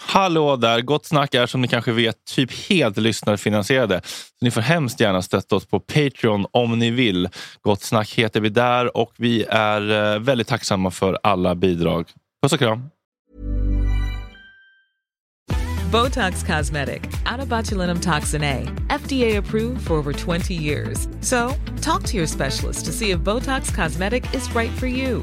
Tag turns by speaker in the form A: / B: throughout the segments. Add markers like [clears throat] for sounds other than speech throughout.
A: Hallå där! Gott Snack är som ni kanske vet typ helt lyssnarfinansierade. Så ni får hemskt gärna stötta oss på Patreon om ni vill. Gott Snack heter vi där och vi är eh, väldigt tacksamma för alla bidrag. Puss och kram!
B: Botox Cosmetic, out of botulinum toxin A, FDA approved for over 20 years. So, talk to your specialist to see if Botox Cosmetic is right for you.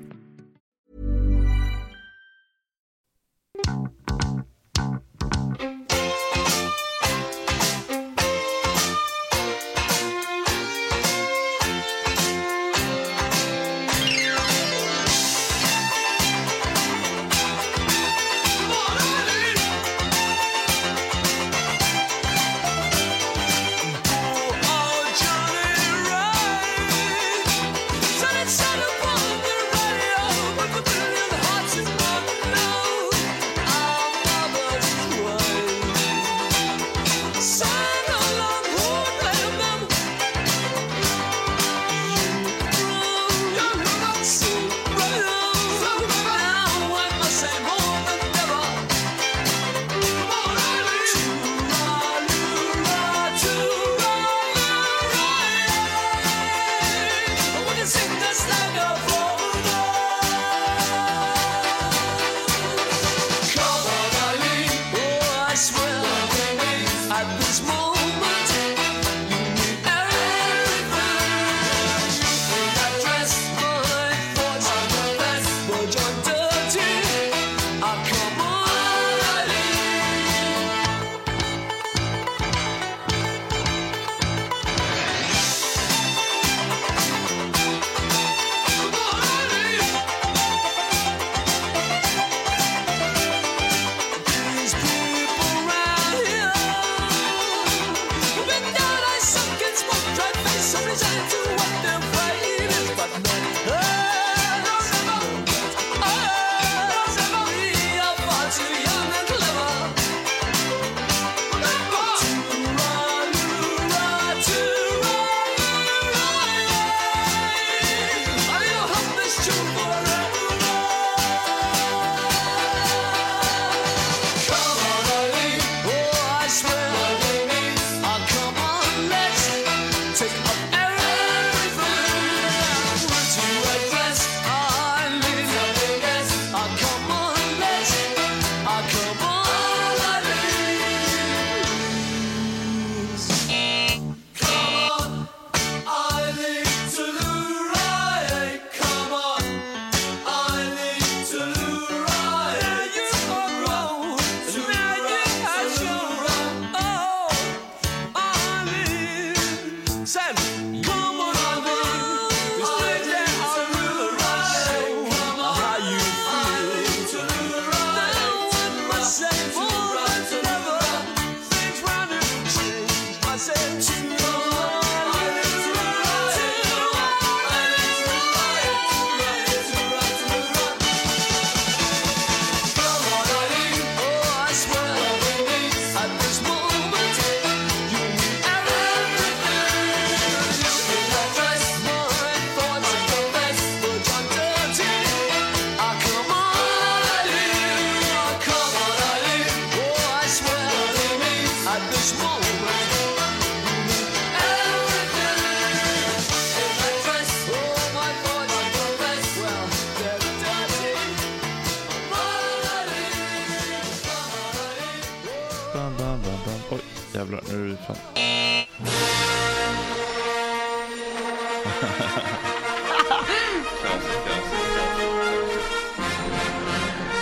A: Oj, jävlar. Nu är det fan. [laughs]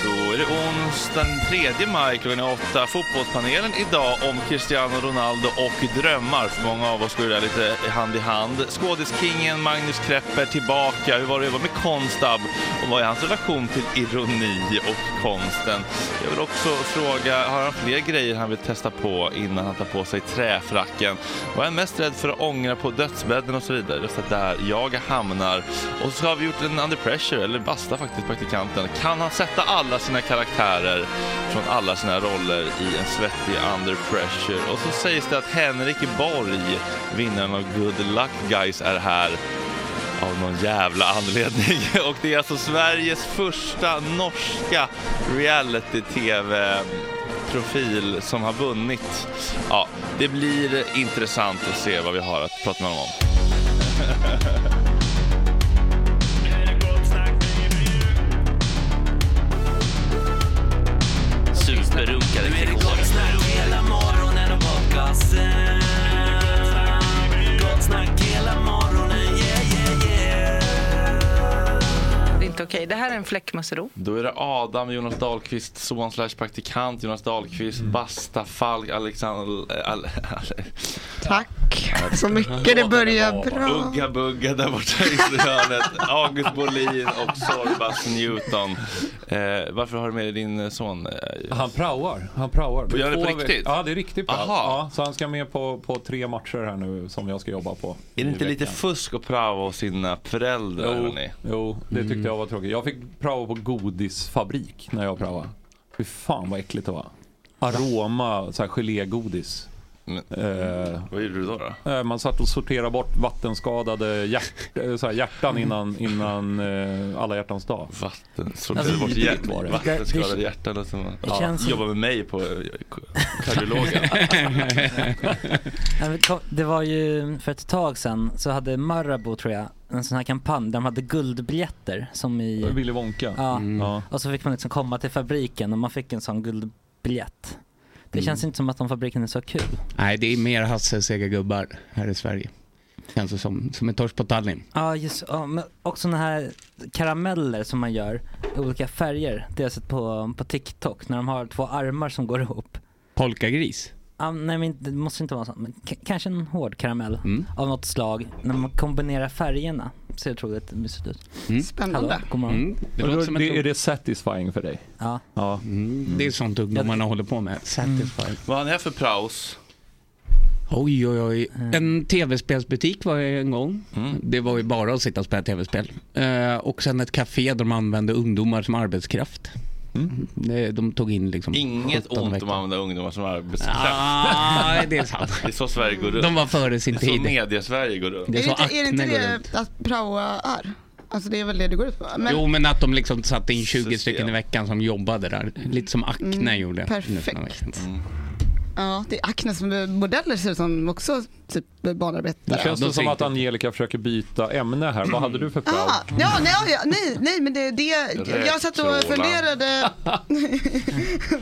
A: Då är det
C: onsdag
A: onsdag.
C: den 3 maj klockan är åtta. Fotbollspanelen idag om Cristiano Ronaldo och drömmar. För många av oss går det där lite hand i hand. Skådiskingen Magnus Krepper tillbaka. Hur var det att jobba med Konstab? Och vad är hans relation till ironi och konsten? Jag vill också fråga, har han fler grejer han vill testa på innan han tar på sig träfracken? Vad är han mest rädd för att ångra på dödsbädden och så vidare? Just att där jag hamnar. Och så har vi gjort en under pressure, eller basta faktiskt, praktikanten. Kan han sätta alla sina karaktärer från alla sina roller i en svettig under pressure? Och så sägs det att Henrik Borg, vinnaren av Good Luck Guys, är här av någon jävla anledning. [laughs] Och det är alltså Sveriges första norska reality-tv profil som har vunnit. Ja, det blir intressant att se vad vi har att prata med honom om.
A: Superrunkade igår. Hela morgonen och podcasten. Gott snack hela morgonen, yeah yeah yeah.
D: Det är inte okej. Det här är en fläckmussero.
C: Då är det Adam, Jonas Dahlqvist, son slash praktikant, Jonas Dahlqvist,
E: Mm.
C: Basta, Falk, Alexander... Al, al,
F: Tack så mycket. Det börjar bra.
C: Ugga Bugga där borta i hörnet, August Bolin och Sorbas Newton. Eh, varför har du med dig din son? Eh,
E: Han praoar. [laughs] Han praoar.
C: Och gör det på
E: Två ve-
C: riktigt?
E: Ja, det är riktigt bra.
C: Aha.
E: Ja, så han ska med på, på tre matcher här nu som jag ska jobba på.
C: Är det inte lite fusk att prao hos sina föräldrar?
E: Jo,
C: hörni? Mm.
E: jo, det tyckte jag var tråkigt. Jag fick prao på godisfabrik när jag praoade. Fy fan vad äckligt det var. Aroma, så här gelégodis.
C: Men-
E: Eh,
C: Vad gjorde du då? då?
E: eh, man satt och sorterade bort vattenskadade hjärt, eh, så här hjärtan innan, innan eh, alla hjärtans dag.
C: Mm. Vatten, sorterade bort
E: Alltså, vidrigt
C: hjärt,
E: var det.
C: vattenskadade hjärtan och så ja.
G: känns som-
C: jobba med mig på eh, k-
D: [laughs]
C: kardiologen.
E: [laughs]
C: [laughs]
G: Ja, men kom- Det var ju för ett tag sedan så hade Marabou tror jag en sån här kampanj där de hade guldbiljetter som i...
E: Willy Wonka. Mm.
G: Ja.
E: Ja.
G: Och så fick man liksom komma till fabriken och man fick en sån guldbiljett.
E: Mm.
G: Det känns inte som att de fabriken är så kul.
H: Nej, det är mer hasselsega gubbar här i Sverige. Känns det som. Som en torsk på Tallinn.
G: Ja just ja, men också såna här karameller som man gör i olika färger. Det har jag sett på, på TikTok när de har två armar som går ihop.
H: Polkagris.
G: Ja, nej men det måste inte vara sånt, men k- kanske en hård karamell
H: Mm.
G: av något slag. När man kombinerar färgerna ser det otroligt mysigt ut. Hallå,
F: Spännande.
G: god morgon.
H: Mm. Det,
E: Och
H: låter
E: då,
H: som
E: det, är
H: ett...
E: det satisfying för dig?
G: Ja.
E: Ja.
H: Mm. det är sånt ungdomarna håller på
F: Mm.
H: med. Satisfying.
C: Vad har ni här för praos?
H: Oj, oj, oj.
F: Mm.
H: En tv-spelsbutik var jag en gång.
E: Mm.
H: Det var ju bara att sitta och spela tv-spel. Eh, och sen ett café där de använde ungdomar som arbetskraft.
E: Mm.
H: Det- De tog in liksom...
C: Inget
H: 17
C: ont om
H: veckor.
C: att använda ungdomar som arbetskraft.
H: Ah, det är sant.
C: Det är så Sverige går runt.
H: De var före sin
C: Det är så
H: tid.
C: media-Sverige går runt.
H: Det
F: Är
H: är
F: det
H: så
F: inte, är det, inte
H: akne går runt.
F: det att praoa är? Alltså det är väl det det går ut på? Men
H: jo, men att de liksom satte in 20
C: System.
H: stycken i veckan som jobbade där. Lite som Acne gjorde.
F: Mm,
H: Mm.
F: perfekt.
H: för några veckor sedan.
F: ja, det är Acnes modeller ser ut som också typ
E: Det känns
F: barnarbetare.
H: de
E: det som
H: ser
E: att
H: inte-
E: Angelica försöker byta ämne här. Vad hade du för prao?
F: Ah, ja, nej, ja, nej, nej, men det, det jag satt och
C: Räktråla.
F: funderade.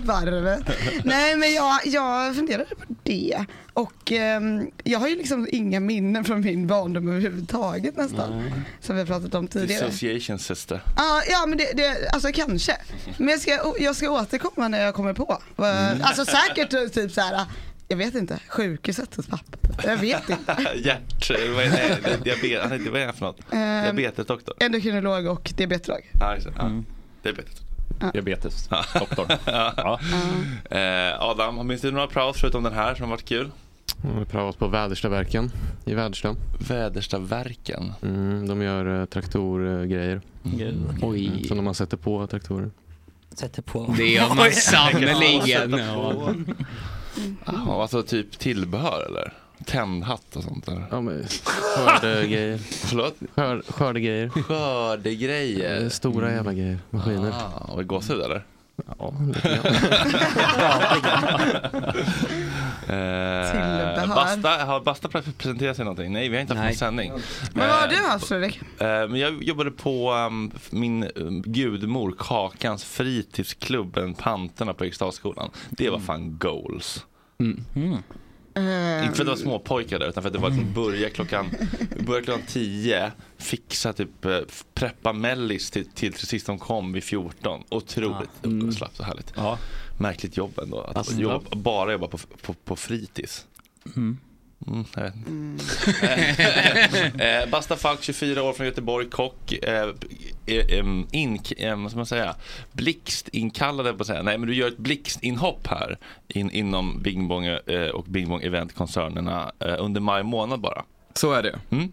F: Varvet. Nej, men jag, jag funderade på det. Och ehm, jag har ju liksom inga minnen från min barndom överhuvudtaget nästan. Som vi har pratat om tidigare.
C: Dissociation sister.
F: Ja, ja men det, det, alltså kanske. Men jag ska, jag ska återkomma när jag kommer på. Eh, Alltså säkert typ så här. Jag vet inte, sjukhuset hos pappa. Jag vet inte.
C: [laughs] Hjärt... Vad är det? det? är Diabetes... Nej, det- Vad är det för något?
F: Ehm.
C: Diabetesdoktor?
F: Endokrinolog och diabetolog.
C: Ja, just det. Ja.
H: Mm.
C: Diabetes.
E: Diabetes. Doktor. Ja.
C: Eh, Adam, minns du några praos förutom den här som har varit kul?
I: Vi praoat på Väderstaverken i Väderstad.
C: Väderstaverken.
I: Mm, de gör eh, traktorgrejer
H: Mm.
I: Mm.
H: Oj.
I: som de man sätter på traktorer.
G: Sätter på.
H: Det gör man sannerligen. Ja.
C: Jaha,
I: Mm.
C: alltså typ tillbehör eller? Tändhatt och sånt där.
I: Ja, men skördegrejer.
C: Förlåt?
I: Skör, skördegrejer. Eh,
C: Skördegrejer.
I: Stora jävla grejer. Maskiner.
C: Mm. Ah, var det gåshud eller?
I: Ja, lite grann.
C: Eh, [laughs]
F: Tillbehör.
C: Basta, har Basta pre- presenterat sig någonting? Nej, vi har inte haft
H: Nej.
C: någon sändning.
F: Men vad har
C: Eh,
F: du haft Fredrik?
C: Eh, Men jag jobbade på ehm, f- min um, gudmor Kakans fritidsklubb, en Panterna på Eriksdalsskolan. Det var fan goals.
G: Mm.
F: Eh,
C: Inte för att
A: Ehm.
C: det var småpojkar där utan för att det var liksom börja klockan, börja klockan 10, fixa typ, eh, f- preppa mellis till, till sist de kom vid 14. Otroligt slapp så härligt. Märkligt jobb ändå. Att
I: Alltså,
C: jobba, bara jobba på, på, på fritids.
G: Mm.
C: Mm, jag vet inte. [laughs] Eh, eh, Basta Falk, 24 år från Göteborg, kock. Eh, eh, em, ink, eh, vad ska man säga? Blixtinkallade på att säga. Nej, men du gör ett blixtinhopp här in, inom Bing Bong eh, och Bing Bong Event-koncernerna eh, under maj månad bara.
J: Så är det.
C: Mm.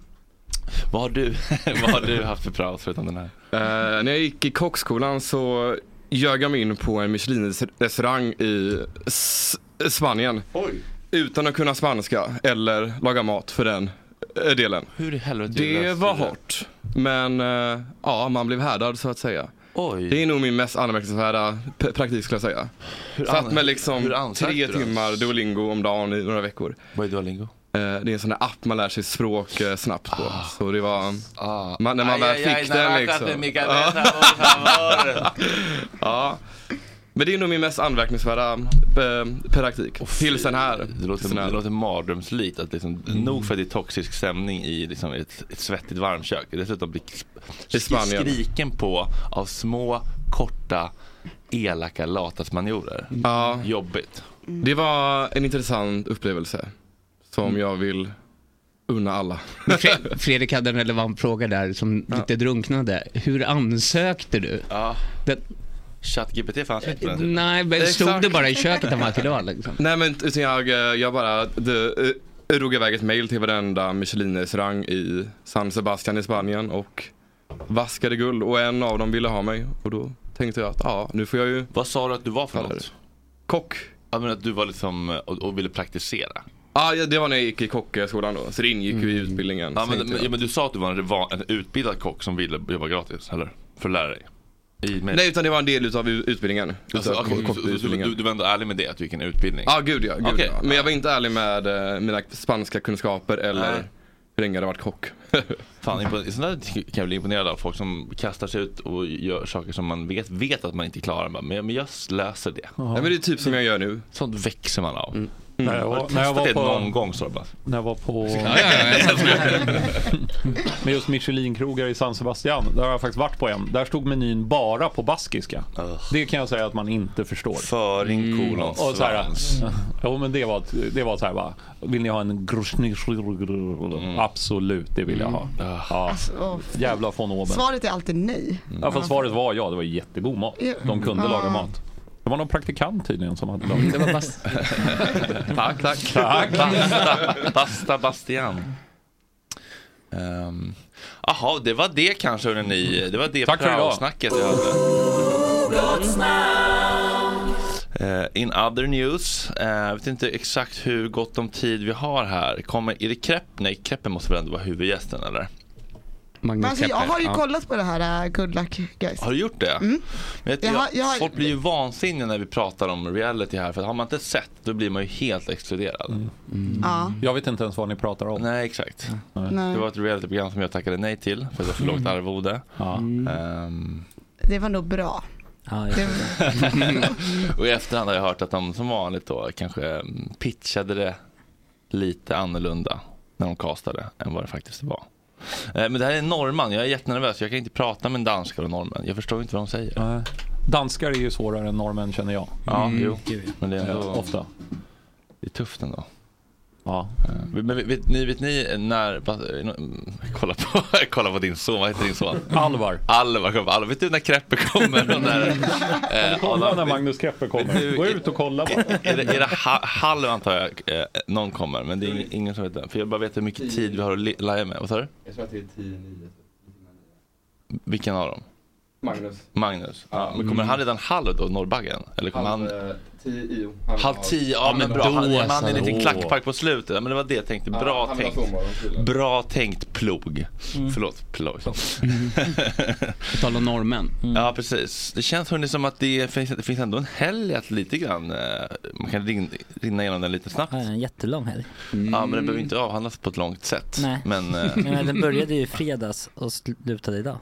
C: Vad har du, [laughs] vad har du haft för prao förutom den här?
J: Eh, när jag gick i kockskolan så ljög jag mig in på en Michelin-restaurang i S- Spanien. Utan att kunna spanska eller laga mat för den eh, delen.
C: Hur i helvete
J: Det
C: löste
J: var
C: du det?
J: hårt. Men eh, ja, man blev härdad så att säga.
C: Oj.
J: Det är nog min mest anmärkningsvärda p- praktik skulle jag säga.
C: Hur
J: Satt
C: an-
J: med
C: hur
J: liksom
C: ansökte
J: tre
C: du då?
J: timmar Duolingo om dagen i några veckor. Eh,
C: Vad är Duolingo?
J: Det är en sån där app man lär sig språk eh, snabbt på.
C: Ah.
J: Så det var, man, när man
C: Aj,
J: väl
C: aj,
J: fick
C: aj,
J: den
C: narrata
J: liksom.
C: te, Mikael,
J: Ja.
C: por favor.
J: [laughs] Ja. Men det är nog min mest anmärkningsvärda eh, praktik. Tills den här.
C: Det låter, det låter mardrömslikt. Att liksom,
J: Mm.
C: Nog för att det är toxisk stämning i liksom, ett, ett svettigt varmkök. Dessutom blir
J: I Spanien.
C: skriken på av små, korta, elaka latasmanjorer.
J: Ja.
C: Jobbigt.
J: Mm. Det var en intressant upplevelse. Som jag vill unna alla.
H: Mm. Men Fre- Fredrik hade en relevant fråga där som lite drunknade. Hur ansökte du?
C: Ja.
H: Den,
C: ChatGPT fanns inte på den tiden.
H: nej, men stod det bara i köket en vacker dag liksom?
C: [laughs]
J: Nej men utan jag, eh, jag bara de, eh, drog iväg ett mail till varenda Michelin-restaurang i San Sebastian i Spanien och vaskade guld och en av dem ville ha mig och då tänkte jag att ja, nu får jag ju...
C: Vad sa du att du var för något?
J: Kock.
C: Ja, men att du var liksom, eh, och, och ville praktisera. Mm.
J: Ah, ja, det var när jag gick i kockskolan då, så det ingick ju i utbildningen.
C: Ja,
J: så
C: men,
J: tänkte
C: men,
J: jag.
C: ja, men du sa att du var en, var en utbildad kock som ville jobba gratis, eller? För att lära dig. I, med,
J: Nej, utan det var en del utav u- utbildningen.
C: alltså,
J: Utav
C: okej,
J: kock-
C: så- så du,
J: utbildningen.
C: du, du var ändå ärlig med det, att du gick en utbildning?
J: Ja, gud ja. Gud,
C: Okej.
J: ja. Men jag var inte ärlig med eh, mina spanska kunskaper eller
C: Nej.
J: hur länge jag hade varit kock.
C: [laughs] Fan, impo- sånt där kan jag bli imponerad av. Folk som kastar sig ut och gör saker som man vet, vet att man inte klarar. Men, men jag löser det.
J: Nej, men det är typ som jag gör nu.
C: Sånt växer man av.
E: När jag var-
C: Har du
E: när jag
C: testat
E: var
C: det
E: på-
C: någon gång Sorba?
E: När jag var på...
C: Ja, ja, ja.
E: Men just Michelinkrogar i San Sebastian, där har jag faktiskt varit på en. Där stod menyn bara på baskiska. Det kan jag säga att man inte förstår.
C: Föring, kolon,
E: Och så här,
C: svans.
E: jo men det var, det var så här bara, vill ni ha en groschny Absolut, det vill jag ha. Ja.
F: åh.
E: Jävla von oben.
F: Svaret är alltid nej.
E: Ja, fast svaret var ja, det var jättegod mat.
F: Ja.
E: De kunde
F: Ja.
E: laga mat. Det var någon praktikant tydligen som hade lagat.
H: Det var bast-
J: tack, tack.
E: Tack.
C: Basta, basta Bastian. Ehm, Jaha, det var det kanske hörni. Det var det
E: Tack för idag.
C: praosnacket jag hade. Eh, in other news, eh, jag vet inte exakt hur gott om tid vi har här. Kommer, är det Krepp? Nej, Kreppen måste väl ändå vara huvudgästen eller?
F: Men alltså, jag har ju kollat på det här uh, Good Luck Guys.
C: Har du gjort det? Men jag,
F: Jag
C: jag,
F: har- jag har-
C: folk blir ju vansinniga när vi pratar om reality här. För att har man inte sett, då blir man ju helt exkluderad.
F: Mm. Ja.
E: Jag vet inte ens vad ni pratar om.
C: Nej, exakt.
F: Nej. Mm.
C: Det var ett realityprogram som jag tackade nej till för att det var för lågt arvode.
E: Ja.
C: Ehm,
F: Det var nog bra.
G: Ja,
E: [laughs]
F: Det,
C: [laughs] och i efterhand har jag hört att de som vanligt då kanske mm, pitchade det lite annorlunda när de castade än vad det faktiskt var. Eh, Men det här är en norrman, jag är jättenervös. Jag kan inte prata med en danskar och norrman. Jag förstår inte vad de säger.
E: Nej. Danskar är ju svårare än norrmän känner jag. Mm.
C: Ja, jo.
G: gud.
C: Men det är ändå
E: Ofta.
C: det är tufft ändå.
E: Ja.
C: Eh, Men vet- vet ni, vet ni när, va- eh, mm, kolla på, [laughs] kolla på din son, vad heter din son?
E: Alvar.
C: Alvar kommer, Alvar, vet du när Kreppe
E: [laughs]
C: kommer? Och när, eh,
E: Kolla
C: Adam-
E: när Magnus Kreppe kommer. Gå ut och kolla bara.
C: [laughs] Är det, är det ha- halv antar jag eh, någon kommer, men det är ing- ingen som vet den. För jag bara vet hur mycket tid vi har att li- laja med. Vad sa du?
J: Jag tror att det är 10-9.
C: Vilken av dem?
J: Magnus.
C: Magnus? Ja, men kommer han redan halv då, Norrbaggen? Eller kommer han...
J: eh, tio,
C: Halv tio? Ja men
H: men
C: bra,
H: då
C: han, han är
H: alltså.
C: en liten
H: Åh.
C: klackpark på slutet. Ja, Men det var det jag tänkte, bra tänkt. Bra tänkt plog. Förlåt, plog. [laughs] Mm.
H: På tal om norrmän.
C: Ja precis. Det känns hörni som att det finns, det finns ändå en helg att lite grann, eh, man kan rin, rinna igenom den lite snabbt. Mm.
G: Ja, en jättelång helg.
C: Ja men den behöver inte avhandlas på ett långt sätt.
H: [laughs]
G: Nej. [laughs]
C: Men, eh,
G: Men den började ju i fredags och slutade idag.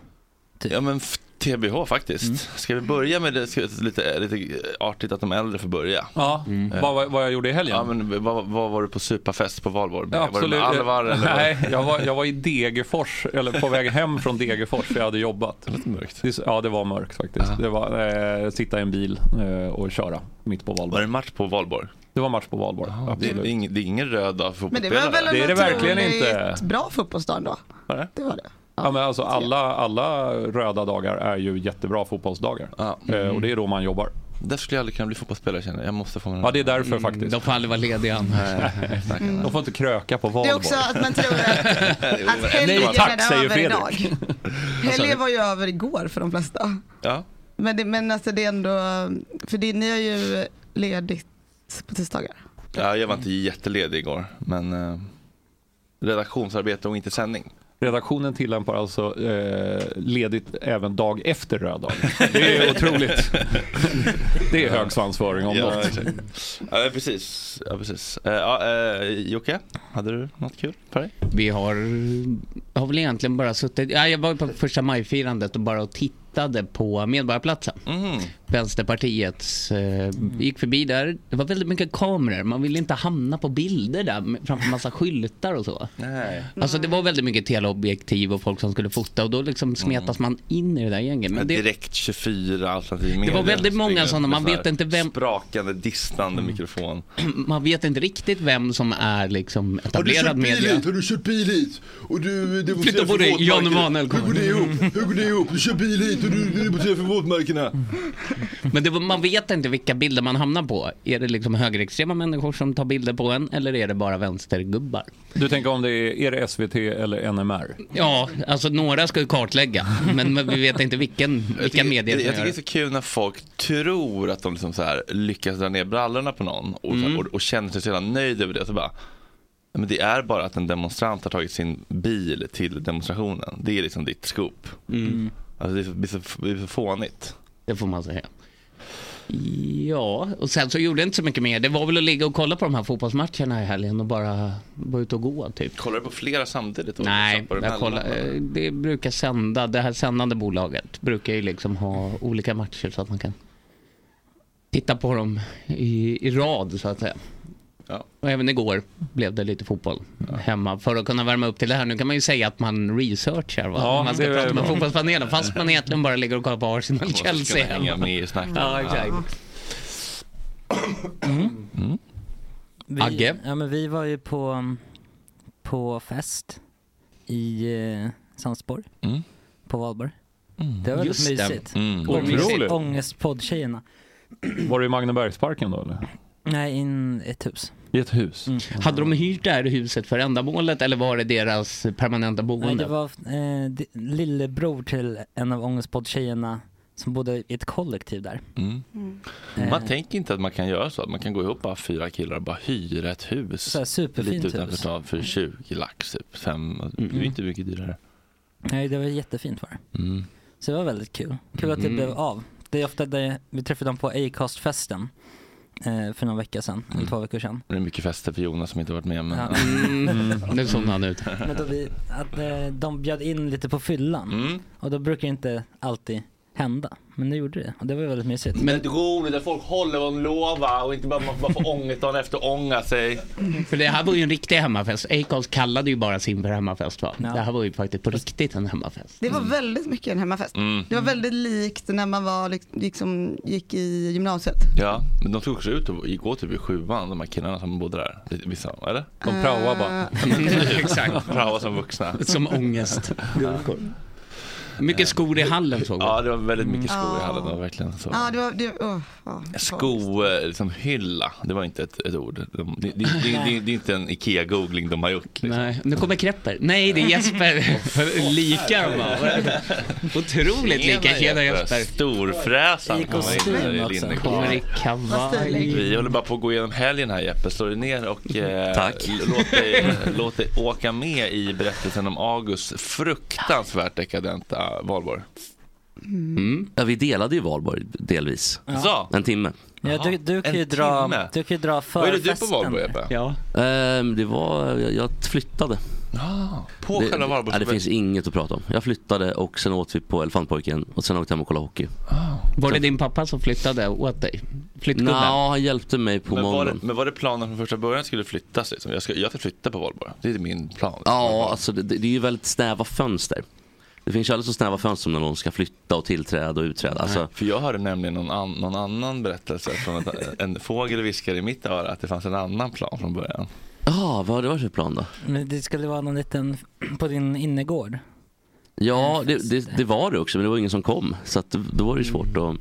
C: Ja men f- TBH faktiskt. Ska vi börja med det? Ska- Lite, lite artigt att de äldre får börja.
E: Ja,
I: Mm.
C: Eh,
E: vad, vad- vad jag gjorde i helgen?
C: Ja, men vad, vad var du på superfest på valborg?
E: Ja,
C: Var du
E: absolut.
C: med Alvar? Eller var-
E: Nej, jag var, jag var i Degerfors, eller på väg hem från Degerfors för jag hade jobbat. Det
C: lite mörkt.
E: Ja, det var mörkt faktiskt. Det var eh, sitta i en bil eh, och [laughs] köra mitt på valborg.
C: Var det match på valborg?
E: Det var match på valborg,
C: det,
E: absolut.
C: är ingen, det är ingen röd dag för
F: Men det
C: fotbollsspelare.
F: var väl en
E: Det är det verkligen
F: otroligt
E: inte.
F: bra fotbollsdag då? Det var det.
E: Ja, men alltså alla, alla röda dagar är ju jättebra fotbollsdagar. Eh, och det är då man jobbar.
C: Där skulle jag aldrig kunna bli fotbollsspelare känner jag. Jag måste få Mm. mig
E: Ja, det är därför faktiskt.
H: De får aldrig vara lediga annars.
E: De får inte kröka på
F: Det
E: valborg.
F: är också att man
C: [laughs]
F: tror att, att helgen
E: Nej tack,
F: är
E: säger
F: över
E: Fredrik. [laughs]
F: idag. Helgen var ju över igår för de flesta.
C: Ja.
F: Men, det, men alltså det är ändå, för det, ni har ju ledigt på tisdagar.
C: Ja, jag var inte jätteledig igår, men eh, redaktionsarbete och inte sändning.
E: Redaktionen tillämpar alltså eh, ledigt även dag efter röd dag. Det är otroligt.
C: [laughs]
E: Det är hög svansföring om
C: ja,
E: något.
C: exakt. ja, precis. Ja, precis. Eh, ja, eh, Jocke, hade du Mm, något kul för dig?
H: Vi har, har väl egentligen bara suttit... Ja, jag var på första majfirandet och bara tittade på Medborgarplatsen.
C: Mm.
H: Vänsterpartiets eh, gick förbi där. Det var väldigt mycket kameror. Man ville inte hamna på bilder där med- framför massa skyltar och så.
C: Nej.
H: Alltså det var väldigt mycket teleobjektiv och folk som skulle fota och då liksom smetas man in i det där gänget. Men det,
C: Mm. Direkt 24 alternativ
H: var väldigt många sådana, man vet inte vem- Mm.
C: Sprakande, distande mikrofon.
H: [clears throat] man vet inte riktigt vem som är liksom etablerad media.
K: Har du kört bil hit? Och du demonstrerar
H: Flytta på
K: för
H: dig,
K: våtmarker.
H: Jan Emanuel
K: Hur går
H: kommer.
K: det ihop? Hur går det ihop? Du kör bil hit och du du demonstrerar för våtmarkerna.
H: Men det, var- man vet inte vilka bilder man hamnar på. Är det liksom högerextrema människor som tar bilder på en eller är det bara vänstergubbar?
E: Du tänker om det är, är det SVT eller NMR?
H: Ja, alltså några ska ju kartlägga, men, men vi vet inte vilken, vilka medier
C: [laughs] Jag
H: som gör
C: tycker det är
H: det.
C: så kul när folk tror att de liksom så här lyckas dra ner brallorna på någon och,
H: Mm.
C: och, och känner sig så jävla nöjd över det. Så bara, "Ja, men det är bara att en demonstrant har tagit sin bil till demonstrationen. Det är liksom ditt scoop.
H: Mm.
C: Alltså det är så- det är så, det är så fånigt.
H: Det får man säga. Ja, och sen så gjorde jag inte så mycket mer. Det var väl att ligga och kolla på de här fotbollsmatcherna i helgen och bara vara ute och gå typ.
C: Kollar du på flera samtidigt? Liksom, och
H: Nej,
C: zappar
H: jag
C: emellan?
H: kollar, eh, det brukar sända, det här sändande bolaget brukar ju liksom ha olika matcher så att man kan titta på dem i, i rad så att säga. Och även igår blev det lite fotboll hemma för att kunna värma upp till det här. Nu kan man ju säga att man researchar va?
C: Ja,
H: man ska
C: det är
H: prata med
C: bra.
H: fotbollspanelen fast man egentligen bara ligger och kollar på
C: Man måste
H: Arsenal-Chelsea
C: kunna hänga med i snacket.
H: Ja, exakt.
A: Mm.
G: Vi, Agge? Ja, men vi var ju på, på fest i eh, Sandsborg,
C: Mm.
G: på valborg. Det var
E: Just
G: väldigt
E: det.
G: mysigt.
E: Mm.
G: Ångest-
E: Otroligt.
G: Ångestpodd-tjejerna.
E: Var det i Magnebergsparken då eller?
G: Nej, in ett hus. Mm.
E: I ett hus.
H: Hade de hyrt det här huset för ändamålet eller var det deras permanenta boende?
G: Nej, det var eh, di- lillebror till en av ångestpodd-tjejerna som bodde i ett kollektiv där.
C: Mm.
H: Eh.
C: Man tänker inte att man kan göra så. Att man kan gå ihop bara fyra killar och bara hyra ett hus.
G: Så här superfint
C: Lite utanför
G: hus.
C: stan för 20 lax. Typ. Fem,
H: Mm.
C: Det är inte mycket dyrare.
G: Nej, det var jättefint var det.
C: Mm.
G: Så det var väldigt kul. Kul att det
C: Mm.
G: blev av. Det är ofta det, vi träffade dem på Acast-festen eh, för någon vecka sedan, eller två veckor sedan.
C: Det är mycket fester för Jonas som inte varit med. Men...
G: Ja.
C: Mm.
G: Mm.
H: Nu somnade han ut.
G: Men då vi, att eh, de bjöd in lite på fyllan
C: Mm.
G: och då brukar det inte alltid hända. Men nu gjorde det och det var ju väldigt mysigt.
C: Men det är roligt att folk håller vad de lovar och inte bara man bara får ångest dagen efter ånga sig.
H: För det här var ju en riktig hemmafest. Acast kallade ju bara sin för hemmafest va? Det här var ju faktiskt på riktigt en hemmafest.
F: Det var väldigt mycket en hemmafest.
C: Mm.
F: Det var väldigt likt när man var, lik- liksom, gick i gymnasiet.
C: Ja, men de tog också ut och gick åt typ i sjuan, de här killarna som bodde där. Vissa, eller?
F: De praoade bara.
C: Exakt. Praoade som vuxna.
H: Som ångest. Mycket skor i hallen såg
C: Ja, det var väldigt mycket
F: Mm.
C: skor i hallen. Det var
F: Ja.
C: verkligen så.
F: Ja, det var, det, åh, ja.
C: Sko, eh, liksom hylla, det var inte ett, ett ord. De, det, det, det, det, det är inte en IKEA-googling de har gjort. Liksom.
H: Nej, nu kommer Krepper. Nej, det är
C: [laughs]
H: Jesper. [laughs] lika de var. Otroligt lika. Tjena Jesper.
C: Storfräsaren
H: I kostym
C: kommer in där i
H: också.
C: linne-
H: Kommer i kavaj.
C: Vi håller bara på att gå igenom helgen här Jeppe. Slå dig ner och eh,
I: Tack.
C: l- Låt, dig, låt dig åka med i berättelsen om Augusts fruktansvärt dekadenta valborg.
G: Mm.
H: Mm.
I: Ja, vi delade ju valborg delvis.
G: Ja. Så.
I: En timme.
G: Ja, du, du, kan ju dra, du kan ju dra förfesten.
I: Ehm, det var, jag, jag flyttade.
L: På
I: det,
L: själva Valborgs-
I: ja, det finns inget att prata om. Jag flyttade och sen åt vi på Elefantpojken och sen åkte jag hem och kollade hockey.
H: Var det din pappa som flyttade åt dig? Flyttgubben?
I: Nå, han hjälpte mig på
C: Men var, det,
I: morgonen.
C: men var det planen från första början skulle flyttas? Liksom? Jag, ska, jag ska flytta på Valborg. Det är min plan.
I: Ja, alltså det, det det är ju väldigt snäva fönster. Det finns ju alldeles så snäva fönster när någon ska flytta och tillträda och utträda. Alltså,
C: Nej, för jag hörde nämligen någon, an, någon annan berättelse från ett, [laughs] en fågel viskade i mitt öra att det fanns en annan plan från början.
I: Ja, vad har det varit för plan då?
G: Men det skulle vara någon liten, [clears throat] på din innergård.
I: Ja, det, det, det var det också, men det var ingen som kom. Så att, då var det ju svårt att...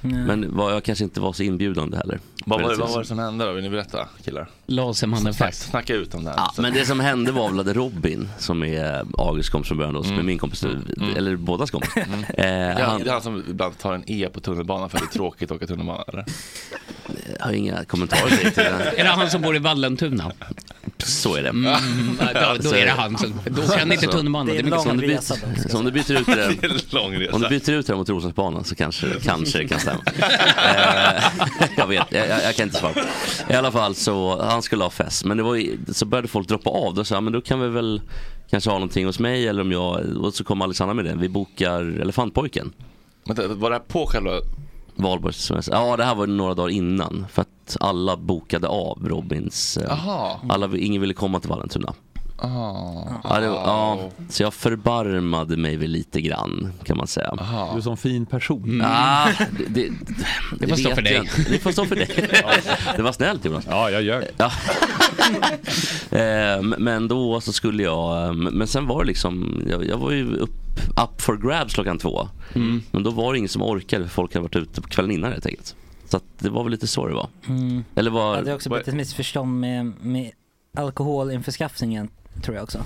G: Nej.
I: Men var, jag kanske inte var så inbjudande heller.
C: Vad var, det, vad var det som hände då? Vill ni berätta killar?
H: Lasermannen
C: Snack, snacka ut om det här.
I: Ja, men det som hände var väl att Robin, som är Augusts kompis från början, då, som
C: Mm.
I: är min kompis nu, eller bådas kompis.
C: Det
I: Eh,
C: är
I: han
C: han, det är han som ibland tar en E på tunnelbanan för att det är tråkigt att åka tunnelbana eller?
I: har inga kommentarer direkt till det.
H: Är det han som bor i Vallentuna?
I: Så är det.
H: Mm, ja, då-
I: Alltså,
H: då är det han som- då kan inte
I: Så-
H: tunnelbanan, det är Det är mycket en lång
I: Om du byter-
H: resa då, ska
I: alltså, Så om du byter ut
C: [laughs]
I: det
C: Det är en lång resa.
I: Om du byter ut det här mot Roslagsbanan så kanske, kanske det
C: [laughs]
I: kan stämma. Eh, jag vet, jag, jag, jag kan inte svara. I alla fall så, han skulle ha fest. Men det var, ju- så började folk droppa av. Då sa jag, men då kan vi väl kanske ha någonting hos mig eller om jag, och så kom Alexandra med det. Vi bokar Elefantpojken.
C: Vänta, var det här på själva
I: Valborgssemestern? Ja, det här var några dagar innan. För att alla bokade av Robins... eh,
C: Aha.
I: Alla, ingen ville komma till Vallentuna.
C: [laughs] Ah.
I: Ja, det, var- ja, så jag förbarmade mig väl lite grann kan man säga.
C: Mm.
E: Du är som fin person.
I: [laughs] Ah, det, det,
E: Det får stå
I: vet
E: för
I: jag
E: dig.
I: inte. Det får stå
E: [laughs]
I: för dig. Det var snällt Jonas.
E: Ja, jag gör
I: ja. [laughs] Eh, m- Men då så skulle jag, eh, m- men sen var det liksom, jag, jag var ju upp, up for grabs klockan två.
G: Mm.
I: Men då var det ingen som orkade för folk hade varit ute på kvällen innan helt enkelt. Så att det var väl lite så det var.
G: Mm.
I: Eller var,
G: Ja, det har också
I: var-
G: blivit ett missförstånd med, med alkoholinförskaffningen, tror jag också.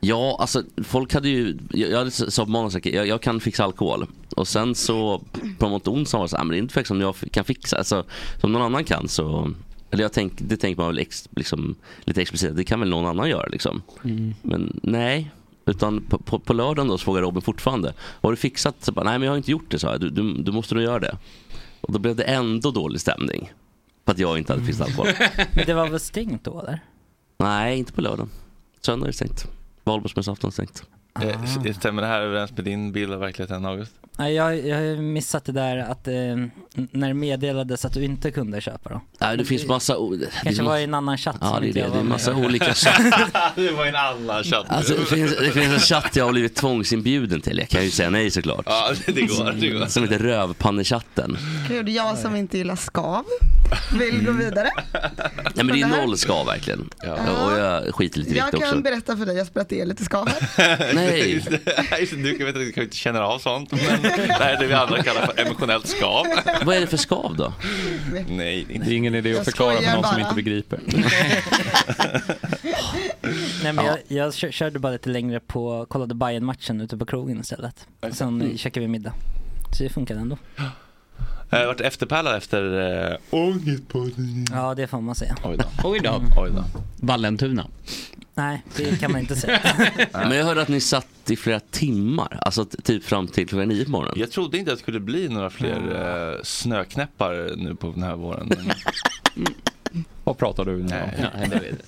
I: Ja, alltså folk hade ju, jag, jag hade s- sa på måndagen säkert, jag, jag kan fixa alkohol. Och sen så på något onsdag var det så, här, men det är inte faktiskt som jag f- kan fixa. Alltså, som någon annan kan så, eller jag tänk, det tänker man väl ex, liksom, lite explicit, det kan väl någon annan göra liksom.
L: Mm.
I: Men nej. Utan på, på, på lördagen då så frågade Robin fortfarande, har du fixat? Så bara, nej men jag har inte gjort det sa jag, du, du, du måste nog göra det. Och då blev det ändå dålig stämning. För att jag inte hade fixat alkohol.
G: [laughs] Men det var väl stängt då eller?
I: nej, inte på lördagen. Söndag är det stängt. Valborgsmässoafton är stängt.
C: Eh, s- Stämmer det här överens med din bild av verkligheten August?
G: Nej, jag, jag har ju missat det där att eh, n- när det meddelades att du inte kunde köpa dem.
I: Nej, det finns massa... o- det
G: kanske
I: finns-
G: var i en annan chatt
I: Ja,
G: som
I: det är
G: inte jag
I: det. Det
G: var
I: är en
G: med
I: massa
G: i. [laughs]
C: [laughs]
I: olika chatt.
C: det var en annan chatt.
I: Alltså, det, finns, det finns en chatt jag har blivit tvångsinbjuden till. Jag kan ju säga nej såklart.
C: Ja, det går, det går.
I: Som heter Rövpannechatten.
F: Gud, jag som inte gillar skav vill gå vidare.
I: Nej men det
F: Det
I: är
F: här-
I: noll ska verkligen. Och jag skiter lite i
F: Jag
I: vikt
F: kan
I: också.
F: berätta för dig Jesper att det är lite skav här.
I: Nej.
C: [laughs] Just det. Just det, du kan veta att du kanske inte känner av sånt. Men det här är det vi andra kallar för emotionellt skav.
I: Vad är det för skav då?
C: Nej,
E: Det är ingen idé
C: Jag
E: att förklara för
C: skojar
E: någon som
C: bara.
E: inte begriper.
G: [laughs] Nej, men jag, jag kö- körde bara lite längre på, kollade bayern matchen ute på krogen istället. Och sen
C: Mm.
G: käkade vi middag. Så det
E: [gasps]
G: funkade ändå.
C: Jag har varit efterpärlad efter eh, Ångestpodden.
G: Ja, det får man säga.
C: Oj då.
H: Oj då.
E: Mm.
C: Oj då.
H: Vallentuna.
G: Nej, det kan
E: [laughs]
G: man inte säga.
I: Men jag hörde att ni satt i flera timmar. Alltså t- typ fram till klockan nio på morgonen.
C: Jag trodde inte att det skulle bli några fler eh, snöknäppar nu på den här våren. Men...
E: Vad pratar du nu om?
C: Nej, jag vet inte.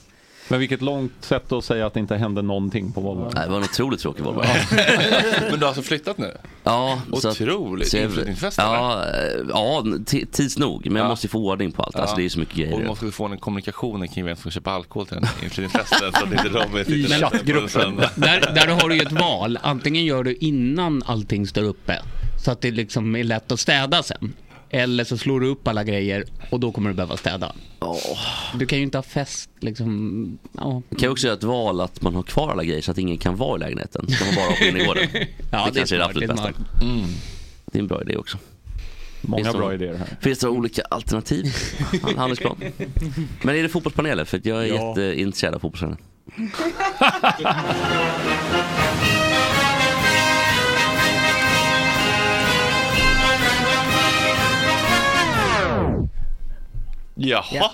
E: Men vilket långt sätt att säga att det inte hände någonting på Volvo.
I: Nej, det var en otroligt tråkig Volvo.
C: [laughs] Men du har alltså flyttat nu?
I: Ja, så att-
C: Otroligt.
I: så jag-
C: Inflyttningsfest,
I: Ja, eh, ja t- tids nog. Men jag måste ju få ordning på allt. Alltså,
C: Ja.
I: det är ju så mycket grejer.
C: Och vi måste få en kommunikation kring vem som ska köpa alkohol till den här inflyttningsfesten. så att inte Robin
H: I
C: sitter där på en
H: chattgruppen. [laughs]
C: söndag.
H: Där, där har du ju ett val. Antingen gör du innan allting står uppe, så att det liksom är lätt att städa sen. Eller så slår du upp alla grejer och då kommer du behöva städa. Du kan ju inte ha fest liksom. Ja.
I: Man kan ju också göra ett val att man har kvar alla grejer så att ingen kan vara i lägenheten. Då kan man bara hoppa in i
C: [laughs]
I: gården.
H: Ja, det är
I: kanske är det
H: smart,
I: absolut
H: det är
I: bästa.
H: smart.
C: Mm.
I: Det är en bra idé också.
E: Många
I: Finns det
E: bra
I: några-
E: idéer här.
I: Finns det några olika alternativ?
H: [laughs]
I: Han- Handlingsplan. Men är det fotbollspanelen? För att jag är
E: Ja.
I: jätteintresserad av fotbollspanelen.
C: Jaha,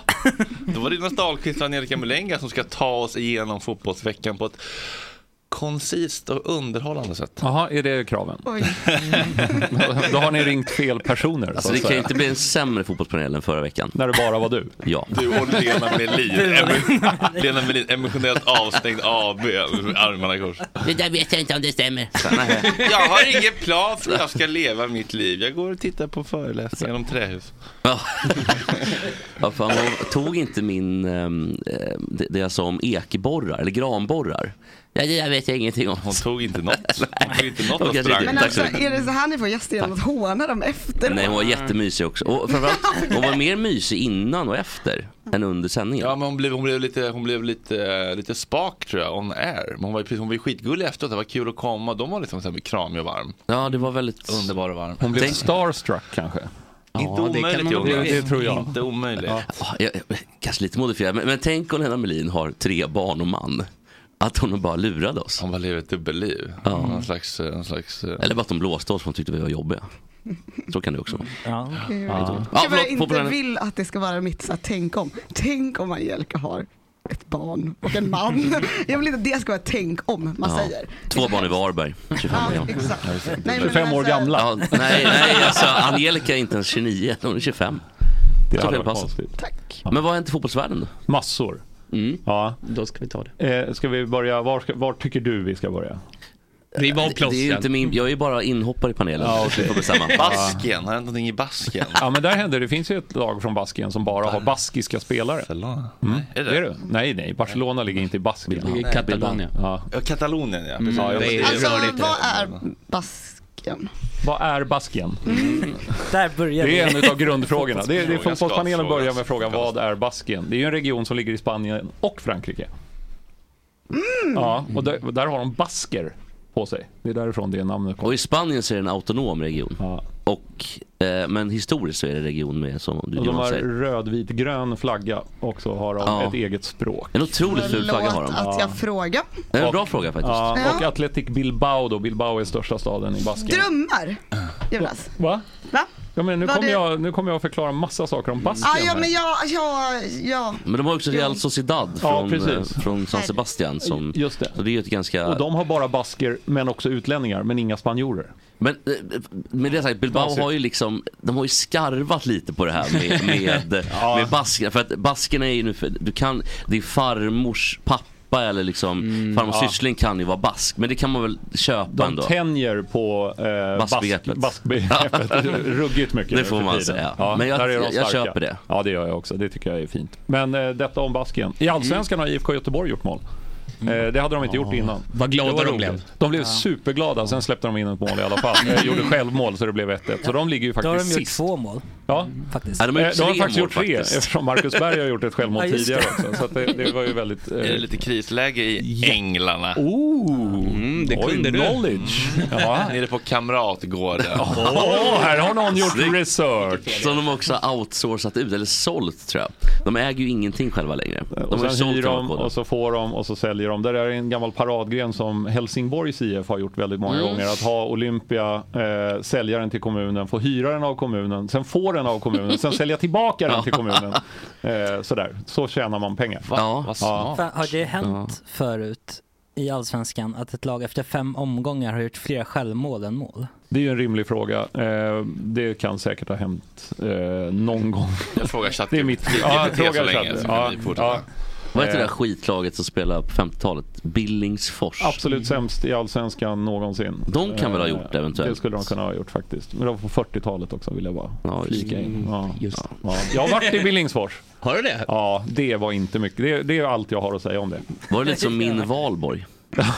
C: [laughs] då var det Jonas Dahlqvist och Angelica Melenga som ska ta oss igenom fotbollsveckan på ett koncist och underhållande sätt.
E: Jaha, är det kraven? [laughs] Då har ni ringt fel personer.
I: Alltså, det kan ju inte bli en sämre fotbollspanel än förra veckan.
E: När det bara var du?
I: [laughs] Ja.
C: Du och Lena Melin. Emo- Lena Melin, emotionellt avstängd AB, armarna i kors.
L: Det där vet jag inte om det stämmer.
C: Jag har ingen plan för hur jag ska leva mitt liv. Jag går och tittar på föreläsningar om trähus.
I: Ja. ja, fan, hon tog inte min, ehm, eh, det, det jag sa om ekborrar, eller granborrar. Ja, det där vet jag ingenting om. Hon
C: tog inte något.
I: [laughs]
C: Hon tog inte
F: något
I: av
F: Men alltså, är det så här ni får gäster genom att håna dem efter?
I: Nej, hon var jättemysig också. Och framförallt, hon var mer mysig innan och efter än under sändningen.
C: Ja, men hon blev, hon blev, lite, hon blev lite, lite spak tror jag, on air. Men hon var, ju precis- hon var ju skitgullig efteråt, det var kul att komma. De var liksom så här kramig och varm.
I: Ja, det var väldigt...
C: Underbar och varm.
E: Hon blev
C: Tänk-
E: starstruck kanske?
C: Inte omöjligt Jonas.
E: Det, det tror jag.
C: Inte omöjligt.
I: Ja, jag, jag- kanske lite modifierad, men, men tänk om Lena Melin har tre barn och man. Att hon bara lurade oss.
C: Hon bara lever ett dubbelliv.
I: Ja.
C: Någon slags, eh, någon slags...
I: Eller bara att de blåste oss för hon tyckte vi var jobbiga. Så kan det också vara.
G: Ja.
F: Gud.
E: Liksom.
I: Ja.
F: Jag bara
I: förlåt,
F: inte
I: populär-
F: vill att det ska vara mitt så här, tänk om. Tänk om Angelica har ett barn och
E: [laughs]
F: en man. Jag vill inte att det ska vara ett tänk om man
I: Ja.
F: säger.
I: Två barn i Varberg, 25
F: [laughs] Ja,
I: år.
F: exakt. Nej, men alltså-
E: 25 år gamla.
I: Ja, nej, nej alltså, Angelica är inte ens 29, hon är 25.
E: Det
I: Så
E: hade
I: väl
E: varit
I: passat.
E: konstigt.
F: Tack.
I: Men vad har hänt i fotbollsvärlden då?
E: Massor. Ja.
H: Då ska vi ta det.
E: Eh, ska vi börja, var, ska, var tycker du vi ska börja?
H: Vi var
I: Det är ju inte min, jag är ju bara inhoppare i panelen.
E: Ja,
I: Ja,
E: okej.
I: får bestämma.
C: [laughs] Baskien, har det hänt någonting i Baskien?
E: Ja men där händer det, finns ju ett lag från Baskien som bara har baskiska spelare.
C: Barcelona?
E: Mm. Är det? det? Nej, nej, Barcelona ligger inte i Baskien.
C: Bilbao. ligger i Katalonien.
E: Ja.
C: Ja, Katalonien ja.
E: Mm.
C: Precis.
E: Det är-
F: Alltså
E: rör lite.
F: vad är basken?
E: Vad är Baskien?
G: Där börjar
E: Det är
G: vi.
E: en av grundfrågorna. Det är,
G: [laughs]
F: [laughs]
E: det är
G: Fotbollsfrågan
E: fotbollspanelen
G: ska
E: börjar med
G: frågas.
E: frågan vad är Baskien? Det är ju en region som ligger i Spanien och Frankrike.
I: Mm.
E: Ja, och där, där har de basker på sig. Det är därifrån det namnet kommer.
I: Och i Spanien så är det en autonom region. Och, eh, men historiskt så är det en region med, som du
E: Och de
I: Jonas
E: har
I: säger.
E: röd, vit, grön flagga och så har de
I: Ja.
E: ett eget språk.
I: En otroligt ful flagga har de.
F: att jag frågar.
I: Det är en
E: Och-
I: bra fråga faktiskt.
E: Ja,
F: Ja.
E: och Athletic Bilbao då. Bilbao är största staden i Baskien.
F: Drömmar, Jonas.
E: Va?
F: Va?
E: Ja, men nu
F: Vad
E: kommer
F: det-
E: jag, nu kommer jag förklara massa saker om Baskien.
F: Ah, ja,
E: här.
F: men jag, ja, ja.
I: Men de har också Real Sociedad
E: Ja,
I: från, eh,
E: precis.
I: från San Sebastian. alltså Som,
E: Just det.
I: Så det är ju ett ganska...
E: Och de har bara basker, men också utlänningar, men inga spanjorer.
I: Men eh, med det sagt, Bilbao
E: Basker.
I: har ju liksom, de har ju skarvat lite på det här med,
E: [laughs]
I: med, med baskerna. För att baskerna är ju nu, för, du kan, det är farmors pappa eller liksom farmors
E: Mm, ja.
I: syssling kan ju vara bask. Men det kan man väl köpa
E: De
I: ändå.
E: tänjer på eh, bask-
I: Baskbegreppet.
E: baskbegreppet
I: [laughs]
E: ruggigt mycket.
I: Det
E: nu
I: får
E: för
I: man
E: tiden.
I: säga. Men jag-
E: där är de
I: jag
E: starka.
I: köper det.
E: Ja, det gör jag också. Det tycker jag är fint. Men eh, detta om basken. I Allsvenskan har IFK Göteborg gjort mål. Eh, det hade de inte gjort
I: Ah.
E: innan.
H: Vad glada
E: Det var
H: de
E: roligt.
H: blev.
E: De blev superglada, sen släppte de in ett mål i alla fall. Eh, gjorde självmål så det blev 1-1. Så de ligger ju
G: Då har de
E: faktiskt
G: gjort
E: sist.
G: två mål.
E: Ja,
G: faktiskt.
E: Eh, De har,
G: tre
E: faktiskt
G: mål,
E: gjort tre
G: faktiskt.
E: eftersom Marcus Berg har gjort ett självmål
G: [laughs] Ja, just det.
E: tidigare också. Så att det, det var ju väldigt... eh,
C: Är det lite krisläge i Änglarna?
E: Oh,
C: det
E: Oj,
C: kunde du.
E: knowledge. Ja.
C: [laughs] Nere på Kamratgården.
E: Åh, här har någon gjort
I: Snyggt.
E: research.
I: Som de också har outsourcat ut, eller sålt tror jag. De äger ju ingenting själva längre. De
E: Och
I: har ju
E: sen hyr
I: sålt
E: de
I: rabattkoden.
E: och så får de och så säljer de. Det där är en gammal paradgren som Helsingborgs IF har gjort väldigt många
I: Mm.
E: gånger. Att ha Olympia, eh, sälja den till kommunen, få hyra den av kommunen, sen få den av kommunen, sen sälja tillbaka
I: [laughs]
E: den till kommunen. Eh, sådär, så tjänar man pengar.
G: Fan, Har det hänt förut i Allsvenskan att ett lag efter fem omgångar har gjort fler självmål än mål?
E: Det är ju en rimlig fråga. Eh, det kan säkert ha hänt eh, någon gång. [laughs]
C: Jag frågar chatten.
E: Det är mitt-
C: Vi- vi
E: Ja,
C: beter oss så
E: fråga
C: länge
E: chatten.
C: så kan
E: Ja,
C: vi fortsätta.
E: ja.
I: Vad heter det
E: Eh.
I: där skitlaget som spelade på 50-talet? Billingsfors.
E: Absolut sämst i allsvenskan någonsin. Eh,
I: De kan väl ha gjort det eventuellt?
E: Det skulle de kunna ha gjort faktiskt. Men de var på 40-talet också vill jag bara flika in. Ja. Ja. Jag har varit i Billingsfors.
H: Har du det?
E: Ja, det var inte mycket. Det, det är allt jag har att säga om det.
I: Var det lite som min Valborg?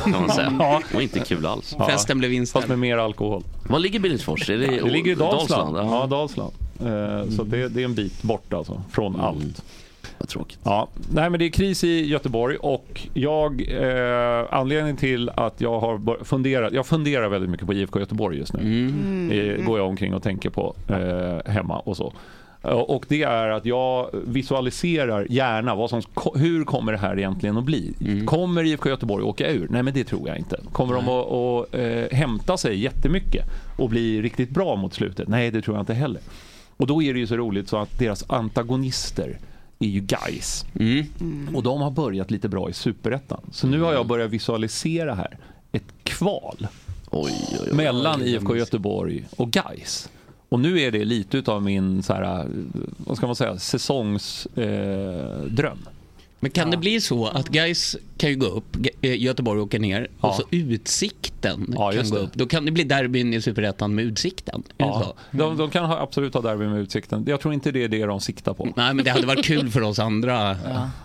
I: Kan man säga.
E: [laughs] Ja.
I: Det var inte kul alls.
H: Festen blev inställd.
E: Fast med mer alkohol.
I: Var ligger Billingsfors? Är det,
E: Det ligger i Dalsland.
I: Ja.
E: Ja, Dalsland. Eh, Så det, det är en bit bort alltså, från allt.
I: Mm. Vad tråkigt.
E: Ja. Nej, men det är kris i Göteborg och jag, eh, anledningen till att jag har bör- funderat, jag funderar väldigt mycket på IFK Göteborg just nu.
I: Mm.
E: Eh, går jag omkring och tänker på eh, hemma och så. Eh, Och det är att jag visualiserar gärna vad som, ko- hur kommer det här egentligen att bli? Kommer IFK Göteborg åka ur? Nej men det tror jag inte. Kommer de att, att eh, hämta sig jättemycket och bli riktigt bra mot slutet? Nej det tror jag inte heller. Och då är det ju så roligt så att deras antagonister är ju guys. Och de har börjat lite bra i superettan. Så nu har jag börjat visualisera här ett kval mellan IFK Göteborg och guys. Och nu är det lite utav min, så här, eh, vad ska man säga, eh, säsongsdröm.
H: Men kan det bli så att guys kan ju gå upp, Ge- eh, Göteborg åker ner och så Utsikten kan
E: just
H: gå
E: det.
H: upp. Då kan det bli derbyn i Superettan med Utsikten. Är det
E: Ja,
H: så?
E: de, de kan ha, absolut ha derby med Utsikten. Jag tror inte det är det de siktar på.
H: Nej, men det hade varit kul för oss andra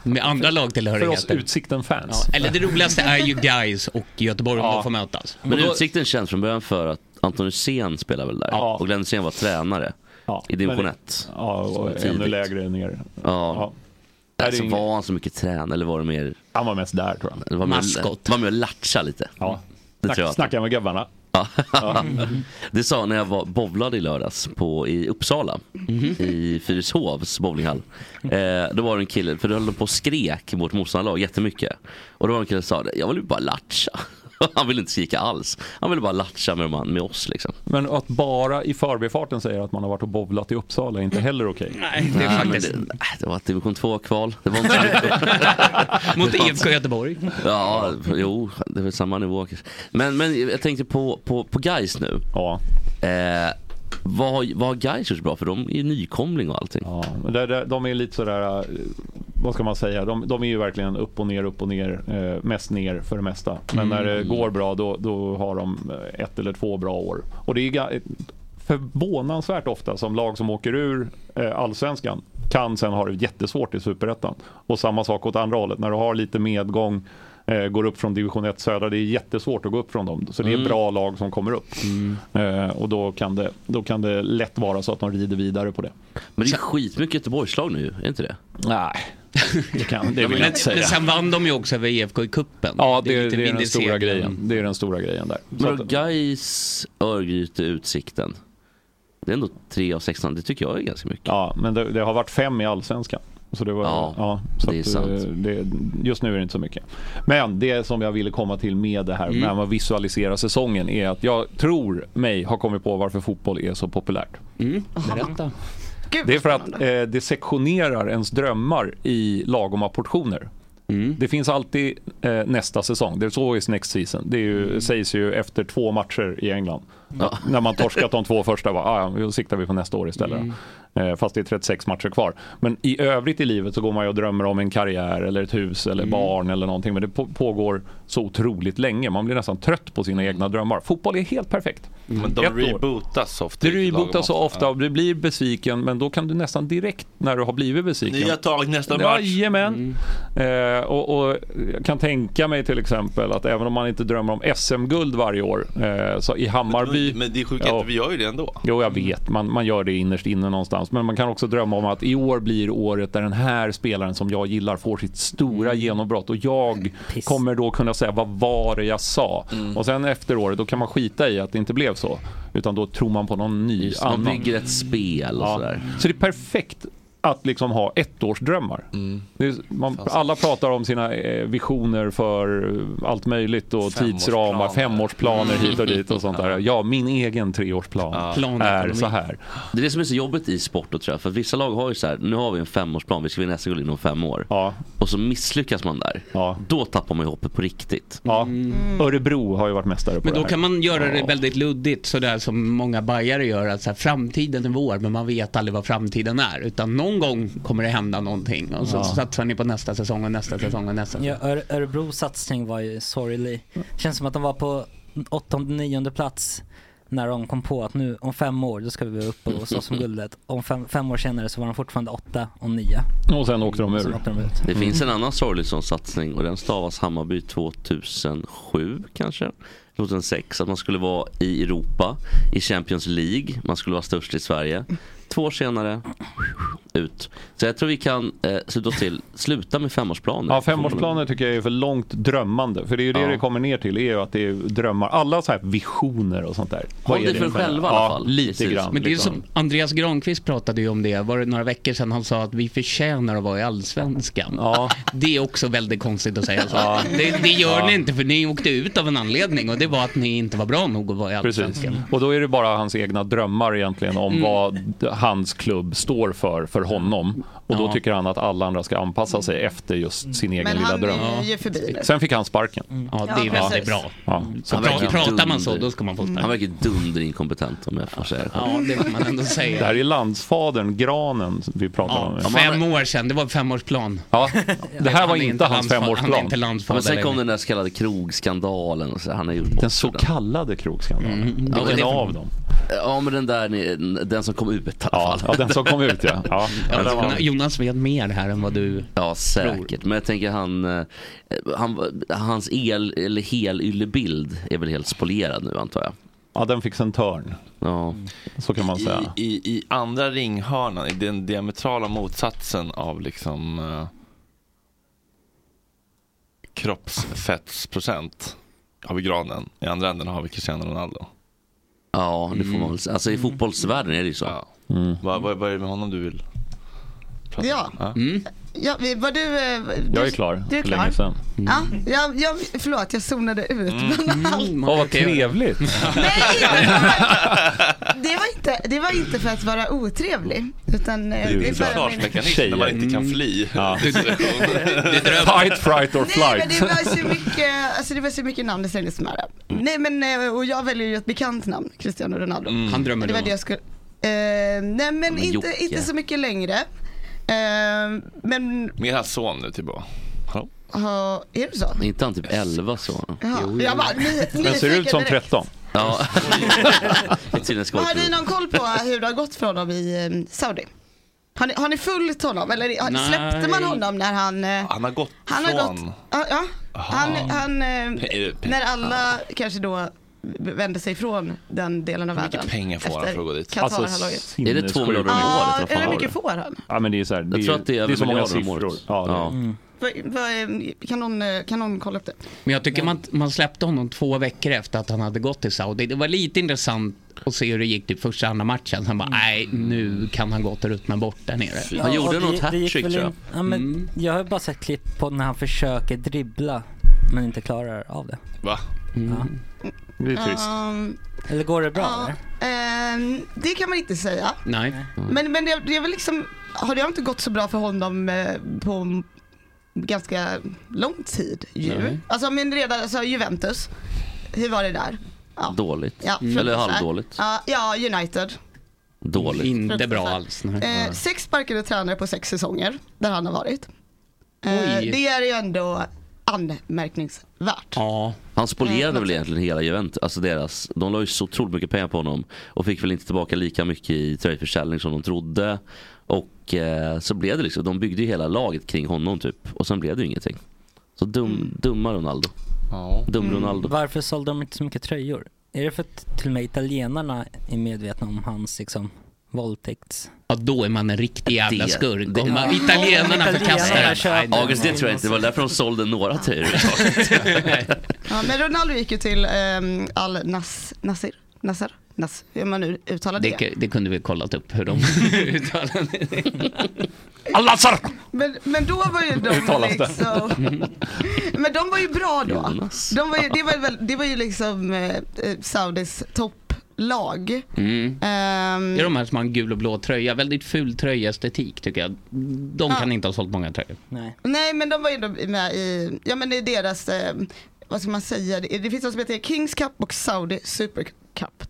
H: med andra lagtillhörigheter.
E: För oss Utsikten-fans.
H: Eller det roligaste är ju guys och Göteborg om de får mötas.
I: Men Utsikten känns från början för att Anton Hysén spelar väl där? Och Glenn Hysén var tränare i division
E: men-
I: 1.
E: Ja, och ännu lägre ner.
I: Ja. ja.
E: Nej,
I: Alltså,
E: det är inget-
I: Var han så mycket tränare eller var det mer...
E: Han var mest där tror
I: jag. Var med,
E: Maskot.
I: Var med och latcha lite.
E: Ja.
I: Det
E: Snack,
I: tror jag.
E: Snackade med grabbarna.
I: Ja. [laughs] det sa när jag var bowlade i lördags på, i Uppsala,
E: Mhm.
I: i Fyrishovs bowlinghall. Eh, då var det en kille, för då höll de på och skrek mot motståndarlag jättemycket. Och då var det en kille som sa det, jag vill ju bara latcha. [laughs] Han ville inte skrika alls. Han ville bara latcha med, de an- med oss liksom.
E: Men att bara i förbifarten säga att man har varit och bowlat i Uppsala är inte heller okej.
H: Nej,
I: Nej, men det, nej, det var ett division 2-kval. Det var inte så
H: [laughs]
I: mycket.
H: Mot
I: Det var inte-
H: IFK Göteborg.
I: Ja, jo, det är väl samma nivå kanske. Men, men jag tänkte på, på, på guys nu.
E: Ja.
I: Eh, vad, har- vad har guys gjort bra? För de är ju nykomling och allting.
E: Ja, men där, där, de är lite sådär, eh, vad ska man säga, de, de är ju verkligen upp och ner, upp och ner, eh, mest ner för det mesta. Men när det
I: Mm.
E: går bra då, då har de eh, ett eller två bra år. Och det är ga- förvånansvärt ofta som lag som åker ur eh, allsvenskan kan sen ha det jättesvårt i superettan. Och samma sak åt andra hållet, när du har lite medgång eh, går upp från division 1 södra, det är jättesvårt att gå upp från dem. Så det är
I: Mm.
E: bra lag som kommer upp. Eh, och då kan, det, då kan det lätt vara så att de rider vidare på det.
I: Men det är skitmycket Göteborgslag nu, är inte det?
E: Nej, det, kan, det
H: Men,
E: vill jag inte säga.
H: men sen vann de ju också över IFK i kuppen.
E: ja, det,
H: är
E: är,
H: lite
E: det är
H: mindre
E: den stora
H: segrar.
E: grejen. Det är den stora grejen där. Så
I: Men då, guys Örgryte, Utsikten. Det är ändå 3 av 16, det tycker jag är ganska mycket.
E: Ja, men det, det har varit fem i allsvenskan. Så det var, ja, så
I: det är
E: att,
I: sant.
E: eh, Det, just nu är det inte så mycket. Men det som jag ville komma till med det här
I: Mm.
E: när man visualiserar säsongen är att jag tror mig har kommit på varför fotboll är så populärt.
I: Mm.
H: Berätta.
E: Det är för att eh, det sektionerar ens drömmar i lagoma portioner.
C: Mm.
E: Det finns alltid eh, nästa säsong. There's always next season. Det är ju,
C: Mm.
E: sägs ju efter två matcher i England. Att När man torskat de två första, bara, ah, ja, då siktar vi på nästa år istället.
C: Mm.
E: Eh, fast det är 36 matcher kvar. Men i övrigt i livet så går man ju och drömmer om en karriär eller ett hus
C: Mm.
E: eller barn eller någonting. Men det på- pågår så otroligt länge. Man blir nästan trött på sina egna drömmar. Fotboll är helt perfekt.
C: Mm. Men de
E: Ett år.
C: rebootas ofta.
E: Det
C: i lagom
E: rebootas så ofta och du blir besviken men då kan du nästan direkt när du har blivit besviken.
C: Nya tag nästa match. Mm.
E: Jajamän. Eh, och, och jag kan tänka mig till exempel att även om man inte drömmer om SM-guld varje år eh, så i Hammarby.
C: Men det är sjukt
E: Ja.
C: att vi gör ju det ändå.
E: Jo, jag vet. Man, man gör det innerst inne någonstans. Men man kan också drömma om att i år blir året där den här spelaren som jag gillar får sitt stora
I: Mm.
E: genombrott. Och jag kommer då kunna säga vad var det jag sa?
I: Mm.
E: Och sen efter året, då kan man skita i att det inte blev så. Utan då tror man på någon ny
I: Just, man
E: annan.
I: bygger ett spel och
E: Ja.
I: sådär.
E: Så det är perfekt att liksom ha ettårsdrömmar.
I: Mm.
E: Det är, man, alla pratar om sina eh, visioner för allt möjligt och tidsramar, femårsplaner
I: Mm.
E: hit och dit och sånt
I: [laughs]
E: där. Ja, min egen treårsplan är så här.
I: Det är det som är så jobbigt i sport och tror jag. För att vissa lag har ju så här, nu har vi en femårsplan, vi ska vinna SM-guld inom fem år. Och så misslyckas man där. Då tappar man ju hoppet på riktigt.
E: Ja. Mm. Örebro har ju varit mästare på
H: Men
E: det
H: då
E: här.
H: kan man göra det väldigt luddigt, sådär som många bajare gör. Att så här, framtiden är vår, men man vet aldrig vad framtiden är. Utan någon gång kommer det hända någonting. Och så
G: Ja.
H: satsar ni på nästa säsong och nästa säsong och nästa.
G: Ja, Öre- Örebros satsning var ju sorglig. Känns som att de var på åttonde, nionde plats när de kom på att nu om fem år då ska vi vara uppe och slåss om guldet. Om fem, fem år senare så var de fortfarande åtta och nio.
E: Och sen åkte de
G: Sen
E: ur.
G: åkte de ut.
I: Det finns en annan sorglig sån satsning och den stavas Hammarby 2007 kanske? 2006, att man skulle vara i Europa, i Champions League, man skulle vara störst i Sverige. Två år senare, ut. Så jag tror vi kan eh, sluta oss till, sluta med femårsplaner.
E: Mm. Ja, femårsplaner tycker jag är för långt drömmande. För det är ju det
I: Ja.
E: det kommer ner till, är ju att det är drömmar. Alla så här visioner och sånt där. Vad är Ja, lite grann.
H: Men det är
E: liksom.
H: som Andreas Granqvist pratade ju om det, var det några veckor sedan han sa att vi förtjänar att vara i allsvenskan. [laughs] Det är också väldigt konstigt att säga så.
E: Ja.
H: Det, det gör
E: Ja.
H: ni inte, för ni åkte ut av en anledning och det var att ni inte var bra nog att vara i
E: Precis. Mm.
H: allsvenskan.
E: Och då är det bara hans egna drömmar egentligen om
H: Mm.
E: vad d- hans klubb står för för för honom. Och då tycker han att alla andra ska anpassa sig efter just sin egen
F: Mm. Men
E: lilla
F: han
E: dröm.
F: är ju förbi nu.
E: Sen fick han sparken.
F: Ja, det är Ja, väldigt precis. bra.
E: Ja. Så
I: Han verkar
E: pratar
I: dunder-
E: man så, då ska man få sparken.
I: Han verkar dunderinkompetent om jag får säga
H: Ja, det får man ändå säga.
E: Det här är landsfadern, granen, vi pratar om.
H: Ja, fem år sedan, det var femårsplan.
E: Ja, det här var
H: Han är
E: inte hans
H: landsfa- Han är inte
E: femårsplan.
H: landsfader.
I: Men sen kom
H: längre.
I: den där så kallade krogskandalen. Och så, han har gjort
E: Den så kallade krogskandalen.
I: Mm,
E: Det var en av dem.
I: Ja, men den där, ni- den som kom ut i alla fall.
E: ja, den som kom ut,
I: [laughs]
E: ja. Ja,
H: Ja, Jonas vet mer här än vad du
I: Ja, säkert. Men jag tänker han, eh, han hans el eller helylebild är väl helt spolierad nu antar jag.
E: Ja, den fick en törn.
I: Ja.
E: Så kan man säga.
C: I, i, I andra ringhörnan, i den diametrala motsatsen av liksom eh, kroppsfettsprocent har vi granen. I andra änden har vi Cristiano Ronaldo. Mm.
I: Ja, det får man väl säga. Alltså i fotbollsvärlden är det ju så. Mm.
C: Vad vad- vad är det med honom du vill?
F: Ja.
I: Mm.
F: Ja, vi- var du... eh, Du,
C: Jag är klar,
F: Du är
C: för
F: klar.
C: länge sedan.
F: Ja, jag, jag, förlåt, jag zonade ut.
E: Mm.
G: Mm.
F: bland allt.
E: Åh, vad
I: [laughs]
E: trevligt.
F: Det, var inte, det var inte för att vara otrevlig. Utan, eh,
C: Det är
F: det
C: en
F: för att min-
C: försvarsmekanism när man inte kan fly.
E: Mm. Fight, fright or
F: Nej men det
E: flight.
F: var så mycket, alltså det var så mycket namn det slängdes med det.
C: Mm.
F: Nej men eh, och jag väljer ju ett bekant namn, Cristiano Ronaldo.
H: Mm. Han drömmer
F: det var
H: då.
F: det jag skulle, eh, nej men inte,
C: Jocke.
F: inte så mycket längre. Eh, men,
C: Mer hans son nu tillbaka. Hallå?
F: ha, är det så?
I: Är inte han typ 11 så?
F: Ja, jag bara, ny,
I: Den ser ut
F: nyfiken
I: som
F: direkt.
I: 13. Ja. [laughs] Det är tydligen
F: Men Har
I: skorpion.
F: ni någon koll
I: [laughs]
F: på hur det har gått för honom i eh, Saudi? Har ni, har ni följt honom eller har,
C: Nej.
F: släppte man honom när han eh,
C: Han har gått
F: Han har
C: från...
F: gått, ja, ja. han,
C: Aha.
F: han,
C: Pe-
F: eh,
C: pe-
F: när alla kanske då vände sig ifrån den delen av
C: Hur
F: världen.
C: mycket pengar får han
F: efter
C: för att gå dit?
F: Qatar-halvåret.
E: Alltså, Är det två sinnessjukt. miljarder om året?
F: Ja,
E: Vad fan
F: eller hur
E: var
F: mycket
E: det?
F: får han?
E: Ja, men det är så här, det
I: Jag tror att det är
E: det är så
I: över
E: många
I: miljarden om
E: siffror.
I: året.
E: Ja, det är det.
G: Mm.
F: Vad- vad- Kan någon, eh, kan någon kolla upp det?
H: Men jag tycker man, man släppte honom två veckor efter att han hade gått till Saudi. Det var lite intressant att se hur det gick till första andra matchen. Han bara, nej nu kan han gått och ruttna bort där nere.
G: Mm. Ja, och det- det gick väl in- Ja, men Jag har bara sett klipp på när han försöker dribbla men inte klarar av det.
C: Va?
E: Det
F: Ehm,
G: Eller går det bra?
F: ja,
G: eller?
F: ehm, det kan man inte säga.
H: Nej.
F: Men, men det, det är väl liksom, har det inte gått så bra för honom eh, på ganska lång tid ju.
I: Nej.
F: Alltså men redan, alltså Juventus, hur var det där? Ja.
I: Dåligt. Mm.
F: Ja,
I: Eller
F: fruktansvärt.
I: halvdåligt.
F: Ja, ja United.
I: Dåligt.
H: Inte bra alls.
F: Eh, sex sparkade tränare på sex säsonger där han har varit. Eh,
I: Oj.
F: det är ju ändå anmärkningsvärt.
H: Ja.
I: Han
F: Eh,
I: spolierade väl egentligen hela Juventus, alltså deras. De la ju så otroligt mycket pengar på honom och fick väl inte tillbaka lika mycket i tröjförsäljning som de trodde. Och eh, så blev det liksom, de byggde ju hela laget kring honom typ och sen blev det ju ingenting. Så
F: Mm.
I: dum, dumma Ronaldo. Dum Ronaldo.
G: Mm. Varför sålde de inte så mycket tröjor? Är det för att till och med italienarna är medvetna om hans liksom våldtäkts...
H: Ja, då är man en riktig jävla skurk.
I: det-
H: Om man- italienarna förkastar den.
I: August, det tror jag inte. Det var därför de sålde några tröjor
F: Ja, men Ronaldo gick ju till ehm, Al Nas, Nasir. Nasser? Nas, hur man nu uttalar det.
H: [laughs] Det, ku- det kunde vi kollat upp hur de [laughs]
G: Mm.
H: uttalade
E: Al-Nassr!
F: Men, men då
H: [laughs]
F: var ju de
H: Uttalas det.
F: liksom, [laughs] Men de var ju bra då.
H: Jonas.
F: De var ju, det, var väl, det var ju liksom eh, eh, Saudis topplag.
H: Mm.
F: Ehm,
H: Det är de här som har en gul och blå tröja. Väldigt ful tröjestetik tycker jag. De kan inte ha sålt många tröjor.
G: Nej.
F: Nej men de var ju ändå med i, ja men det är deras, eh, vad ska man säga, det, det finns något som heter Kings Cup och Saudi Super Cup.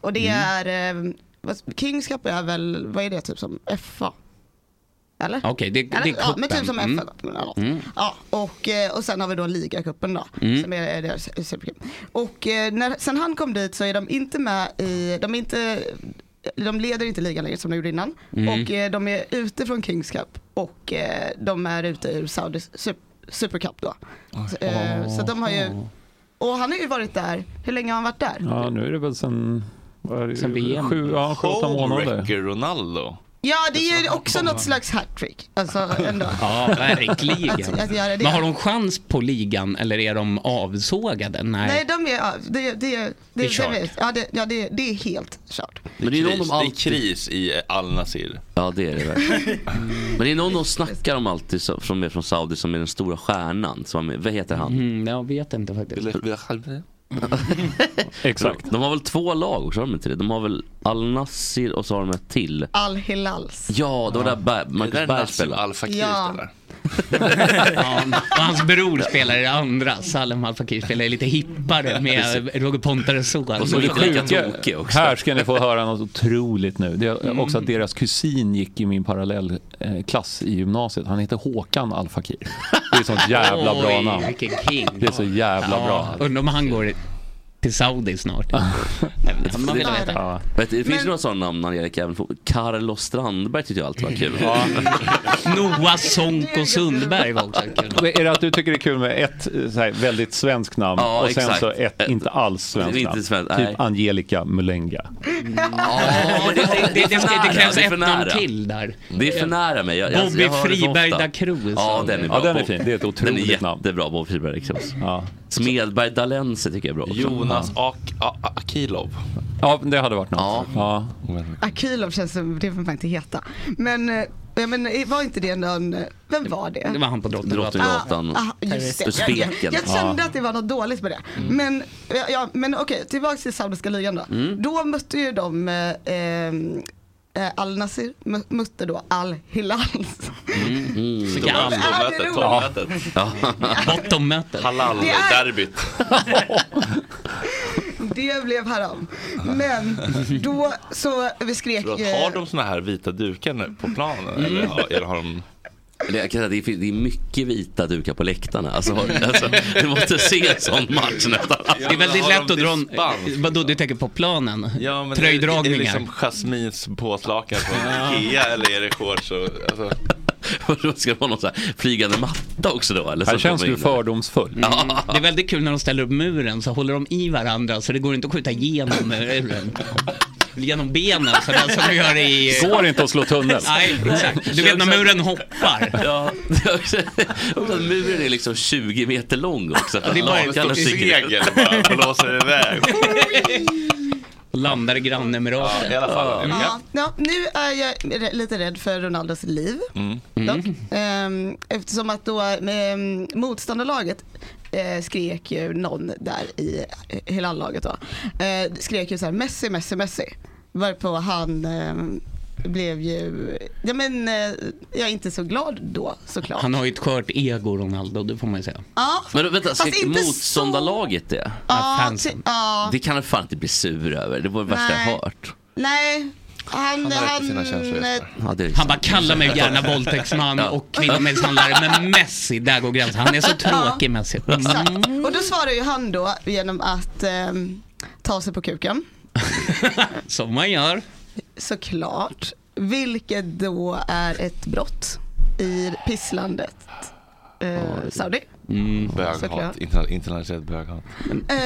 F: Och
H: Mm.
F: det är, eh, vad, Kings Cup är väl, vad är det typ som FA? Eller?
H: Okej, det, det är
F: Eller, ja, men typ
H: kuppen.
F: som
H: Mm.
F: FA då. eller något.
H: Mm.
F: Ja, och, eh, och sen har vi då ligacupen då.
H: Mm.
F: Som är deras supercup. Och eh, när, sen han kom dit så är de inte med i, de är inte de leder inte ligan längre som de gjorde innan.
M: Mm.
F: Och eh, de är ute från Kings Cup och eh, de är ute ur Saudis sup- Super Cup då. Så, eh, så att de har ju, och han har ju varit där, hur länge har han varit där?
E: Ja, nu är det väl sen... vad är det?
C: Sen VM.
E: Sju, ja, sju, åtta månader.
C: Showrecker Ronaldo.
F: Ja det är ju också något slags hattrick. Alltså ändå.
H: Ja, verkligen.
F: Att- att Alltså, göra det.
H: Men har de chans på ligan eller är de avsågade? Nej.
F: Nej, de är, ja, det, det, det,
H: Det är
F: det,
H: kört.
F: vet- ja, det, ja, det, det är helt kört.
I: Men
C: det, är
I: någon
C: kris,
I: de alltid-
C: det är kris i Al Nasir.
I: Ja det är
E: [laughs]
I: det verkligen. Men det är någon de snackar om alltid så-
E: Mm,
I: som är från Saudi som är den stora stjärnan. Som, är med- vad heter han?
H: Mm, jag vet inte faktiskt.
E: Exakt.
I: De har väl två lag också? Har de inte det? De har väl Al-Nassr och så har de ett till.
F: Al-Hilals.
I: Ja, det var där Ber- Marcus Berg spelade.
F: Ja.
H: Ja, och hans bror spelar i det andra. Salem Al Fakir spelar lite hippare med Roger Pontares son.
E: Men det sjuka- Här ska ni få höra något otroligt nu. Det är
F: Mm.
E: också att deras kusin gick i min parallellklass i gymnasiet. Han heter Håkan Al Fakir. Det är ett sånt jävla bra
H: Oj,
E: namn.
H: vilken king.
E: Det är så jävla bra.
H: Undrar om han går till Saudi snart. Nej, men det får man väl veta.
I: Ja. Vet du, Det finns ju några sådana namn Angelica, även fot- Carlos Strandberg tyckte jag alltid var kul.
H: Ja.
I: [laughs]
H: Noah Sonko Sundberg var också kul.
E: Är det att du tycker det är kul med ett eh, så här, väldigt svenskt namn
I: Ja,
E: och sen
I: exakt.
E: så ett inte alls svenskt
I: Inte
E: namn?
I: svenskt, nej.
E: typ Angelica Mulenga.
I: Ja, det, det,
H: det- det- det krävs
I: är
H: ett
I: för
H: namn
I: nära.
H: till där.
I: Det är för nära mig. Jag, jag,
H: Bobby
I: jag hör det för
H: Friberg
I: ofta.
H: da Cruz.
I: Ja, den är bra.
H: Ja, den är
I: Bob-
H: fin. Det är ett otroligt
I: Den är jättebra, Bobby Friberg da Cruz. Smedberg Dalense tycker jag är bra också.
C: Jonas
I: Ak- A- Akilov.
E: Ja, det hade varit något. Ja.
F: Akilov känns som, det får man inte heta. Men, eh, ja, men var inte det någon, eh, vem var det?
H: Det var han på Drottninggatan.
I: Drottninggatan.
F: Ah, ah, just det. Jag, jag, jag kände att det var något dåligt med det. Men, ja, ja, men okej, tillbaka till Saudiska ligan då.
I: Mm.
F: Då mötte ju de eh, ehm, eh, Al-Nasir mö- mötte då Al-Hilal.
I: Mm. Mm.
F: Vilka andra? Ja, det är roligt.
I: Ja.
H: Bottenmötet.
I: Halal,
F: Det är-
I: derbyt.
F: [laughs] Det blev haram. Men då så vi skrek
C: Förlåt,
F: eh,
C: Har de såna här vita dukar nu på planen? Eller, har- eller har de...
I: Eller jag kan säga, Mm. det, är, det är mycket vita dukar på läktarna. Alltså, har- alltså, du måste se en sån match nästan.
H: Det är väldigt lätt att dra en... Vadå, du tänker på planen?
C: Ja, men Är det
H: Tröjdragningar?
C: liksom Jasmins påslakan från Ikea eller är det shorts? Och, alltså.
I: Vadå, Ska det vara någon sån här flygande matta också då? Eller
E: Här
I: så
E: känns
I: får man
E: du
I: in-
E: fördomsfull.
I: Ja.
H: Mm. Det är väldigt kul när de ställer upp muren så håller de i varandra så det går inte att skjuta igenom muren. Genom benen sådär som vi gör i...
E: Går inte att slå tunnel.
H: Nej, exakt. Du vet när muren hoppar.
I: [laughs] Ja, det är också- också att muren är liksom 20 meter lång också.
H: Det är bara ett
I: Lakan och
H: stort
I: cykel.
H: segel bara, och
C: blåser
I: [laughs]
C: iväg.
H: Landar i Mm. grannemiraten.
C: Ja, i alla fall.
F: Ja, ja, nu är jag r- lite rädd för Ronaldos liv.
A: Mm.
F: Dock. Ehm, Eftersom att då ehm, motståndarlaget eh, skrek ju någon där i eh, hela laget då. Eh, skrek ju så här Messi, Messi, Messi. Varpå han ehm, blev ju, ja men eh, jag är inte så glad då såklart.
H: Han har ju ett skört ego Ronaldo, det får man ju säga.
F: Ja,
I: Men vänta, ska
F: Fast
I: inte
F: inte så-
I: motståndarlaget det?
H: Äh,
F: ja, ty- ja.
I: Det kan du fan inte bli sur över. Det var det värsta jag
F: Nej.
I: hört.
F: nej. Han, han, eh,
I: Ja, det är
H: Han bara
I: sant.
H: kallar mig gärna våldtäktsman
I: [laughs] Ja.
H: och kvinnomisshandlare, men Messi, där går gränsen. Han är
F: [laughs]
H: så tråkig Messi. Mm,
F: Exakt. Och då svarar ju han då genom att ehm, ta sig på kuken.
H: Som man gör.
F: Såklart. Vilket då är ett brott i pisslandet eh, Saudi.
C: Böghat,
F: Såklart.
C: interna- internationellt böghat.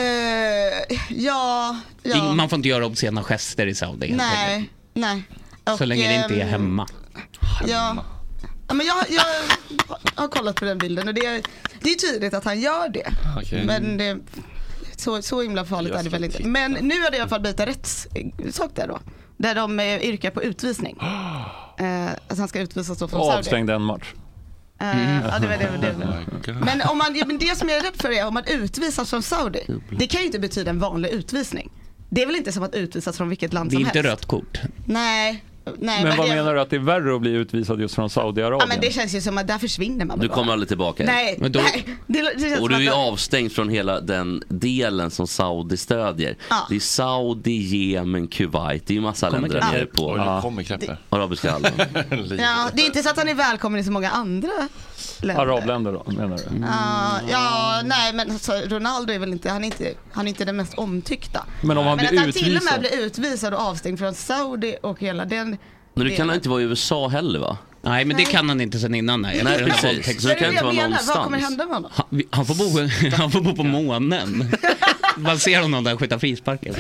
F: Eh, ja, ja.
H: Man får inte göra obscena gester i Saudi. helt enkelt.
F: nej, nej.
H: Så
F: Och,
H: länge det inte är
F: ehm,
H: hemma.
F: Ja. Ja, Men jag, jag har kollat på den bilden och det är, det är tydligt att han gör det.
E: Ah,
H: Okej.
F: Men det, så, så himla farligt
H: Jag
F: är det
H: ska
F: väl inte. Men nu har det i alla fall blivit en rättssak där då. Där de eh, yrkar på utvisning.
E: Ah.
F: Eh, att han ska utvisas då från
E: Och
F: Saudi.
E: avstängde en match.
F: Eh, ja, det var det. Var det. Men, om man, ja, men det som jag är rädd för är om man utvisas från Saudi. Det kan ju inte betyda en vanlig utvisning. Det är väl inte som att utvisas från vilket land
E: Det är
F: som
E: inte
F: helst?
H: Rött kort.
F: Nej. Nej
E: Men vad
F: det,
E: menar du att det är värre att bli utvisad just från
F: ja, men
E: Saudiarabien?
F: det känns ju som att där försvinner man
I: Du
F: bara.
I: kommer aldrig tillbaka.
F: Nej, nej. Det, det känns
I: Och
F: som
I: du är
F: att-
I: avstängd från hela den delen som Saudi stödjer.
F: Ja.
I: Det är Saudi, Jemen, Kuwait. Det är ju massa
C: Kommer
I: länder där
C: Krepper?
I: nere
C: Ja.
I: på
C: Oj, nu kommer Krepper.
I: arabiska halvön.
F: Ja, det är inte så att han är välkommen i så många andra länder.
E: Arabländer då, menar du?
F: Ja, ja, nej men alltså, Ronaldo är väl inte, han är inte, han är inte den mest omtyckta.
E: Men om han
F: men
E: blir
F: att han till och med
I: utvisad?
F: blir utvisad och avstängd från Saudi och hela den
I: Men du kan
F: delen.
I: inte vara i USA heller va?
H: Nej, men det
F: Nej.
H: kan han inte sen innan. Nej,
I: Nej,
H: Efter den här
I: precis.
H: våldtäkts-
I: Så du kan inte vara
F: Vad kommer hända med honom?
H: Han, vi- han, får bo, [laughs] han får bo på
F: [laughs]
H: månen. Man ser honom där skjuta frisparkar.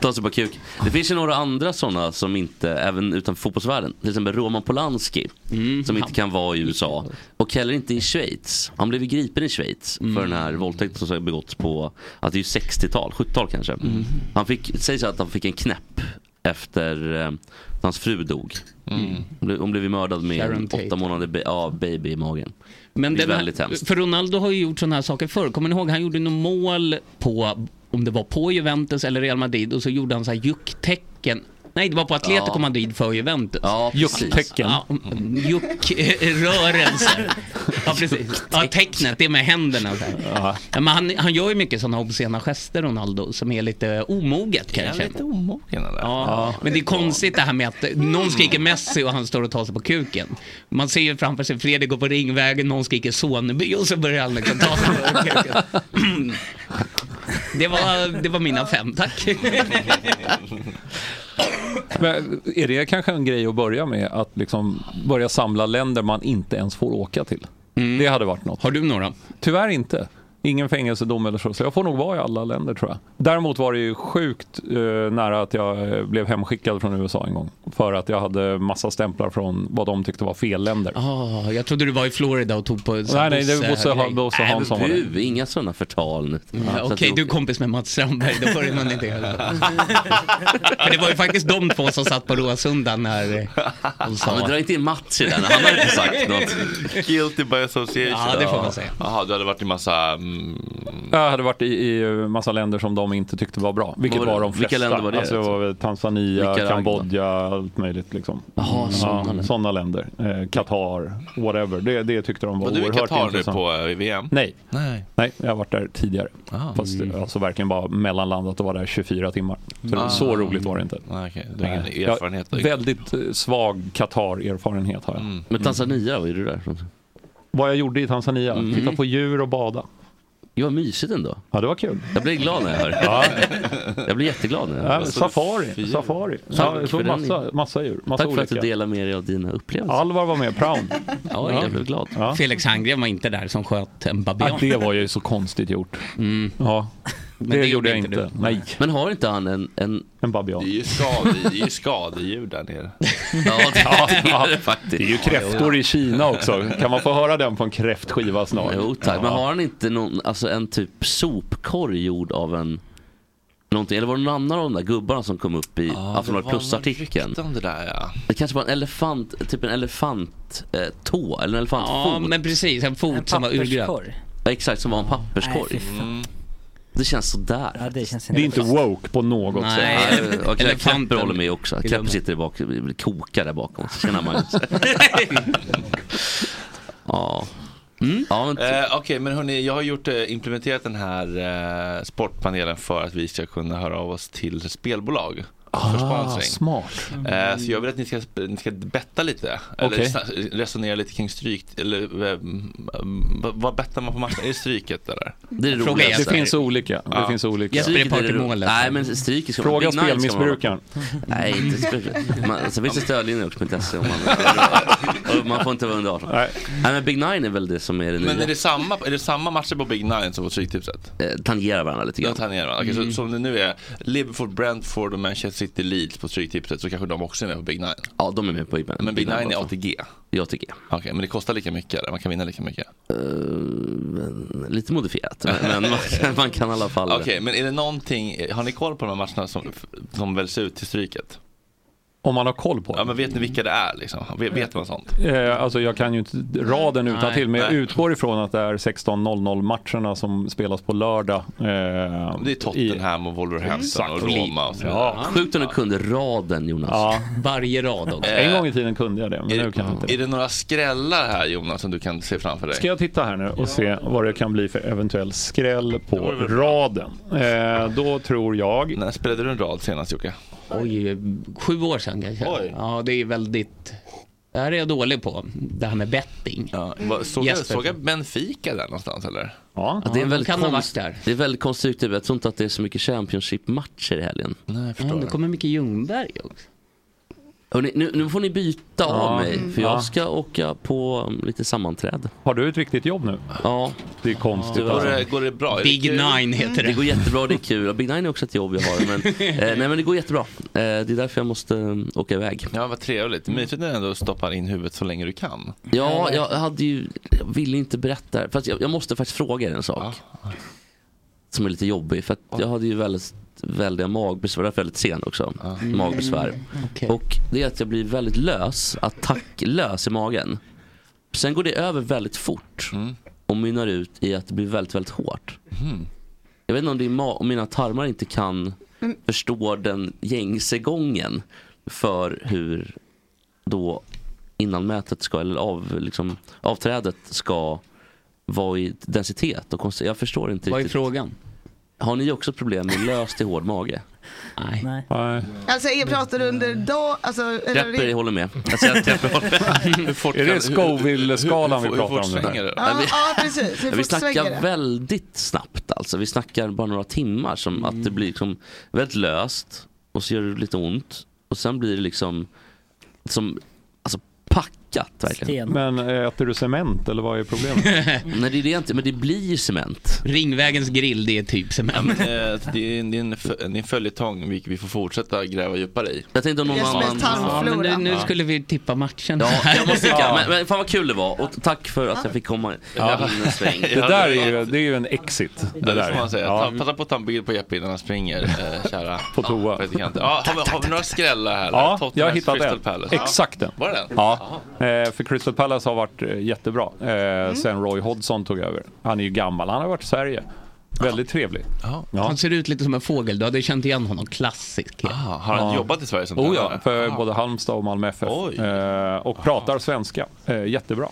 I: Ta sig på kuk. Det finns ju några andra sådana som inte, även utanför fotbollsvärlden. Till exempel Roman Polanski,
H: Mm.
I: som inte kan vara i USA. Och heller inte i Schweiz. Han blev ju gripen i Schweiz för den
H: Mm.
I: här våldtäkten som har
H: Mm.
I: begåtts på, att det är ju 60-tal, 70-tal kanske. Han fick, sägs att han fick en knäpp efter eh, hans fru dog. Hon, blev, hon blev ju mördad med
H: Mm. Sharon
I: en
H: Tate.
I: åtta månader ba- ja, baby i magen.
H: Men
I: det är
H: den här-
I: väldigt hemskt.
H: För Ronaldo har ju gjort sådana här saker förr. Kommer ni ihåg? Han gjorde något mål på, om det var på Juventus eller Real Madrid och så gjorde han så här jucktecken. Nej, det var på Atletico
I: Ja.
H: Madrid för Juventus.
I: Ja, precis. Jucktecken.
H: Ja, Juckrörelser. [laughs] ja, precis. Ja, tecknet, det är med händerna. Så här. Ja, men han, han gör ju mycket sådana obscena gester, Ronaldo, som är lite omoget
C: Är
H: kanske.
C: lite omogen eller?
H: Ja, men det är konstigt det här med att någon skriker Messi och han står och tar sig på kuken. Man ser ju framför sig Fredrik gå på Ringvägen, någon skriker Soneby och så börjar han liksom ta sig på kuken.
I: [laughs]
H: Det var, det var mina fem, tack.
E: Men är det kanske en grej att börja med? Att liksom börja samla länder man inte ens får åka till? Det hade varit något.
H: Mm. Har du några?
E: Tyvärr inte. Ingen fängelsedom eller så, så jag får nog vara i alla länder tror jag. Däremot var det ju sjukt eh, nära att jag eh, blev hemskickad från USA en gång. För att jag hade massa stämplar från vad de tyckte var fel länder.
H: Ah, jag trodde du var i Florida och tog på...
E: Nej, nej, det var Bosse- Bosse Hansson var det. Mm,
I: Bu, Äh, inga sådana förtal nu.
H: Ja,
I: Så
H: eh, Mm, Okej,
I: att
H: du är kompis med Mats Strandberg, då får du någon idé. För det var ju faktiskt de två som satt på Råsunda när eh, de sa...
I: Ja, men dra inte in Mats i den, han har inte sagt något.
C: Guilty by association.
H: Ja, det får man säga.
C: Jaha, du hade varit i massa... Mm,
E: Jag hade varit i, i massa länder som de inte tyckte var bra. Vilket
C: Var
E: var,
C: det-
E: de
C: vilka
E: flesta.
C: länder var det?
E: Alltså, var Tanzania,
C: Nicaragua.
E: Kambodja, allt möjligt. Liksom.
C: Jaha, sådana
E: ja,
C: länder.
E: sådana länder. Eh, Qatar, whatever. Det, det tyckte de var,
C: var du i
E: oerhört
C: Qatar nu
E: intressant.
C: på eh, VM?
E: Nej.
C: Nej. Ah.
E: Nej, jag har varit där tidigare. Fast
I: Mm.
E: alltså verkligen bara mellanlandat och var där 24 timmar. Så,
C: Ah.
E: så roligt var det inte.
C: Nej, okej. Du har ingen
E: Nej. Jag-
C: erfarenhet.
E: Väldigt eh, svag Qatar-erfarenhet har jag.
I: Mm. Men Tanzania, vad gjorde du där?
E: Vad jag gjorde i Tanzania?
I: Mm.
E: Titta på djur och bada.
I: Det var mysigt ändå.
E: Ja, det var kul.
I: Jag blir glad när jag hör det.
E: Ja.
I: Jag blir jätteglad när jag hör
E: Ja,
I: det.
E: safari, safari.
I: Alltså, Tack
E: Ja, jag
I: för
E: såg
I: den.
E: massa, massa djur. Massa
I: Tack för
E: olika.
I: att du delar med dig av dina upplevelser.
E: Alvar var med, praon.
I: Ja, jag blev glad.
H: Felix Herngren var inte där som sköt en babian.
E: Ja, det var ju så konstigt gjort.
I: [laughs]
E: Ja, det,
I: Mm. det
E: gjorde
I: gjorde
E: jag
I: inte
E: inte.
I: du.
E: Nej.
I: Men har inte han en... En,
E: en babian.
C: Det är ju skade- det är ju skadedjur där nere.
I: [laughs] Ja, det är det [laughs] faktiskt.
E: Det är ju kräftor i Kina också. Kan man få höra den på en kräftskiva snart?
I: Jo tack, men har han inte någon, alltså en typ sopkorg gjord av en Någonting. Eller var det någon annan av de där gubbarna som kom upp i Aftonbladet Plus-artikeln?
C: Det, där, ja.
I: det kanske var en elefant, typ en elefanttå eh, tå, eller en elefantfot.
H: Ja, men precis. En fot
I: En
H: som var urgröpt.
I: papperskorg. Ja, exakt, som var en
H: Nej, fy
I: papperskorg.
H: fan.
I: Mm. det känns sådär. Ja,
G: det, känns
E: Det är inte woke på något
I: Nej,
E: sätt.
I: Nej, och Klepper håller med också. Klepper sitter där bak, kokar där bakom.
E: [laughs]
I: Tjena Magnus. ja. ja men
C: Eh, Okej, men hörni, jag har gjort, eh, implementerat den här eh, sportpanelen för att vi ska kunna höra av oss till spelbolag. för
E: Ah,
C: sponsring.
E: smart.
C: Eh, så jag vill att ni ska, ni ska betta lite. Eller
E: Okej.
C: sna- resonera lite kring stryk. Eller, eh, mm, vad- vad bettar man på matchen? Är det stryket eller?
I: Det,
E: Fråga roligaste. Jesper. Det finns olika. Det finns olika. Jesper är part i målet.
I: Nej, men stryk ska man-
E: Fråga
I: Big Nine ska man
E: spelmissbrukaren.
I: ha. [laughs] Nej, inte spelmissbrukaren. Man- Sen finns det stödlinjer också på .se om man, och man får inte vara under 18. Nej. men Big Nine är väl det som är det nya.
C: Men är det, samma, är det samma matcher på Big Nine som på Stryktipset?
I: Eh, tangerar varandra lite
C: grann. Tangerar varandra. Okej,
I: Mm.
C: så, som det nu är, Liverpool, Brentford och Manchester City, Leeds på Stryktipset så kanske de också är med på Big Nine?
I: Ja, de är med på Big Nine.
C: Men Big
I: Big Nine
C: Nine är
I: också.
C: ATG?
I: Det är ATG.
C: Okej, men det kostar lika mycket eller? Man kan vinna lika mycket?
I: Eh, lite modifierat, [laughs] men,
C: [laughs]
I: men man, kan, man kan i alla fall.
C: Okej, men är det någonting, har ni koll på de här matcherna som, som väljs ut till Stryket?
E: Om man har koll på
C: Ja, men vet ni vilka det är liksom? Vet, vet man sånt?
E: Eh, alltså jag kan ju inte raden
C: Nej.
E: utan till men jag
C: Nej.
E: utgår ifrån att det är 16.00 matcherna som spelas på lördag. Eh,
C: Det är Tottenham och Wolverhampton
E: Exakt.
C: och Roma och så vidare.
E: Ja.
I: Sjukt om du kunde raden Jonas.
E: Ja.
H: Varje rad också.
E: En gång i tiden kunde jag det, men nu kan jag inte det.
C: Eh, Är det några skrällar här Jonas som du kan se framför dig?
E: Ska jag titta här nu och se vad det kan bli för eventuell skräll på raden? Eh, då tror jag...
C: När spelade du en rad senast Jocke?
H: Oj, sju år sedan kanske. Ja, det är väldigt... Det här är jag dålig på. Det här med betting.
C: Ja, vad- Såg jag, såg jag Benfica där någonstans eller?
E: Ja,
I: det är en
H: de
I: väldigt
H: kan ha
I: konst,
H: varit där.
I: det är väldigt konstigt struktur. Jag tror inte att det är så mycket Championship-matcher i helgen.
C: Nej,
H: Ja, nu kommer Micke Ljungberg också.
I: Hörrni, nu, nu får ni byta av
E: Ja.
I: mig, för
E: Ja.
I: jag ska åka på um, lite sammanträde.
E: Har du ett riktigt jobb nu?
I: Ja.
E: Det är konstigt. alltså.
C: Går det- går det bra? Är det Big kul? Nine heter det.
I: Det går jättebra, det är kul. Big Nine är också ett jobb jag har. Men, eh, nej men det går jättebra. Eh, det är därför jag måste um, åka iväg.
C: Ja, vad trevligt. Mysigt när du ändå stoppar in huvudet så länge du kan.
I: Ja, jag hade ju, jag ville inte berätta. Fast jag, jag måste faktiskt fråga er en sak. som är lite jobbig. För att jag hade ju väldigt väldiga magbesvär, därför väldigt sen också. Magbesvär. Och det är att jag blir väldigt lös, attacklös i magen. Sen går det över väldigt fort och mynnar ut i att det blir väldigt, väldigt hårt.
C: Mm.
I: Jag vet inte om det är ma- om mina tarmar inte kan förstå den gängse gången för hur då innanmätet ska, eller av, liksom, avträdet ska vara i densitet och konstigt. Jag förstår inte
H: Vad är
I: riktigt. frågan? Har ni också problem med lös till hård mage?
G: Nej.
E: Nej.
F: Alltså jag pratar under dag, alltså, eller-
I: Jeppe håller med. Alltså, Jeppe håller med. Hur fort
E: Är
I: kan-
E: det Scoville-skalan vi
I: hur- hur- hur
E: pratar
I: fort
E: om nu?
I: svänger det?
F: Ja,
I: Nej, vi-
F: ja precis, hur
I: vi
F: fort svänger
I: snackar
F: det?
I: väldigt snabbt alltså. Vi snackar bara några timmar som att det blir liksom väldigt löst och så gör det lite ont och sen blir det liksom som alltså packat verkligen.
E: Men eh, äter du cement eller vad är problemet?
I: [laughs] Nej det är det inte, men det blir ju cement.
H: Ringvägens grill, det är typ
C: Ja,
H: cement.
C: men, eh, det är en, det är en, fö- det är en följetong vi, vi får fortsätta gräva djupare i.
I: Jag tänkte om någon annan...
H: Ja, men nu, nu skulle vi tippa matchen.
I: Ja,
H: här.
I: jag måste sticka. Men, men fan vad kul det var och tack för att jag fick komma
C: Ja.
I: in en sväng.
E: Det där är ju, det är ju en exit.
C: Det där.
E: där.
C: Får man säga.
E: Ja.
C: Ta, passa på att ta en bild på Jeppe innan han springer, eh, kära
E: På toa.
C: praktikant. Ja, har, vi, har vi några skrällar här?
E: Ja,
C: Tottenham
E: jag har
C: vs
E: hittat
C: Crystal
E: den.
C: Palace. Ja.
E: Exakt den.
C: Var det den?
E: Ja. Eh, för Crystal Palace har varit eh, jättebra eh,
C: Mm.
E: sen Roy Hodgson tog över. Han är ju gammal, han har varit i Sverige. Väldigt trevlig.
H: Han ser ut lite som en fågel, du hade känt igen honom. Klassisk.
C: Ah, har han jobbat i Sverige som
E: oh, ja,
C: tränare?
E: för både Halmstad och Malmö FF. Eh, och pratar svenska. Eh, jättebra.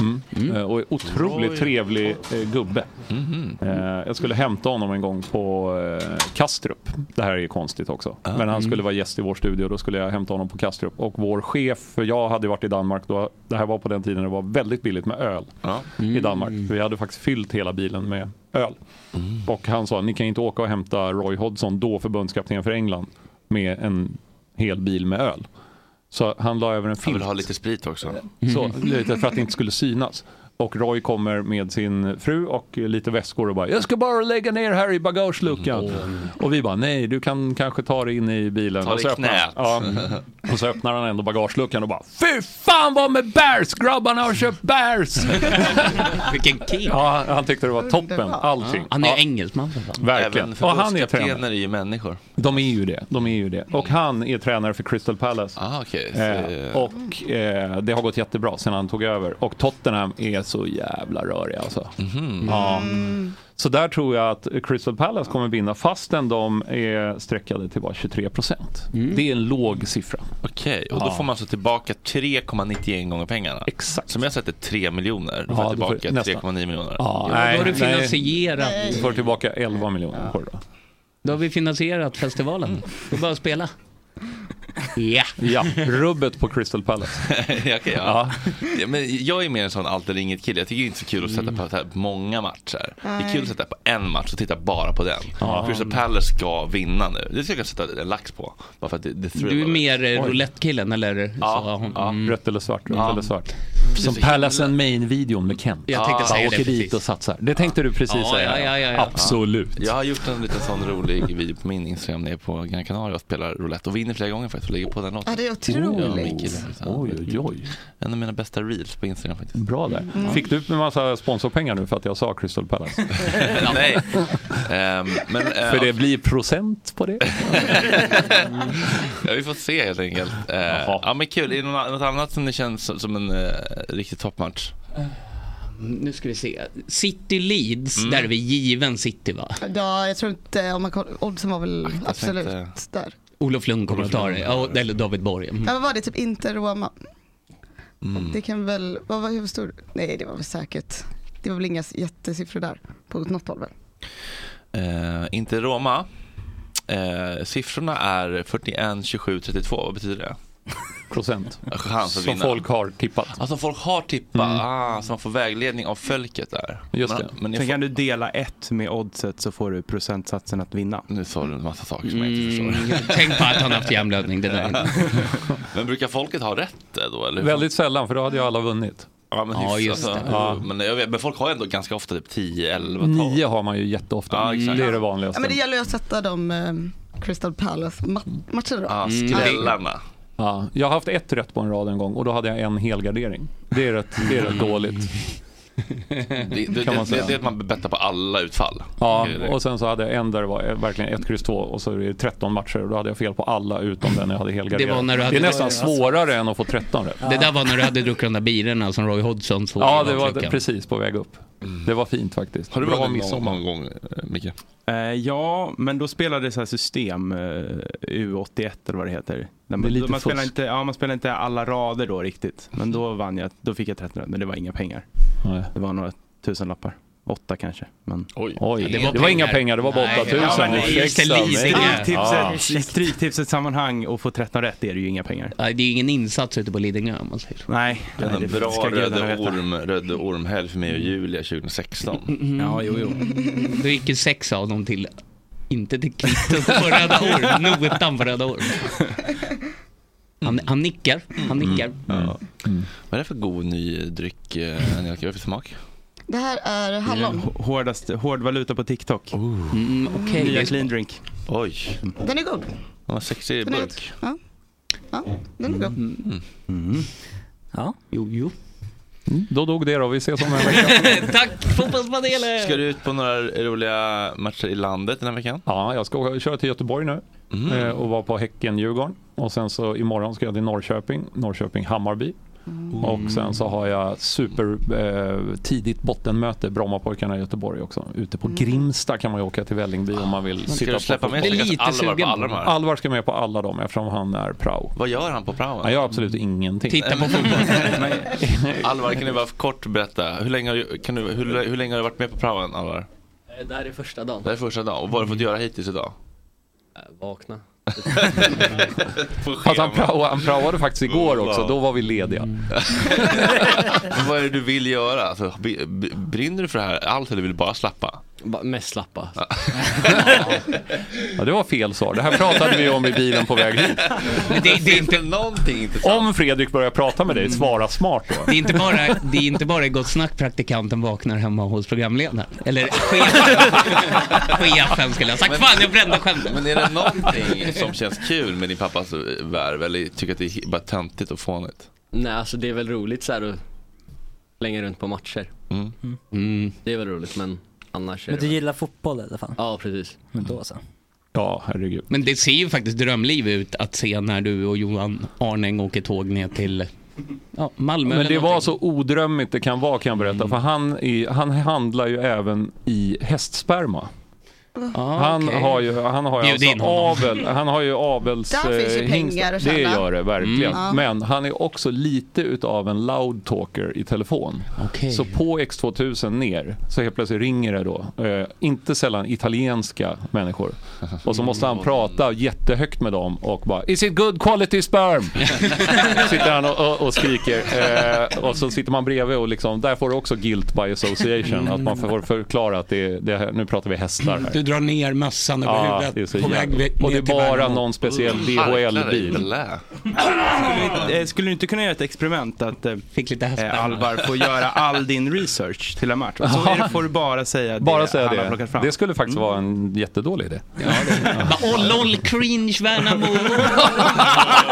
E: Mm. Eh, och är otroligt
C: Roy
E: trevlig eh, gubbe. Eh, jag skulle hämta honom en gång på eh, Kastrup. Det här är ju konstigt också.
C: Ah.
E: Men
C: Mm.
E: han skulle vara gäst i vår studio och då skulle jag hämta honom på Kastrup. Och vår chef, för jag hade varit i Danmark då, det här var på den tiden det var väldigt billigt med öl
C: Ah.
E: i
C: Mm.
E: Danmark. Vi hade faktiskt fyllt hela bilen med öl.
C: Mm.
E: Och han sa, ni kan inte åka och hämta Roy Hodgson, då förbundskapten för England, med en hel bil med öl. Så han la över
C: Han
E: en filt.
C: vill ha lite sprit också. Mm.
E: Så, lite för att det inte skulle synas. Och Roy kommer med sin fru och lite väskor och bara “Jag ska bara lägga ner här i bagageluckan”. Och vi bara “Nej, du kan kanske ta dig in i bilen”.
C: Mm. Ta det
E: och,
C: i
E: så öppnar,
C: knät.
E: ja, och så öppnar han ändå bagageluckan och bara “Fy fan vad med bärs! Grabbarna har köpt bärs!”
H: [laughs] Vilken king!
E: Ja, han tyckte det var toppen, allting.
H: Han är
E: ja.
H: engelsman. för fan.
E: Verkligen. Och han är tränare.
C: är ju människor.
E: De är ju det. De är ju det. Och han är tränare för Crystal Palace.
C: Ah, okej.
E: Eh, och eh, det har gått jättebra sedan han tog över. Och Tottenham är så jävla röriga alltså.
C: Mhm.
E: Ja.
H: Mm.
E: Så där tror jag att Crystal Palace kommer vinna fastän de är streckade till bara 23 procent. Det är en låg siffra.
C: Mm. Okej, och då
E: Ja.
C: får man alltså tillbaka 3,91 gånger pengarna.
E: Exakt.
C: Som jag sett är 3 miljoner. Då
E: Ja,
C: får jag
E: då får-
C: tillbaka
E: nästan.
C: 3,9 miljoner.
E: Ja,
H: då har du finansierat.
E: Du får tillbaka 11 miljoner. får du Då.
H: Då har vi finansierat festivalen. Det är bara att spela. Ja.
E: ja, rubbet på Crystal Palace.
C: Okej, [laughs] ja. Ja, men jag är mer en sån allt eller inget kille. Jag tycker det är inte så kul att
E: Mm.
C: sätta på så här många matcher. Det är kul att sätta på en match och titta bara på den. Crystal Palace ska vinna nu. Det ska jag sätta en lax på. Bara för att det, det
H: Du är mer eh, roulettekillen eller? Ja. mm. Så, ja.
E: Rött eller svart, rött
C: Ja.
E: eller svart. Ah. Som Palace and Main-videon med Kent.
H: Jag tänkte
E: Bara
H: säga det,
E: åker
H: precis.
E: dit och satsar. Det tänkte du precis
H: Ja,
E: säga.
H: ja, ja, ja, ja.
E: Absolut.
C: Jag har gjort en liten sån rolig video på min Instagram när jag är på Gran Canaria och spelar roulette och vinner flera gånger faktiskt och lägger på den låten.
F: Ja, det är
C: Ja,
F: otroligt.
C: min kille. Så.
E: Oj, oj, oj.
C: En av mina bästa reels på Instagram faktiskt.
E: Bra där.
H: Mm.
E: Fick du upp en massa sponsorpengar nu för att jag sa
H: [laughs]
E: Crystal Palace?
C: Nej. Ehm, men, eh,
E: för det blir procent
C: [laughs]
E: på det. Mm.
C: Ja, vi får se helt enkelt. Eh, ja, men kul. Är det något något annat som det känns som, som en eh, riktig toppmatch?
H: Nu ska vi se. City Leeds,
C: Mm.
H: där är vi given City va?
F: Ja, jag tror inte, om man kollar, oddsen var väl absolut
C: tänkte-
F: där.
E: Mm.
H: Olof Lund kommer att ta det. Ja, eller David Borg. Mm.
F: Ja, vad var det? Typ inte Roma.
K: Mm.
E: Mm.
F: Det kan väl, vad var hur stor? Nej det var väl säkert, det var väl inga jättesiffror där på något håll väl?
C: Eh, inte Roma. Eh, siffrorna är 41, 27, 32. Vad betyder det?
E: Procent.
C: Chans att
E: Som
C: vinna.
E: folk har tippat. Mm.
C: Alltså folk har tippat, ah, så man får vägledning av folket där.
E: Just
C: men,
E: det.
C: Men jag
M: Sen
C: får,
M: kan du dela ett med oddset så får du procentsatsen att vinna.
C: nu sa du en massa saker som jag inte
H: Mm,
C: förstår.
H: tänk på att han har haft hjärnblödning. Det där.
C: [laughs] Men brukar folket ha rätt eh, då? Eller? hur?
E: Väldigt sällan, för då hade jag alla vunnit.
C: Ja, men,
H: Ja,
C: hyfsat,
H: just
C: alltså.
H: det.
E: Ja.
C: Men, jag vet, men folk har ändå ganska ofta typ 10, 11, 12.
E: Nio har man ju jätteofta.
C: Ja, exakt.
E: det är det
F: Ja,
E: vanligaste.
F: men det gäller ju att sätta de eh, Crystal Palace
K: Mm.
F: ma- matcherna då.
C: Ah,
H: Mm.
E: Mm.
C: skrällarna.
E: Ja,
H: Mm.
E: jag har haft ett rätt på en rad en gång och då hade jag en helgardering. Det är rätt, det är rätt dåligt.
C: Det, [laughs] det, det,
E: Kan man
C: det,
E: säga.
C: det är att man bettar på alla utfall.
E: Ja,
C: Det är det.
E: och sen så hade jag en där det var eh, verkligen 1, kryss 2 och så är det 13 matcher och då hade jag fel på alla utom den jag hade helgarderat.
H: Det var när du hade-
E: är nästan
H: Alltså.
E: svårare än att få 13 rätt.
H: Det där var när du hade druckit de där birorna som Roy Hodgson såg. Mm.
E: Ja, det var precis på väg upp. Det var fint faktiskt.
M: Har du
E: Bra
M: varit någon-
E: midsommar.
M: någon
C: gång, Micke?
M: Eh, ja, men då spelade det så här system, eh, U81 eller vad det heter. Där
E: Det är
M: man,
E: lite
M: man, spelar
E: fusk.
M: inte, ja, man spelar inte alla rader då riktigt. Men då vann jag, då fick jag 13 rätt, men det var inga pengar.
E: Nej.
M: Det var några tusenlappar. Åtta kanske. Men...
C: Oj.
E: Oj, Det var det var inga pengar. pengar, det var bara Nej. 8000.
M: Ja, men det är ju
E: Ursäkta mig. Ja.
M: Stryktipset- Stryktipset sammanhang och få 13 rätt är det ju inga pengar.
H: det är ju ingen insats ute på Lidingö om man säger så.
M: Nej,
C: Det är
M: nej,
C: en
M: det
C: bra
M: ska gudarna
C: Röde
M: veta. Mm.
C: orm, röde ormhelg för mig och Julia 2016.
H: Ja, jo, jo. [laughs] Då gick ju sex av dem till, inte till kvittot på Röda Orm, notan på Röda Orm. Han, han nickar, han
E: Mm.
H: nickar.
C: Ja. Vad är det för god ny dryck, eh, Angelica? Vad är det för smak?
F: Det här är hallon.
K: Mm.
M: Hå- Hårdast, hård valuta på TikTok.
H: Mm, okej.
M: Nya clean drink.
C: Oj.
F: Den är god.
C: Den var sexig
F: Den är
C: burk.
F: god. Ja. ja, den är
E: Mm.
F: god.
H: Mm.
G: Ja.
H: Jo, jo.
E: Mm, Då dog det då, vi ses om en vecka.
H: [laughs] Tack fotbollspaneler!
C: Ska du ut på några roliga matcher i landet den här veckan?
E: Ja, jag ska åka- köra till Göteborg nu
C: Mm.
E: eh, och vara på Häcken-Djurgården. Och sen så imorgon ska jag till Norrköping, Norrköping-Hammarby.
C: Mm.
E: Och sen så har jag super eh, tidigt bottenmöte, Brommapojkarna i Göteborg också. Ute på Grimsta kan man ju åka till Vällingby om man vill
C: Mm. Ah, Ska
E: sitta
C: du släppa
E: på
C: med
E: fotboll.
C: sig kanske Alvar på alla de här?
E: Alvar ska med på alla de eftersom han är prao.
C: Vad gör han på praon?
E: Han gör absolut
C: Mm.
E: ingenting.
C: Alvar, kan du bara kort berätta? Hur länge har du, kan du, hur, hur länge har du varit med på praon, Alvar?
N: Det här är första dagen.
C: Det här är första dagen. Och vad har du fått göra hittills idag?
E: [laughs]
N: Vakna.
C: På
E: Fast han,
C: schema.
E: prao, han
I: [laughs]
E: praoade faktiskt igår också, då var vi lediga.
C: Men [laughs] vad är det du vill göra? Alltså, b- b- brinner du för det här allt eller vill du bara slappa?
N: mest
C: [laughs]
N: slappa.
E: Ja, det var fel svar. Det här pratade vi om i bilen på väg hit.
H: Det, det är inte
C: någonting Mm.
E: Om Fredrik börjar prata med dig, svara smart då.
H: Det är inte bara, det är inte bara i Gott Snack praktikanten vaknar hemma hos programledaren.
C: [laughs]
H: Eller chefen. chefen skulle jag ha sagt. Fan, jag brände skämtet.
C: Men är det någonting som känns kul med din pappas eh, värv eller tycker att det är bara töntigt och fånigt?
N: Nej, alltså det är väl roligt så här att slänga runt på matcher.
H: Mm.
C: Mm.
N: Det är väl roligt, men annars är
G: Men
N: det
G: du
N: väl...
G: gillar fotboll i alla fall?
N: Ja, precis.
G: Men då så.
E: Ja, herregud.
H: Men det ser ju faktiskt drömliv ut att se när du och Johan Arning åker tåg ner till ja, Malmö.
E: Men
H: eller
E: det
H: någonting. Mm.
E: var så odrömmigt det kan vara kan jag berätta. För han, är, han handlar ju även i hästsperma.
H: Ah,
E: han,
H: okej.
E: har ju, han har ju
H: Bjud in
E: alltså
H: honom.
E: avel, han har ju avels
F: Där finns ju
E: eh, hingst.
F: pengar att
E: Det
F: tjäna.
E: gör det verkligen.
F: Mm. Ja.
E: Men han är också lite utav en loud talker i telefon. Så på X2000 ner så helt plötsligt ringer det då, eh, inte sällan italienska människor. Och så måste han
H: Mm.
E: prata jättehögt med dem och bara “Is it good quality sperm?” [laughs] Sitter han och, och, och skriker. Eh, och så sitter man bredvid och liksom, där får du också guilt by association. Att man får förklara att det, det här, nu pratar vi hästar här.
H: Du drar ner mössan över
E: Ja, det är
H: huvudet
E: så
H: på väg
E: jävla-
H: ner
E: Och det är
H: till
E: bara
H: Värnamo.
E: någon speciell DHL-bil.
M: Eh, Skulle du inte kunna göra ett experiment att eh, eh, Alvar får göra all din research till en match? Och så är det, får du bara
E: [laughs]
M: säga det
E: Bara säga
M: han har
E: det.
M: plockat fram. Mm.
E: Det skulle faktiskt vara en jättedålig idé.
H: Bara, Åh LOL cringe Värnamo.
C: [laughs]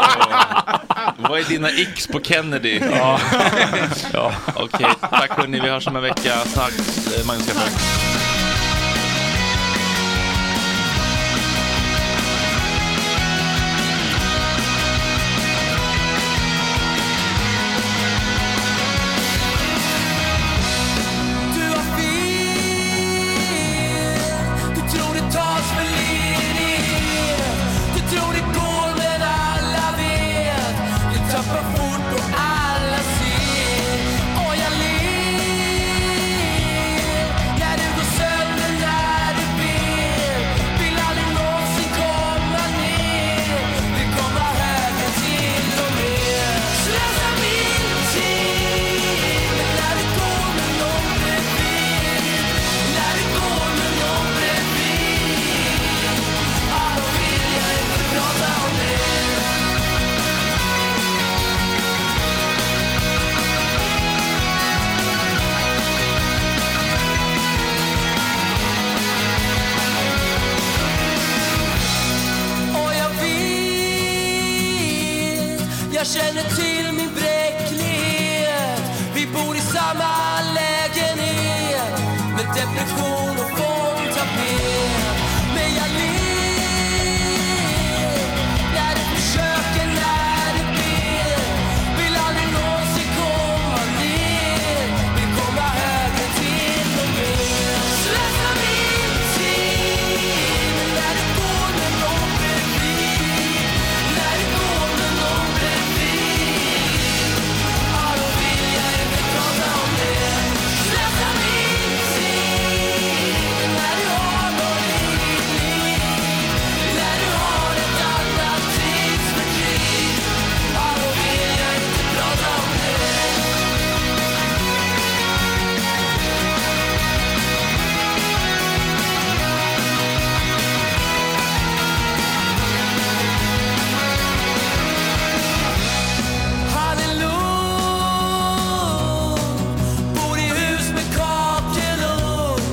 C: Vad är dina x på Kennedy? [laughs]
E: ja.
C: Okej, tack hörni. Vi hörs om en vecka. Tack eh, Magnus Gaffberg.
A: Du har fel. Du tror det tas för ledigt. Du tror det går men alla vet. Du tappar fort och alla ser. Och jag ler. Ja, du går sönder när du ber. Vill aldrig någonsin komma ner. Vi kommer högre till och med. Slösa min tid. När det går med någon Let it go, men någon bredvid Ja, då vill jag inte prata om det Och jag vet, jag känner till min bräcklighet Vi bor i samma läge tradition och fåntapet. Men jag ler när det försöker, när det ber. Vill aldrig någonsin komma ner. Vill komma högre till och mer. Slösa min tid när det går med någon bredvid. När det går med någon bredvid. Ja, då vill jag inte prata om det. Slösa min tid när du har någon i ditt liv. När du har ett annat tidsfördriv. Ja, då vill jag inte prata om Hallelujah. Bor i hus med kakelugn.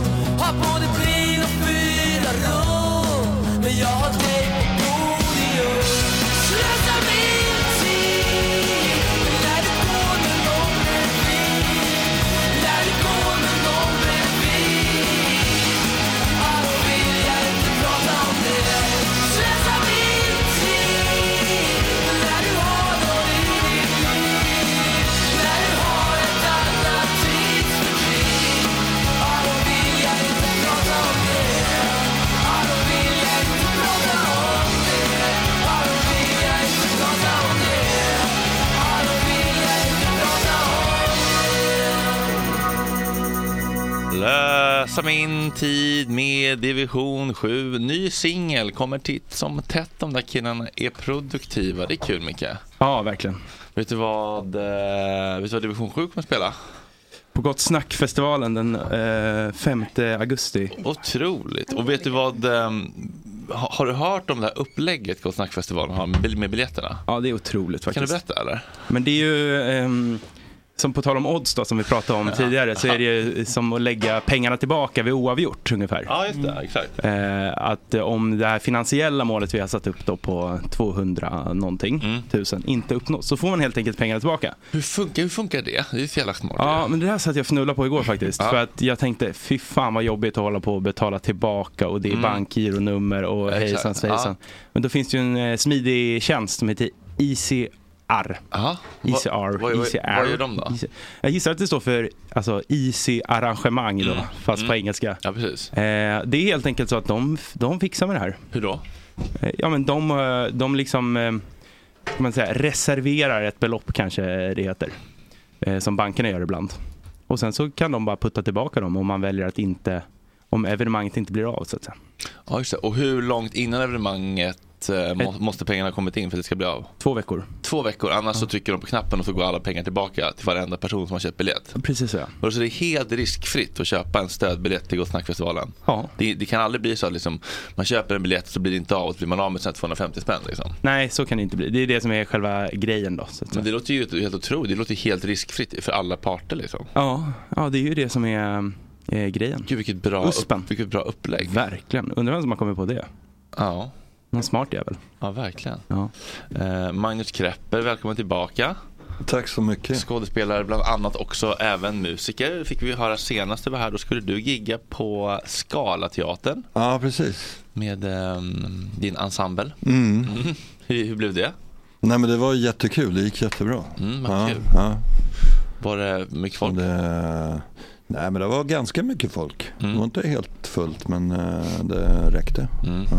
A: Har både bil och fyra rum. Men jag har dig på podium. Slösa min tid. När det går med någon bredvid. När det går med någon bredvid. Ja, då vill jag inte prata om det. Slösa min tid. När du har någon i ditt liv. När du har ett annat tidsfördriv. Ja, då vill jag inte prata om det. Ja, då vill jag inte prata om det. Ja, då vill jag inte prata om det. Ja, då vill jag inte prata om
C: Lösa min tid med Division 7. Ny singel kommer titt som tätt. De där killarna är produktiva. Det är kul, Micke.
M: Ja, verkligen.
C: Vet du vad, eh, vet du vad Division 7 kommer spela?
M: På Gott Snack-festivalen den eh, 5 augusti.
C: Otroligt. Och vet du vad... ehm, ha- har du hört om det här upplägget Gott Snack-festivalen har med bil- med biljetterna?
M: Ja, det är otroligt faktiskt.
C: Kan du berätta eller?
M: Men det är ju, ehm, som på tal om odds då, som vi pratade om tidigare, så är det ju som att lägga pengarna tillbaka vid oavgjort ungefär.
C: Ja, just det. Exakt.
M: Eh, att eh, om det här finansiella målet vi har satt upp då på 200 någonting tusen inte uppnås, så får man helt enkelt pengarna tillbaka.
C: Mm. Hur funkar, hur funkar det? Det är ett jävla smart.
M: Ja, men det här satt jag och fnullade på igår faktiskt.
C: Ja.
M: För att jag tänkte, fy fan vad jobbigt att hålla på och betala tillbaka och det är
C: Mm.
M: bankgironummer och
C: Exakt.
M: hejsan svejsan.
C: Ja.
M: Men då finns det ju en eh, smidig tjänst som heter ICR. ICR.
C: Vad- vad- vad-
M: ICR.
C: vad gör de då?
M: IC Jag gissar att det står för alltså, IC-arrangemang då,
C: Mm.
M: fast på
C: Mm.
M: engelska.
C: Ja, precis.
M: Eh, det är helt enkelt så att de, de fixar med det här.
C: Hur då?
M: Eh, ja, men de, eh, de liksom, eh, kan man säga, reserverar ett belopp kanske det heter. Eh, som bankerna gör ibland. Och sen så kan de bara putta tillbaka dem om man väljer att inte, om evenemanget inte blir av så att säga.
C: Ja, just det. Och hur långt innan evenemanget eh, må, måste pengarna ha kommit in för att det ska bli av?
M: Två veckor.
C: Två veckor, annars så trycker de på knappen och så går alla pengar tillbaka till varenda person som har köpt biljett.
M: Precis så ja.
C: Och så det är helt riskfritt att köpa en stödbiljett till Gott Snack-festivalen.
M: Ja.
C: Det, det kan aldrig bli så att liksom, man köper en biljett så blir det inte av och så blir man av med sina 250 spänn. Liksom.
M: Nej, så kan det inte bli. Det är det som är själva grejen då. Så att säga.
C: Men det låter ju helt otroligt. Det låter ju helt riskfritt för alla parter. Liksom.
M: Ja, ja, det är ju det som är eh, grejen.
C: Gud, vilket bra,
M: Uspen.
C: upp, vilket bra upplägg.
M: Verkligen. Undrar vem som har kommit på det?
C: Ja.
M: Någon smart jävel.
C: Ja, verkligen.
M: Ja.
C: Eh, Magnus Krepper, välkommen tillbaka.
K: Tack så mycket.
C: Skådespelare bland annat också, även musiker fick vi höra senast du var här. Då skulle du gigga på Scalateatern
K: Ja, precis.
C: med ehm, din ensemble.
K: Mm.
C: Mm. Hur, hur blev det?
K: Nej men det var jättekul, det gick jättebra.
C: Mm, vad
K: ja,
C: kul.
K: Ja.
C: Var det mycket folk?
K: Det, nej men det var ganska mycket folk. Det var inte helt fullt men eh, det räckte. Ja.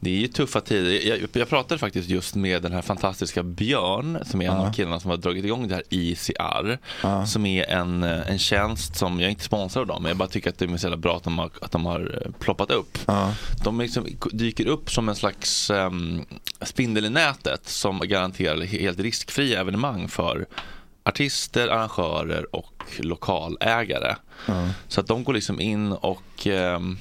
C: Det är ju tuffa tider. Jag, jag pratade faktiskt just med den här fantastiska Björn som är en av killarna som har dragit igång det här ICR. Som är en, eh, en tjänst som, jag är inte sponsrad av dem, men jag bara tycker att det är så jävla bra att de har, att de har eh, ploppat upp. De liksom dyker upp som en slags ehm, spindel i nätet som garanterar helt riskfria evenemang för artister, arrangörer och lokalägare. Så att de går liksom in och ehm,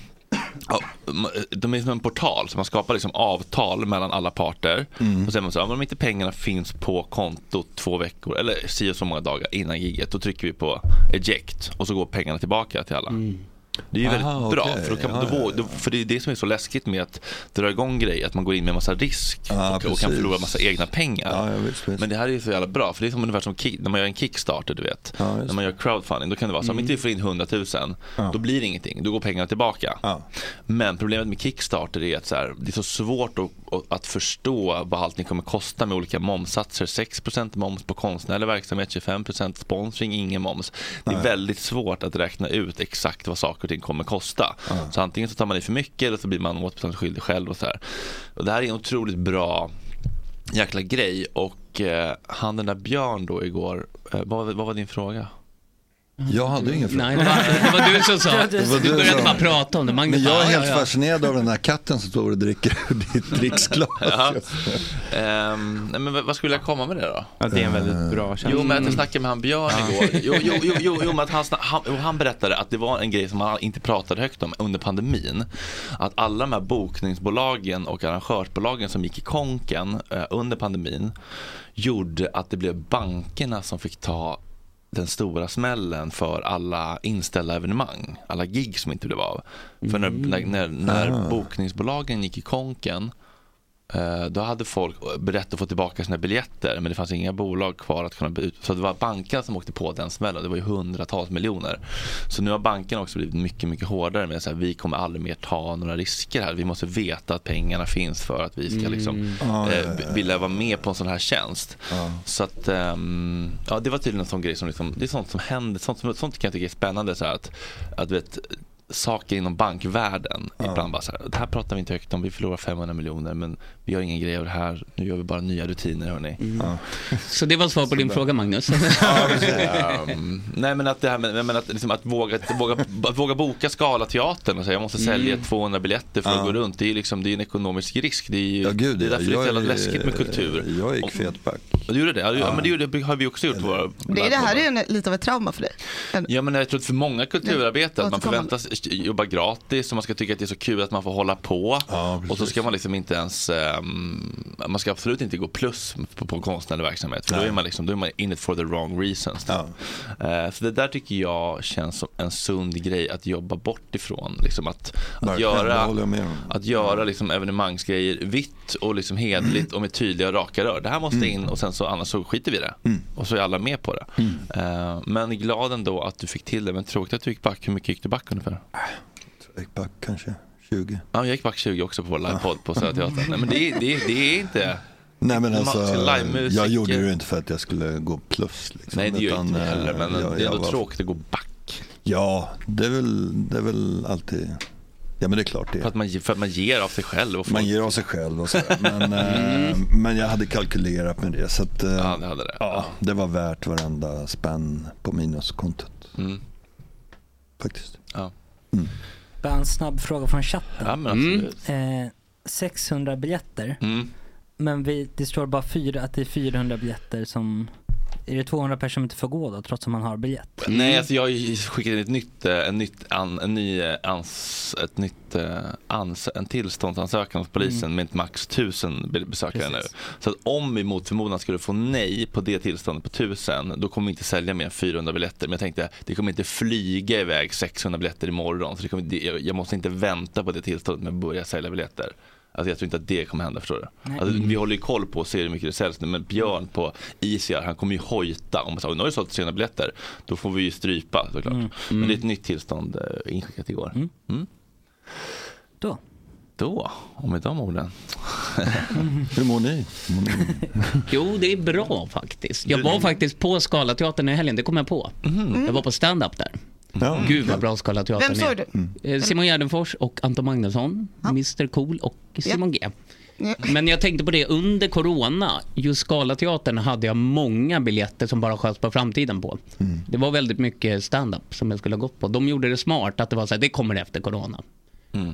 C: ja, ma- de är som en portal, så man skapar liksom avtal mellan alla parter.
K: Mm.
C: Och sen är man så, här, "Ja, men om inte pengarna finns på kontot två veckor eller si och så många dagar innan giget, då trycker vi på eject och så går pengarna tillbaka till alla. Det är ju väldigt
K: Mm. Aha,
C: bra,
K: okej.
C: för, då kan,
K: Ja,
C: då, vå- då, för det är det som är så läskigt med att dra igång grejer, att man går in med en massa risk och, och kan
K: precis.
C: förlora en massa egna pengar. Men det här är ju så jävla bra, för det är som ungefär som ki- när man gör en kickstarter, du vet. när man gör crowdfunding, då kan det vara så om
K: Mm.
C: inte vi får in 100 000, då blir det ingenting, då går pengarna tillbaka. Men problemet med kickstarter är att så här, det är så svårt att, att- att förstå vad allting kommer kosta med olika momssatser. 6 moms på konstnärlig verksamhet, 25 sponsring, ingen moms. Det är
K: Nej.
C: väldigt svårt att räkna ut exakt vad saker och ting kommer kosta. Så antingen så tar man i för mycket eller så blir man återbetalningsskyldig själv. Och så här. Och det här är en otroligt bra jäkla grej. Och eh, han den där Björn då igår, eh, vad, vad var din fråga?
K: Jag hade ingen fråga.
C: Nej, det var- [laughs] det var du som sa. Vi
K: du
C: började
K: som-
C: bara prata om det. Magnus
K: Men jag
C: bara,
K: är
C: ja,
K: helt
C: ja, ja.
K: fascinerad av den här katten som står och dricker [laughs] ur ditt dricksglas.
C: Ja. Ehm, nej, men vad- vad skulle jag komma med det då?
M: Ja, det är en väldigt bra känsla.
C: Jo, men att jag snackade med han Björn igår. Jo, jo, jo, jo, jo men att han, sna- han, jo, han berättade att det var en grej som han inte pratade högt om under pandemin. Att alla de här bokningsbolagen och arrangörsbolagen som gick i konken eh, under pandemin gjorde att det blev bankerna som fick ta den stora smällen för alla inställda evenemang, alla gig som inte blev av. För när, när, när, när
K: Ah.
C: bokningsbolagen gick i konken Eh, Då hade folk berättat att få tillbaka sina biljetter men det fanns inga bolag kvar att kunna be- ut. Så det var bankerna som åkte på den smällen. Det var ju hundratals miljoner. Så nu har bankerna också blivit mycket, mycket hårdare med att vi kommer aldrig mer ta några risker här. Vi måste veta att pengarna finns för att vi ska liksom,
K: Mm. Ja,
C: eh,
K: ja, ja, ja.
C: vilja vara med på en sån här tjänst.
K: Ja.
C: Så att, ehm, ja det var tydligen en sån grej som liksom, det är sånt som händer, sånt, som, sånt kan jag tycka är spännande så här att, att du vet, saker inom bankvärlden ibland bara så här, det här pratar vi inte högt om, vi förlorar 500 miljoner men vi gör ingen grej av det här, nu gör vi bara nya rutiner hörni.
H: Så det var svar på din
C: bra.
H: fråga Magnus.
K: [laughs]
C: Ehm, nej men att det här med, jag menar att, liksom, att, våga, att våga, att våga boka Scalateatern och säga jag måste sälja
K: Mm.
C: 200 biljetter för att
K: Ja.
C: gå runt. Det är ju liksom, det är en ekonomisk risk. Det är, ju, det är
K: ja.
C: därför det är så
K: Jag
C: jävla
K: är-
C: läskigt med kultur.
K: Jag gick fetback.
C: Du gjorde det? Ja, ja. men det, gjorde, har vi också gjort. på Våra,
F: Det, det här är ju en, lite av ett trauma för dig.
K: Mm.
C: Ja, men jag tror att för många kulturarbetare att man
F: Återkommande.
C: förväntas jobba gratis och man ska tycka att det är så kul att man får hålla på. och så ska man liksom inte ens, ehm, man ska absolut inte gå plus på, på konstnärlig verksamhet. För då
K: Nej.
C: är, man liksom, då är man in it for the wrong reasons. typ. Eh, så det där tycker jag känns som en sund grej att jobba bort ifrån. Liksom att, att
K: Verkligen, det
C: göra,
K: håller jag med om.
C: att göra liksom evenemangsgrejer vitt och liksom
K: Mm.
C: hedligt och med tydliga och raka rör. Det här måste in och sen så annars så skiter vi i det.
K: Mm.
C: Och så är alla med på det. Eh, men glad ändå att du fick till det. Men tråkigt att du gick back. Hur mycket gick du back ungefär?
K: Back kanske 20.
C: Ja, jag gick back 20 också på vår livepodd på Södra Teatern. Nej, men det, är- det, är- det är inte...
K: Nej men
C: Man
K: alltså,
C: ska livemusik-
K: jag gjorde det ju inte för att jag skulle gå plus. Liksom,
C: Nej, det gör
K: utan,
C: inte vi
K: eh,
C: heller. Men
K: jag-
C: det är
K: jag
C: ändå
K: var-
C: tråkigt att gå back.
K: Ja, det är väl, det är väl alltid, ja men det är klart det är.
C: För att man, ge- för att man ger av sig själv. Och
K: Man ger av sig själv och sådär. Men, eh,
C: [laughs] Mm.
K: men jag hade kalkylerat med det. Så att, eh, ja,
C: det, hade det.
K: Ja, det var värt varenda spänn på minuskontot.
C: Mm.
K: Faktiskt.
C: Ja.
G: Bara en snabb fråga från chatten.
C: Ja, men absolut.
G: Eh, 600 biljetter.
C: Mm.
G: Men vi, det står bara fyra, att det är 400 biljetter som... Är det 200 personer som inte får gå då, trots att man har biljett?
C: Nej, alltså jag skickade in ett nytt, eh, en, nytt an, en ny eh, ans, ett nytt, eh, ans, en tillståndsansökan hos polisen
K: Mm.
C: med ett max 1000 be- besökare nu.
K: Precis.
C: Så att om vi mot förmodan skulle få nej på det tillståndet på 1000, då kommer vi inte sälja mer än 400 biljetter. Men jag tänkte, det kommer inte flyga iväg 600 biljetter imorgon. Så det kommer, det, jag, jag måste inte vänta på det tillståndet med att börja sälja biljetter. Alltså jag tror inte att det kommer hända, förstår du?
K: Nej.
C: Alltså, vi håller ju koll på och ser hur mycket det säljs nu, men Björn på ICR, han kommer ju hojta. Om man säger, nu har du sålt 300 biljetter, då får vi ju strypa såklart.
G: Mm.
C: Men det är ett nytt tillstånd eh, inskickat igår. Mm.
G: Då.
C: Då, och med de
K: [laughs]
C: orden.
K: Hur mår ni?
H: Jo, det är bra faktiskt. Jag var faktiskt på Scalateatern i helgen, det kom jag på. Jag var på stand-up där. Gud vad bra Scalateatern
F: Vem såg du?
H: Eh, Simon Gärdenfors och Anton Magnusson, Mr Cool och Simon G. [laughs] Men jag tänkte på det, under corona, just Scalateatern hade jag många biljetter som bara sköts på framtiden på. Det var väldigt mycket stand-up som jag skulle ha gått på. De gjorde det smart att det var så här, det kommer efter corona.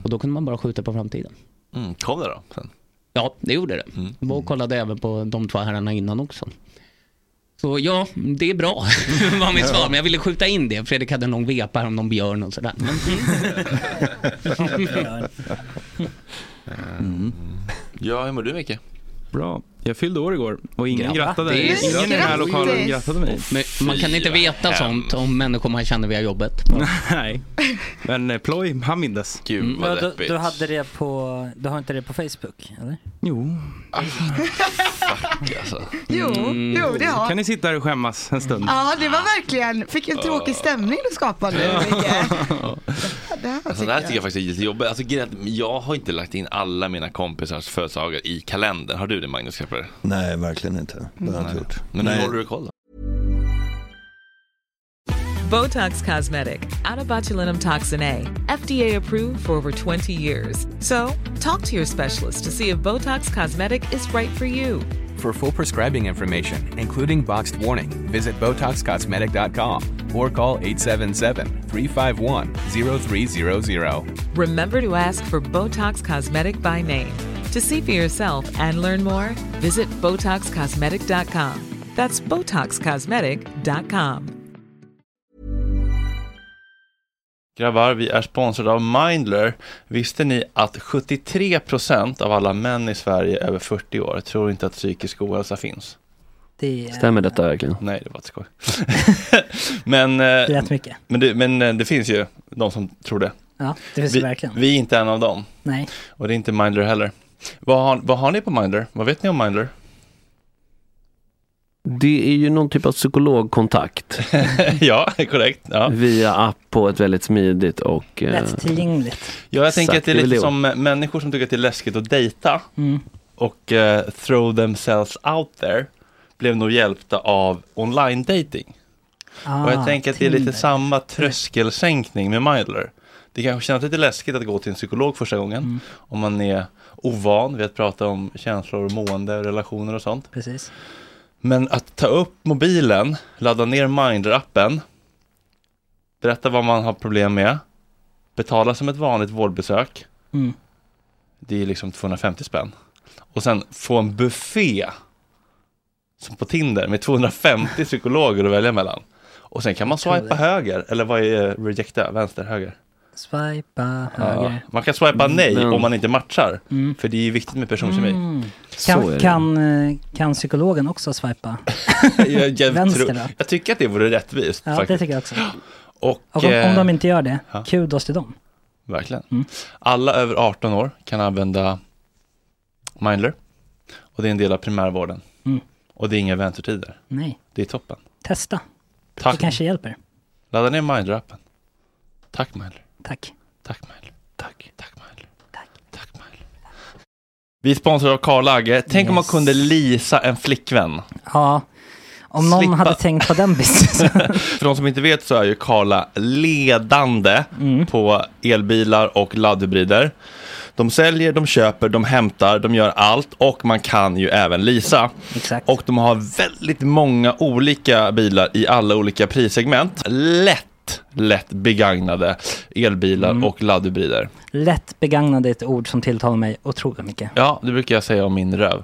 H: Och då kunde man bara skjuta på framtiden.
C: Mm, kom det då? Sen.
H: Ja, det gjorde det. Jag var och kollade även på de två herrarna innan också. Så ja, det är bra, [laughs] var mitt svar. Men jag ville skjuta in det. Fredrik hade en lång vepa här om någon björn och sådär. Men...
C: Ja, hur mår du Micke?
M: Mm. Bra. Jag fyllde år igår och ingen
H: Grattis.
M: grattade. Ingen i den här lokalen grattade mig.
H: Men man kan inte veta sånt om människor man känner via jobbet.
M: [laughs] Nej, men eh, ploj, han mindes.
H: Gud
G: Ja, du, du hade det på, du har inte det på Facebook eller?
M: Jo.
F: Jo, jo, det har-
M: Kan ni sitta här och skämmas en stund?
F: Ja, det var verkligen, fick en
K: Ah.
F: tråkig stämning du skapade nu,
K: [laughs]
F: Micke. Ja, det här
C: Alltså, det här tycker jag faktiskt är lite jobbigt. Alltså, grejen är att jag har inte lagt in alla mina kompisars födelsedagar i kalendern. Har du det Magnus Krapper?
K: Nej, verkligen inte. Det har jag inte
C: Nej.
K: gjort.
C: Men hur
K: Nej.
C: håller du koll då?
B: Botox Cosmetic, out of botulinum toxin A, FDA approved for over 20 years. So, talk to your specialist to see if Botox Cosmetic is right for you.
O: For full prescribing information, including boxed warning, visit BotoxCosmetic.com or call 877-351-0300.
B: Remember to ask for Botox Cosmetic by name. To see for yourself and learn more, visit BotoxCosmetic.com. That's BotoxCosmetic.com.
C: Grabbar, vi är sponsrade av Mindler. Visste ni att 73% av alla män i Sverige över 40 år tror inte att psykisk ohälsa finns?
G: Det är
N: Stämmer detta verkligen?
C: Nej, det var ett skoj. [laughs] men, eh,
G: rätt mycket.
C: Men det, men eh, det finns ju de som tror det.
G: Ja, det finns
C: vi,
G: det verkligen.
C: Vi är inte en av dem.
G: Nej.
C: Och det är inte Mindler heller. Vad har, vad har ni på Mindler? Vad vet ni om Mindler?
N: Det är ju någon typ av psykologkontakt.
C: [laughs] ja, korrekt.
N: Via app på ett väldigt smidigt och... eh,
G: Lättillgängligt.
C: Ja, jag tänker
N: Exakt,
C: att det är
N: det är väl
C: lite
N: det.
C: som eh, människor som tycker att det är läskigt att dejta
G: Mm.
C: och eh, throw themselves out there blev nog hjälpta av online dating. och
A: Ah,
C: jag tänker att det är lite samma tröskelsänkning med Mindler. Det kanske känns lite läskigt att gå till en psykolog första gången om man är ovan vid att prata om känslor, mående, relationer och sånt.
G: Precis.
C: Men att ta upp mobilen, ladda ner Mindr-appen, berätta vad man har problem med, betala som ett vanligt vårdbesök, [laughs]
G: Mm.
C: det är liksom 250 spänn. Och sen få en buffé, som på Tinder, med 250 psykologer att välja mellan. Och sen kan man swipa höger, eller vad är rejecta, vänster, höger?
G: Swipa
C: Ja.
G: höger.
C: Man kan swipa nej
G: Mm.
C: om man inte matchar,
G: Mm.
C: för det är ju viktigt med personkemi.
G: Mm. Kan, kan, eh, kan psykologen också swipa?
C: [laughs] jag, jag,
G: Vänster
C: tror,
G: då?
C: jag tycker att det vore rättvist
G: Ja, det
C: faktiskt.
G: tycker
C: [gasps]
G: jag också.
C: Och,
G: Och om, om
C: eh,
G: de Mm. inte gör det,
C: ja.
G: kudos till dem.
C: Verkligen. Alla över 18 år kan använda Mindler. Och det är en del av primärvården.
G: Mm.
C: Och det är inga väntetider.
G: Nej,
C: Det är toppen.
G: testa.
C: Tack.
G: Det kanske hjälper.
C: Ladda ner Mindler-appen. Tack Mindler.
G: Tack.
C: Tack Mindler. Tack. Tack Mindler. Tack. Tack Mindler. Vi sponsrar av Karl Agge. Tänk om man
G: Yes.
C: kunde lisa en flickvän.
G: Ja, om någon
C: Slippa.
G: hade tänkt
C: [laughs]
G: på den businessen. [laughs]
C: För de som inte vet så är ju Karla ledande på elbilar och laddhybrider. De säljer, de köper, de hämtar, de gör allt och man kan ju även leasa. Och de har väldigt många olika bilar i alla olika prissegment. Lätt, lätt begagnade elbilar och laddhybrider.
G: Lätt begagnade är ett ord som tilltalar mig otroligt mycket.
C: Ja, det brukar jag säga om min röv.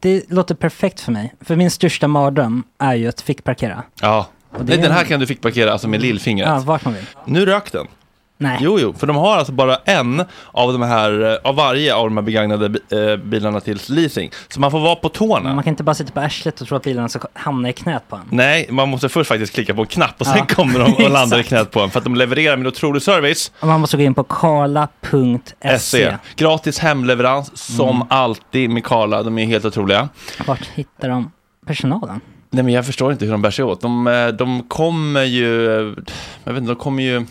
G: det låter perfekt för mig. För min största mardröm är ju att fick parkera.
C: Ja.
G: det
C: Nej,
G: är-
C: den här kan du fick parkera alltså med lillfingret.
G: Ja, vart man vill.
C: Nu rök den.
G: Nej.
C: Jo, jo, för de har alltså bara en av de här, eh, av varje av de här begagnade bi- eh, bilarna till leasing. Så man får vara på tårna.
G: Man kan inte bara sitta på arslet och tro att bilarna ska hamna i knät på en.
C: Nej, man måste först faktiskt klicka på en knapp och sen
G: Ja.
C: kommer de
G: [laughs]
C: och landar i
G: Exakt.
C: knät på en. För att de levererar med otrolig service.
G: Och man måste gå in på karla.se.
C: SE. Gratis hemleverans som
G: Mm.
C: alltid med Karla. De är helt otroliga.
G: Vart hittar de personalen?
C: Nej, men jag förstår inte hur de bär sig åt. De, eh, de kommer ju... Jag vet inte, de kommer ju...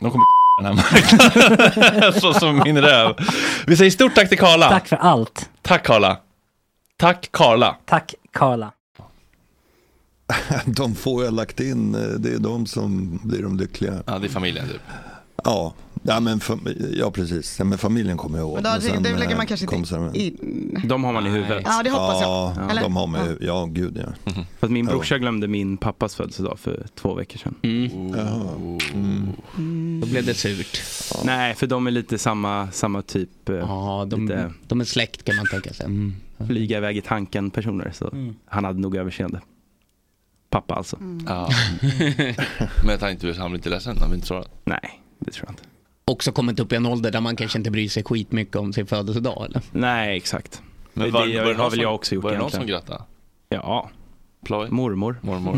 C: De kommer [laughs] den här marknaden. [laughs] Så som min röv. Vi säger stort tack till Karla.
G: Tack för allt.
C: Tack Karla. Tack Karla.
G: Tack Karla.
K: [laughs] De få jag lagt in, eh, det är de som blir de lyckliga.
C: Ja, det är familjen typ.
K: Ja, Ja, men fam- ja precis. Ja, men familjen kommer jag ihåg.
F: Men då- det- det lägger
K: eh,
F: man kanske inte
K: kompisarna-
F: in.
M: De har man i huvudet.
F: Ja, det hoppas jag.
K: Ja,
F: Eller?
K: de har man ju. Ja, gud ja.
H: Mhm.
M: För att min brorsa glömde min pappas födelsedag för två veckor sedan.
H: Mm.
K: Mm.
H: Då blev det surt.
M: Nej, för de är lite samma, samma typ.
H: Ja, de, de är släkt kan man tänka sig.
M: Flyga iväg i tanken personer. Så
H: Mm.
M: han hade nog överseende. Pappa alltså.
C: [laughs]
H: [laughs]
C: Ja. Men jag tänkte inte han blir inte ledsen. Han blir inte sårad.
M: Nej, det tror jag inte.
H: Också kommit upp i en ålder där man kanske inte bryr sig skitmycket om sin födelsedag eller?
M: Nej, exakt.
C: Men
M: Men det
C: var- var det någon
M: har väl
C: som-
M: jag också gjort
C: var det någon
M: egentligen.
C: som grattade?
M: Ja.
C: Ploj?
M: Mormor.
C: Mormor.
M: [laughs]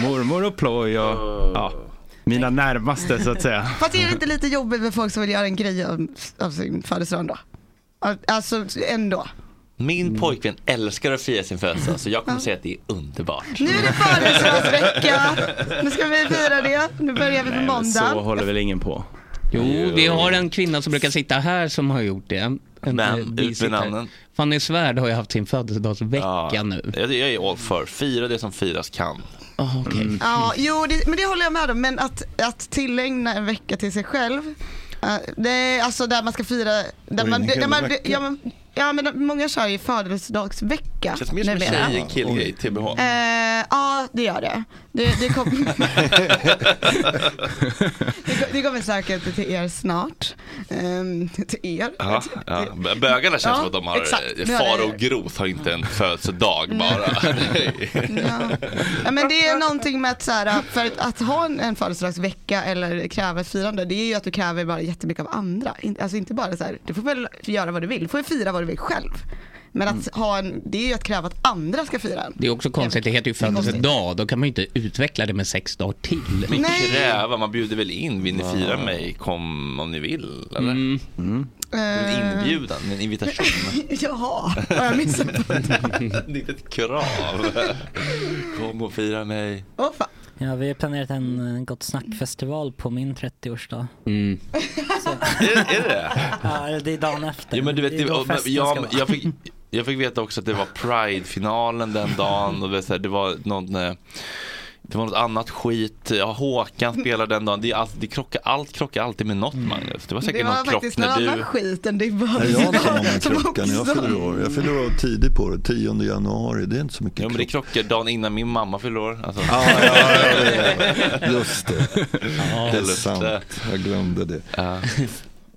M: Mormor och ploj och ja, mina närmaste så att säga.
F: Fast är det inte lite jobbigt med folk som vill göra en grej av, av sin födelsedag ändå? Alltså ändå.
P: Min pojkvän älskar att fira sin födelsedag så jag kommer säga att det är underbart.
F: Nu är det födelsedagsvecka. Nu ska vi fira det. Nu börjar vi på måndag.
M: håller väl ingen på.
H: Jo, vi har en kvinna som brukar sitta här som har gjort det. En, eh, bisittare.
C: namnen.
H: Fanny Svärd har ju haft sin födelsedagsvecka
C: Ja.
H: nu.
C: Jag, jag är all för. Fira det som firas kan.
H: Oh, okay.
P: Mm.
F: Ja, jo, det, men det håller jag med om. Men att, att tillägna en vecka till sig själv. eh, det är alltså där man ska fira. Där
C: Oj,
F: man,
C: en
F: där
C: hel
F: man,
C: vecka.
F: ja, men, ja, men många kör ju födelsedagsvecka.
C: Känns mer som en
F: numera.
C: tjej än killgrej. TBH.
F: Eh, ja, det gör det. Det, det, kom, [laughs]
P: [laughs]
F: det, kom- det kommer säkert till er snart. Ehm, till er.
C: Ja, ja. Bö- Bögarna känns
F: Ja,
C: som att de har,
F: exakt.
C: eh,
F: Nu har
C: far
F: det-
C: och grot har inte en födelsedag
F: [laughs]
C: bara.
F: Ja, men det är någonting med att, så här, för att, att ha en, en födelsedagsvecka eller kräva ett firande, det är ju att du kräver bara jättemycket av andra. In, alltså inte bara så här, du får väl göra vad du vill, du får ju fira vad du vill själv. Men att ha en, det är ju att kräva att andra ska fira en.
H: Det är också konstigt, det heter ju födelsedag, då kan man ju inte utveckla det med sex dagar till.
C: Men kräva, man bjuder väl in, vill ni fira mig, kom om ni vill. Eller?
H: Mm.
M: Mm.
C: En inbjudan, en invitation.
F: [laughs] Eh, Jaha, har jag missat?
C: det är [laughs] ett krav. Kom och fira mig.
G: Ja, vi har planerat en eh, Gott Snack-festival på min 30-årsdag. [laughs]
F: Mm.
C: Är, är det?
G: Ja, det är dagen efter.
C: Jo, men du vet,
G: det är
C: det,
G: då
C: och, men,
G: festen ska
C: jag,
G: vara.
C: jag, fick, jag fick veta också att det var Pride-finalen
F: [laughs]
C: den dagen. Och det, var så här, det, var någon, eh, det var något annat skit. Ja, Håkan spelade den dagen. Det, är allt, det krockar, allt krockar alltid med något, Magnus. Det var säkert
F: Mm. Det var
C: någon krock
F: faktiskt någon
C: när
F: annan
C: du...
F: skit än din
K: Nej, jag har inte
F: födelsedag. [laughs]
K: någon
F: som
K: klocka när jag
F: också-
K: fyller år. Jag fyller år tidigt på det, 10 januari. Det är inte så mycket
C: Jo, men det krockar dagen innan min mamma fyller år. Alltså. [laughs]
K: klocka. Just det.
C: Ja,
K: det är
C: just
K: sant.
C: det.
K: Jag glömde det.
C: Ja.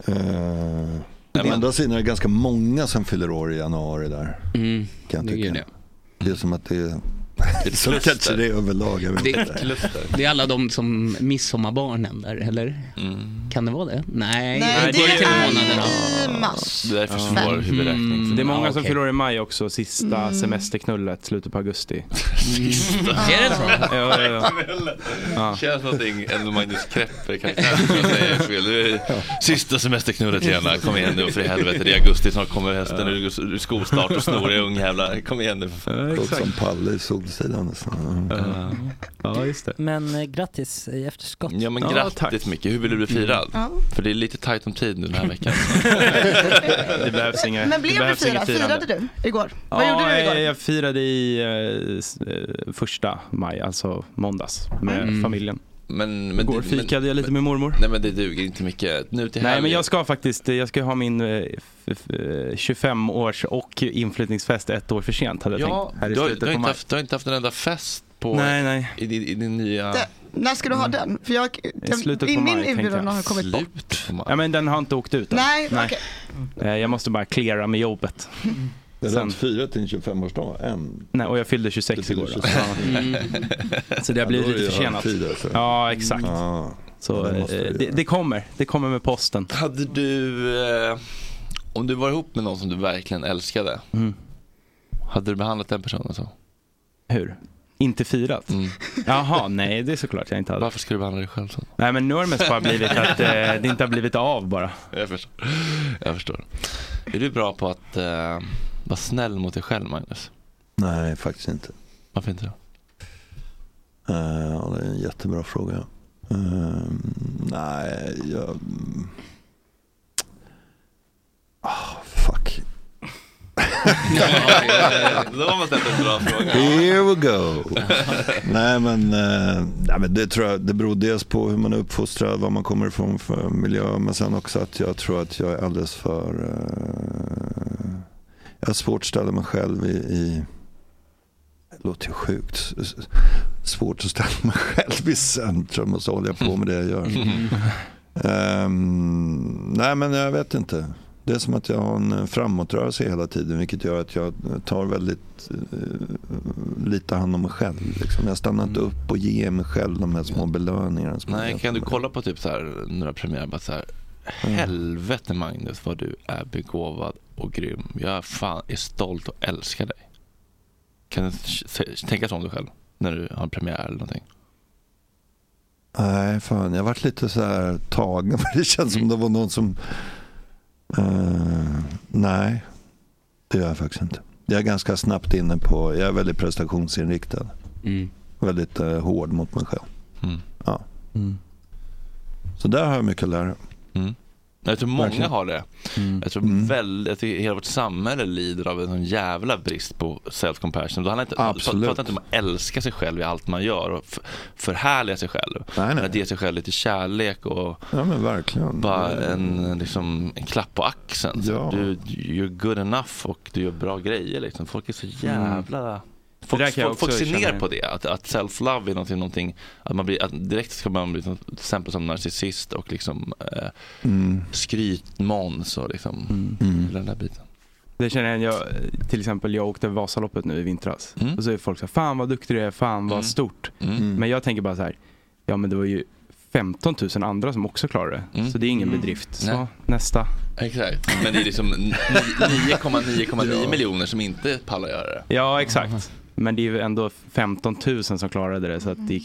K: Eh, Å andra sidan är det ganska många som fyller år i januari där. Kan jag tycka. Det. är som att det är... så
H: kluster.
K: kanske det är överlag. Jag vet
H: Det,
K: inte.
H: det är alla de som midsommarbarnen där, eller?
C: Mm.
H: Kan det vara det? Nej,
F: Nej, det
H: går till
F: är
H: månaderna.
F: i mars.
C: Det är därför
F: svår Fem. huvudräkning.
M: Mm. Det är många
H: Ja,
M: som
H: okej.
M: fyller år i maj också, sista
F: Mm.
M: semesterknullet, slutet på
C: [laughs]
H: [laughs]
M: augusti.
H: Är det så?
M: Ja, ja, ja.
C: Ja. Känns någonting, en Magnus Krepper kanske. Sista semesterknullet Lena, kom igen nu för i helvete. Det är augusti, snart kommer hösten, nu är det skolstart och snoriga ungjävlar. Kom igen nu.
K: Låter som Palle i Solsidan nästan.
M: Ja, just det.
G: Men eh, grattis i efterskott.
C: Ja men grattis Micke, hur vill du bli firad?
M: Mm.
G: Ja.
C: För det är lite tajt om tid
M: [laughs]
C: nu den här veckan.
M: Det behövs inga,
F: Men
M: det
F: blev du
M: behövs inget
F: firad? Firade
M: firande.
F: du igår?
M: Ja,
F: Vad gjorde du igår?
M: Jag, jag firade i eh, s- eh, första maj, alltså måndags, med
C: Mm.
M: familjen.
C: Men, men
M: Igår
C: det-
M: fikade jag lite med mormor.
C: Nej men det duger inte mycket. Nu till
M: Nej,
C: helgen.
M: men jag ska faktiskt jag ska ha min eh, f- f- eh, 25-års och inflyttningsfest ett år för sent, hade jag
C: Ja,
M: tänkt. Här i
C: du har,
M: slutet
C: du,
M: på
C: har inte
M: maj.
C: haft, du har inte haft en enda fest på,
M: Nej, nej.
C: I, din, i din nya...
F: Det- När ska du
C: mm.
F: ha den? För jag,
M: I slutet på
F: min
M: maj,
F: min
M: tänkte
F: inbjudan
M: jag.
F: har kommit bort.
M: Ja, men den har inte åkt ut än.
F: Nej, okej.
M: Eh, Jag måste bara cleara med jobbet.
K: Det har
M: Sen,
K: inte firat din 25-årsdag än.
M: nej, och jag fyllde 26 igår.
C: [laughs]
M: då. Ja.
C: Mm.
M: Så det har blivit
K: Ja, då är
M: lite
K: det
M: försenat.
K: högtid, alltså.
M: Ja, exakt. Så
K: Ja, det
M: eh,
K: måste det
M: det, det kommer. Det kommer med posten.
C: Hade du, eh, om du var ihop med någon som du verkligen älskade,
M: Mm.
C: hade du behandlat den personen så? Mm.
M: Hur? Inte firat? Jaha, nej det är såklart jag inte hade.
C: Varför skulle du behandla dig själv så?
M: Nej men nu har det mest bara blivit att eh, det inte har blivit av bara.
C: Jag förstår. Jag förstår. Är du bra på att eh, vara snäll mot dig själv, Magnus?
K: Nej, faktiskt inte.
C: Varför inte då?
K: Eh, ja, det är en jättebra fråga. Eh, nej, jag...
C: [laughs]
K: Ah, fuck.
P: Då har man ställt en bra fråga.
K: Here we go. nej, men, eh, nej, men det, tror jag, det beror dels på hur man är uppfostrad, var man kommer ifrån för miljö, men sen också att jag tror att jag är alldeles för... Eh, jag har svårt att ställa mig själv i... i det låter ju sjukt. S- Svårt att ställa mig själv i centrum och så håller jag på med det jag
P: [laughs]
K: gör. Ehm, nej, men jag vet inte. Det är som att jag har en framåtrörelse hela tiden vilket gör att jag tar väldigt eh, lite hand om mig själv. Liksom. Jag stannar inte upp och ger mig själv de här små belöningarna. som
C: Nej,
K: jag-
C: kan du kolla på typ så här, några premiärer bara så här, Helvete Magnus vad du är begåvad och grym. Jag är, fan, är stolt och älskar dig. Kan du se- tänka så om dig själv när du har en premiär eller någonting?
K: Nej, fan. Jag varit lite så här tagen. [laughs] för Det känns som det var någon som... Eh, nej, det gör jag faktiskt inte. Jag är ganska snabbt inne på... Jag är väldigt prestationsinriktad. Väldigt eh, hård mot mig själv.
C: Mm.
K: Ja. Så där har jag mycket att lära.
C: Jag tror många
K: Verkligen.
C: har det.
K: Mm.
C: Jag tror väldigt, att hela vårt samhälle lider av en sån jävla brist på self-compassion. Då handlar inte,
K: Absolut.
C: Absolut. Pratar inte om att älska sig själv i allt man gör och f- förhärliga sig själv. Men Att ge sig själv lite kärlek och
K: Ja, men verkligen.
C: bara en, liksom, en klapp på axeln. Så
K: Ja.
C: Du, you're good enough och du gör bra grejer. Liksom. Folk är så
K: Mm.
C: jävla...
M: Det där
C: Folk,
M: kan jag
C: folk, folk
M: också
C: ser ner
M: känna.
C: på det, att, att self-love är någonting, någonting att man blir, att direkt ska man bli till exempel som narcissist och liksom eh,
K: Mm.
C: skrytmåns och liksom hela den där biten.
M: Det känner jag, jag, till exempel jag åkte Vasaloppet nu i vintras. Och så är folk så här, fan vad duktig du är, fan vad stort. Men jag tänker bara så här, ja men det var ju 15 000 andra som också klarade det. Så det är ingen
C: Mm.
M: bedrift. Så,
C: Nej.
M: nästa.
C: Exakt, men det är liksom n- ni- 9,9,9 miljoner som inte pallar göra det.
M: Ja, exakt. Men det är ju ändå 15 000 som klarade det, så att det,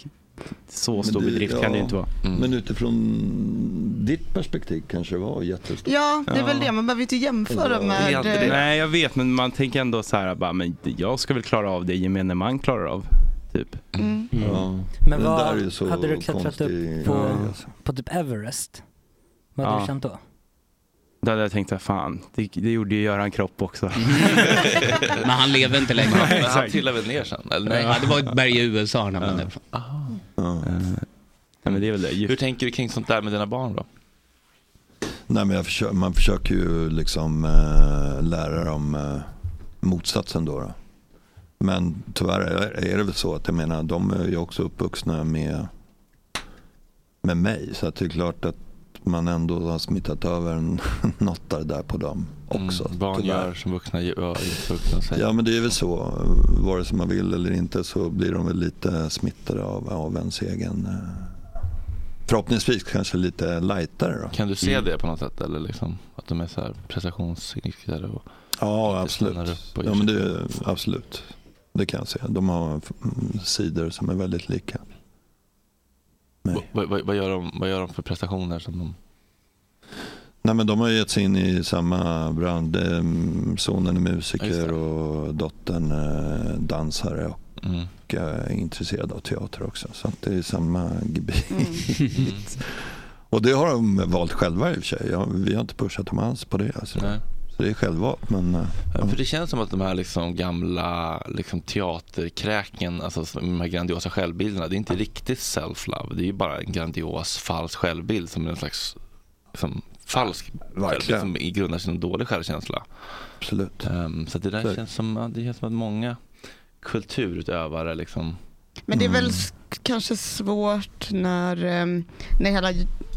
M: så stor
K: Men det-
M: bedrift kan det ju
K: ja.
M: inte vara.
K: Mm.
C: Mm.
K: Men utifrån ditt perspektiv kanske det var jättestort.
F: Ja, det är väl det. Man behöver ju inte jämföra med... eh,
M: Nej, jag vet, men man tänker ändå så här, bara, men jag ska väl klara av det gemene man klarar av. Typ.
F: Mm.
K: Ja.
G: Men vad hade du klättrat upp på, på typ Everest? Vad hade
M: Ja.
G: du känt då?
M: Då hade jag tänkt såhär, fan, det, det gjorde ju Göran Kropp också.
H: [laughs]
G: Mm.
M: [laughs]
H: Men han lever inte längre.
M: Nej,
C: Men han
M: exakt.
C: trillade väl ner sen? Eller nej?
H: Ja, det var ett berg i USA när man ja.
M: Nej, men det är väl det.
C: Hur tänker du kring sånt där med dina barn då?
K: Nej, men jag försöker, man försöker ju liksom eh, lära dem eh, motsatsen då, då. Men tyvärr är, är det väl så att jag menar, de är ju också uppvuxna med, med mig. Så att det är klart att man ändå har smittat över [laughs] en- något av det där på dem också.
C: Barn
K: tyvärr.
C: gör som vuxna gör, inte vuxna säger.
K: Ja men det är väl så. Vare sig man vill eller inte så blir de väl lite smittade av, av ens egen... eh, Förhoppningsvis kanske lite lightare då.
C: Kan du se det på något sätt? Eller liksom, att de är så här prestationsinriktade? Och...
K: Ja absolut.
C: upp och gör
K: Ja, men det, absolut. Det kan jag säga. De har mm, sidor som är väldigt lika.
C: Vad, vad, vad, gör de, vad gör de för prestationer? Som de...
K: Nej, men de har ju gett sig in i samma bransch. Det är, mm, Sonen är musiker och dottern eh, dansare och eh, är intresserad av teater också. Så att det är samma gebit. [laughs] och det har de valt själva i och för sig. Ja, vi har inte pushat dem alls på det. Alltså. Så det är självvalt. Men, eh,
C: Ja, För det känns som att de här liksom gamla liksom teaterkräken, alltså som- de här grandiosa självbilderna, det är inte riktigt self-love. Det är ju bara en grandios falsk självbild som är en slags liksom, falsk självbild som i- grundar sig i en dålig självkänsla. Ehm,
K: Absolut.
C: så att det där
K: Så är det.
C: känns som, ja, det känns som att många kulturutövare liksom
F: Men det är väl s- kanske svårt när, eh, när, hela,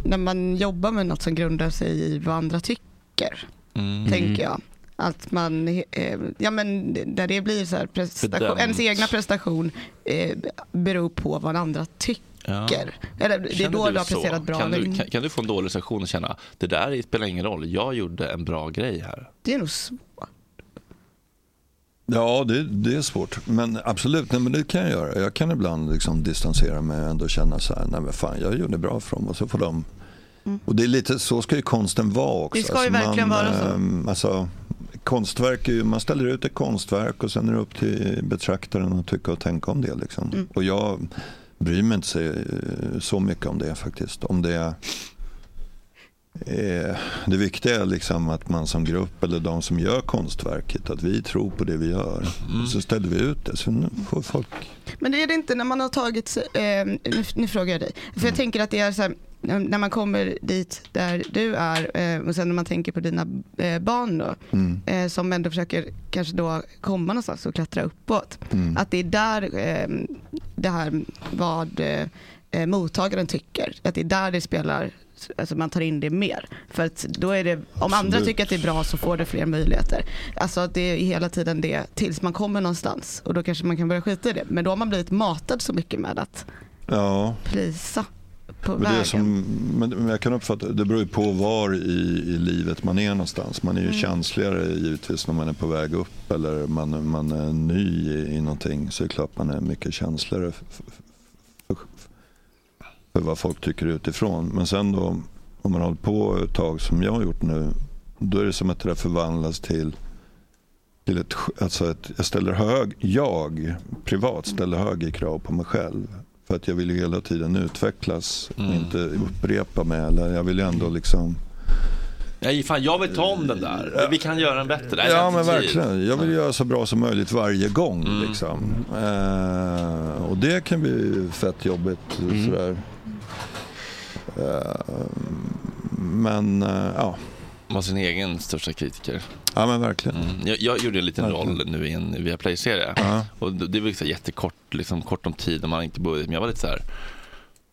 F: när man jobbar med något som grundar sig i vad andra tycker,
C: Mm.
F: tänker jag. Att man, eh, ja men där det blir så här prestation,
C: Bedömt.
F: ens egna prestation eh, beror på vad andra tycker. Eller det är
C: Känner
F: då du har
C: så?
F: presterat bra.
C: Kan
F: eller
C: du,
F: inte.
C: kan, kan du få en dålig session och känna, det där spelar ingen roll, jag gjorde en bra grej här.
F: Det är nog svårt.
K: Ja, det, det är svårt. Men absolut, nej, men det kan jag göra. Jag kan ibland liksom distansera mig och ändå känna så här, nej men fan, jag gjorde bra för dem och så får de... Och det är lite, så ska ju konsten vara
F: Mm.
K: också. Alltså
F: Det ska ju verkligen
K: man,
F: vara så.
K: ehm, Alltså, konstverk är ju, man ställer ut ett konstverk och sen är det upp till betraktaren att tycka och tänka om det. Liksom.
F: Mm.
K: Och jag eh, bryr mig inte så, så mycket om det faktiskt. Om det är Eh, Det viktiga är liksom att man som grupp eller de som gör konstverket, att vi tror på det vi gör. Och så ställer vi ut det, så nu får folk...
F: Men är det inte när man har tagit sig, eh, nu, nu frågar jag dig, för jag tänker att det är så här, när- när man kommer dit där du är eh, och sen när man tänker på dina eh, barn då, eh, som ändå försöker kanske då komma någonstans och klättra uppåt.
A: Mm.
F: Att det är där eh, det här vad eh, eh, mottagaren tycker, att det är där det spelar Alltså man tar in det mer. För att då är det, om andra
K: Absolut.
F: tycker att det är bra så får det fler möjligheter. Alltså att det är hela tiden det tills man kommer någonstans och då kanske man kan börja skita i det. Men då har man blivit matad så mycket med att
K: Ja.
F: prisa på
K: Men, det är
F: vägen.
K: som, men men jag kan uppfatta det beror ju på var i, i livet man är någonstans. Man är ju
F: Mm.
K: känsligare givetvis när man är på väg upp eller man, man är ny i, i någonting. Så är det klart man är mycket känsligare f- f- för, för vad folk tycker utifrån. Men sen då om man håller på ett tag som jag har gjort nu. Då är det som att det där förvandlas till till ett, alltså ett, jag ställer hög, jag privat ställer högre krav på mig själv. För att jag vill ju hela tiden utvecklas
C: Mm.
K: och inte upprepa mig. Eller jag vill ju ändå liksom...
P: Nej, fan, jag vill ta om den där. Vi kan göra den bättre. Nej,
K: ja
P: vänta
K: men
P: tid.
K: verkligen. Jag vill göra så bra som möjligt varje gång.
C: Mm.
K: Liksom. Eh, och det kan bli fett jobbigt.
C: Mm.
K: Sådär. Eh, men eh, ja.
C: Var sin egen största kritiker.
K: ja, men verkligen.
C: Jag, jag gjorde en liten
K: Verkligen.
C: roll nu i en Viaplay-serie. Och det det var liksom jättekort, liksom, kort om tid och man hade inte budget. Men jag var lite så här,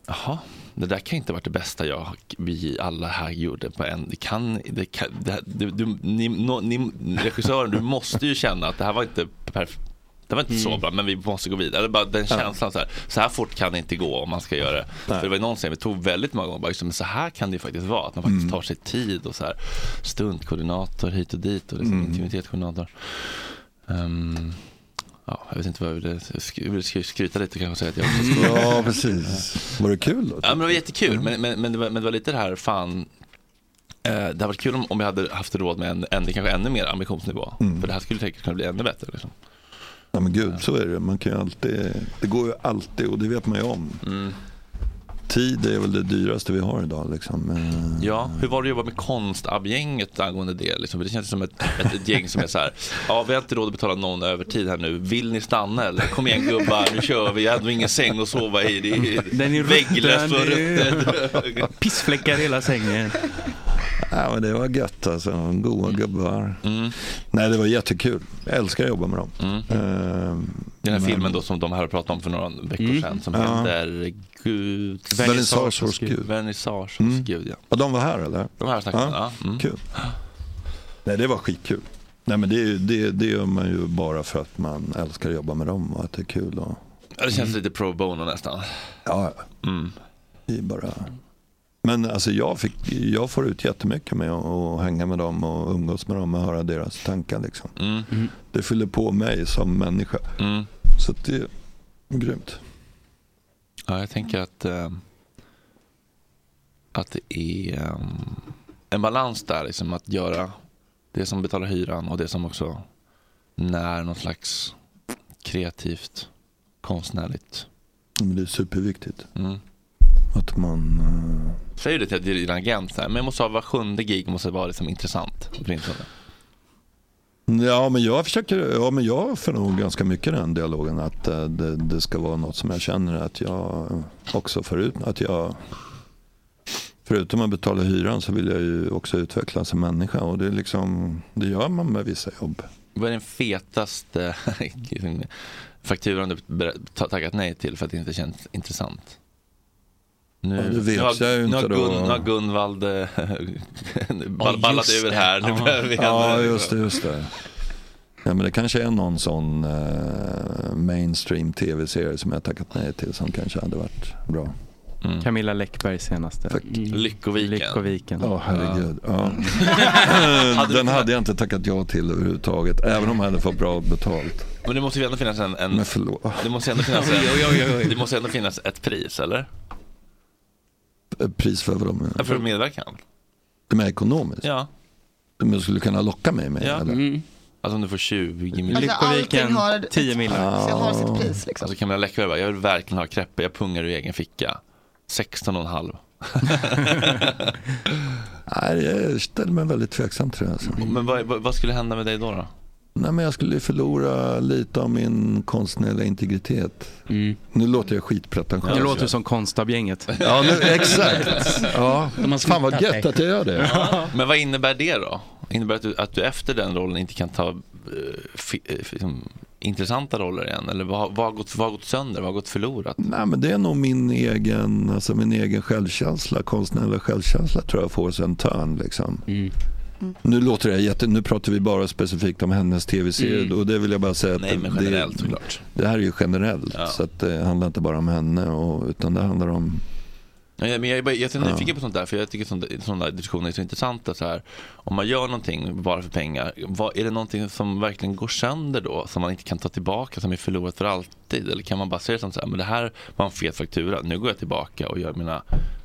C: jaha, det där kan inte ha varit det bästa jag, vi alla här gjorde på en. Det kan, det kan, det, här- du, du, ni, no, ni, regissören, du måste ju känna att det här var inte perf- det var inte så
P: Mm.
C: bra, men vi måste gå vidare. Eller bara den
P: Ja.
C: känslan så här, så här fort kan det inte gå om man ska göra det. För det var ju någon scen vi tog väldigt många gånger, bara, just, det, men så här kan det ju faktiskt vara. Att man
P: Mm.
C: faktiskt tar sig tid och så här, stuntkoordinator hit och dit och liksom
K: Mm.
C: intimitetskoordinator. Ehm, ja, jag vet inte vad jag ville, jag sk- jag ville sk- skryta lite och kanske säga att jag också skojade.
K: Mm. Ja, precis. Var det kul då? Mm.
C: Ja, men det var jättekul, men, men, men, det var, men det var lite det här, fan, eh, det hade varit kul om, om jag hade haft råd med en, en kanske ännu mer ambitionsnivå.
K: Mm.
C: För det här skulle säkert kunna bli ännu bättre. Liksom.
K: Ja men gud, så är det. Man kan ju alltid, det går ju alltid och det vet man ju om.
C: Mm.
K: Tid är väl det dyraste vi har idag. Liksom. Eh,
C: Ja, hur var det att jobba med konstabgänget angående det? Liksom? För Det känns som ett, ett, ett gäng som är så här, ja vi har inte råd att betala någon övertid här nu, vill ni stanna eller? Kom igen gubbar, nu kör vi, jag hade ingen säng att sova i, det är,
M: Den är
C: vägglöst och
M: rutten. [laughs]
C: ruttet.
M: Pissfläckar i hela sängen.
K: Ja, men det var gött alltså. Goa
C: Mm.
K: gubbar. Nej, det var jättekul. Jag älskar att jobba med dem. Mm.
C: Den här filmen då som de här pratade om för några veckor
K: Mm.
C: sedan som
K: Ja.
C: heter Gud...
K: Vernissage hos Gud.
C: Vernissage hos
K: Mm.
C: Gud, ja.
K: Ja, de var här eller?
C: De var här och snackade, ja. Mm.
K: Kul. Nej, det var skitkul. Nej, men det, är ju- det, det gör man ju bara för att man älskar att jobba med dem och att det är kul. Och...
C: Ja, Det känns lite pro bono nästan.
K: Ja,
C: Mm.
K: det är bara... Men alltså jag, fick, jag får ut jättemycket med att att hänga med dem och umgås med dem och höra deras tankar. Liksom.
C: Mm.
K: Det fyller på mig som människa. Så att det är grymt.
C: Ja, jag
K: Mm.
C: tänker att, ehm, att det är ehm, en balans där. Liksom, att göra det som betalar hyran och det som också när något slags kreativt, konstnärligt.
K: Men det är superviktigt.
C: Mm.
K: Att man... eh,
C: Säger du det till din agent, så här, men jag måste ha var sjunde gig måste vara liksom intressant. åtminstone.
K: Ja men, jag försöker, ja, men jag för nog ganska mycket den dialogen. Att eh, det, det ska vara något som jag känner att jag också förut, att jag Förutom att betala hyran så vill jag ju också utvecklas som människa och det, är liksom, det gör man med vissa jobb.
C: Vad är den fetaste [laughs] liksom, fakturan du ber- ta- tackat nej till för att det inte känns intressant? Nu,
K: Ja, det vet
C: nu har,
K: jag ju
C: nu
K: inte
C: har
K: då.
C: Gun, nu har
K: [laughs]
C: Gunvald eh, ball,
K: Ja,
C: ballat
K: just
C: över
K: det.
C: här. Nu
K: Ja.
C: behöver vi
K: Ja,
C: henne.
K: just det. Just det. Ja, men det kanske är någon sån eh, mainstream tv-serie som jag tackat nej till som kanske hade varit bra.
C: Mm.
G: Mm.
M: Camilla Läckberg senaste.
C: Lyckoviken.
M: Lyckoviken.
K: Ja, herregud. Ja. Den hade jag inte tackat ja till överhuvudtaget, även om jag hade fått bra betalt.
C: Men det måste ju ändå finnas en... en
K: Men förlåt. ah,
C: Det måste, ju ändå
F: [laughs]
C: finnas
K: Oj, oj, oj, oj.
C: en, det måste ändå finnas ett pris, eller?
K: Pris för vad de...
C: Ja, För medverkan?
K: De är ekonomiskt.
C: Ja.
K: De skulle kunna locka mig med.
C: ja.
K: Eller?
F: Mm.
C: Alltså om du får 20 miljoner.
F: Alltså, allting har- 10 miljoner. så har sitt pris, liksom.
C: Alltså Camilla Läckberg bara, jag vill verkligen ha crepe, jag pungar ur egen ficka. 16,5.
K: [laughs] Nej, jag ställer mig väldigt tveksam till det. Alltså.
C: Men vad, vad, vad skulle hända med dig då? då?
K: Nej, men jag skulle förlora lite av min konstnärliga integritet. Nu låter jag skitpretentiös.
M: Mm. Det låter som konstabgänget.
K: Ja, nu,
M: [laughs]
K: exakt. Ja. Fan vad gött att jag gör det.
C: Men vad innebär det då? Innebär det att du, att du efter den rollen inte kan ta eh, fi, eh, fi- liksom, intressanta roller igen? Eller vad, har- vad, har gått, vad har gått sönder? Vad har gått förlorat?
K: Nej, men det är nog min egen, alltså min egen självkänsla, konstnärliga självkänsla tror jag får sig en törn. Liksom.
C: Mm.
K: Nu låter det jätte, nu pratar vi bara specifikt om hennes tv-serie
C: Mm.
K: och det vill jag bara säga att
C: Nej, men generellt
K: det,
C: såklart.
K: det här är ju generellt
C: Ja.
K: så att det handlar inte bara om henne och, utan det handlar om
C: Nej, men jag är bara jättenyfiken
K: Ja.
C: på sånt där, för jag tycker sånt- sådana där diskussioner är så intressanta. Så här, om man gör någonting bara för pengar, vad, är det någonting som verkligen går sönder då, som man inte kan ta tillbaka, som är förlorat för alltid? Eller kan man bara se det som så här, men det här var en fet faktura, nu går jag tillbaka och gör mina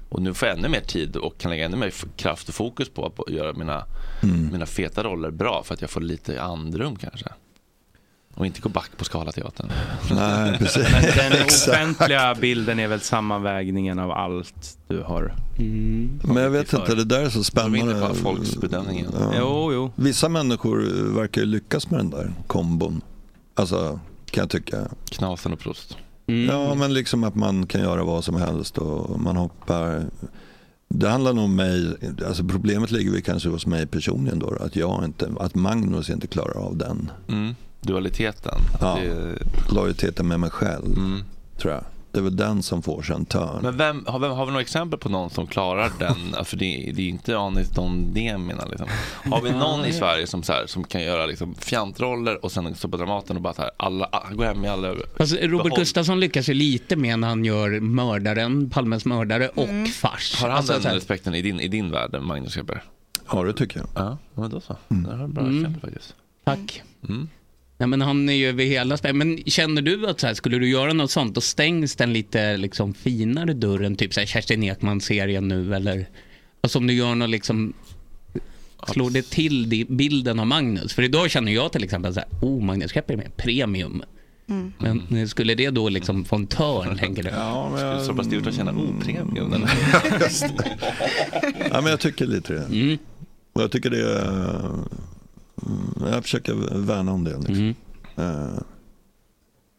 C: och nu får jag ännu mer tid och kan lägga ännu mer f- kraft och fokus på att på- göra mina,
K: Mm.
C: mina feta roller bra för att jag får lite andrum kanske. Och inte gå back på Scalateatern.
K: Nej,
C: [laughs]
M: Men den offentliga bilden är väl sammanvägningen av allt du har.
K: Men jag vet inte, det där är så spännande.
C: på folks bedömning.
K: Ja.
M: Jo, jo.
K: Vissa människor eh, verkar ju lyckas med den där kombon. Alltså, kan jag tycka.
C: Knasen och prost.
M: Mm.
K: Ja, men liksom att man kan göra vad som helst och man hoppar. Det handlar nog om mig, alltså problemet ligger väl kanske hos mig personligen då, att jag inte, att Magnus inte klarar av den.
C: Mm. Dualiteten.
K: Ja,
C: Det- Mm.
K: lojaliteten med mig själv, tror jag. Det är väl den som får sig en törn.
C: Men vem, har, vem, har vi några exempel på någon som klarar den? Alltså, För det, det är inte Anis Don Demina. Liksom. Har vi någon i Sverige som, så här, som kan göra liksom, fjantroller och sen stå på Dramaten och bara så här, alla, han går hem i alla...
H: Fast Alltså, Robert
C: behåll-
H: Gustafsson lyckas ju lite med när han gör mördaren, Palmes mördare och
F: Mm.
H: fars.
C: Har han
H: Alltså,
C: den
H: så här-
C: respekten i din, i din värld, Magnus Sjöberg?
K: Ja, det tycker jag.
C: Ja, men då så. Det här är bra
H: Mm.
C: exempel faktiskt.
H: Tack.
C: Mm.
H: Nej, men han är ju över hela spä- Men känner du att så här, skulle du göra något sånt, då stängs den lite liksom, finare dörren, typ så här, Kerstin Ekman-serien nu eller? Alltså om du gör något liksom, slår det till di- bilden av Magnus? För idag känner jag till exempel så här, oh Magnus Skepp är med, premium.
C: [laughs] Mm.
H: Men eh, skulle det då liksom få en
C: [laughs]
H: törn, tänker du?
K: Ja, men
C: Skulle Sopas det ut att känna oh, opremium? eller? [laughs]
K: Ja, men jag tycker lite det. Och jag tycker det är, mm, Jag försöker värna om det. Liksom. Eh,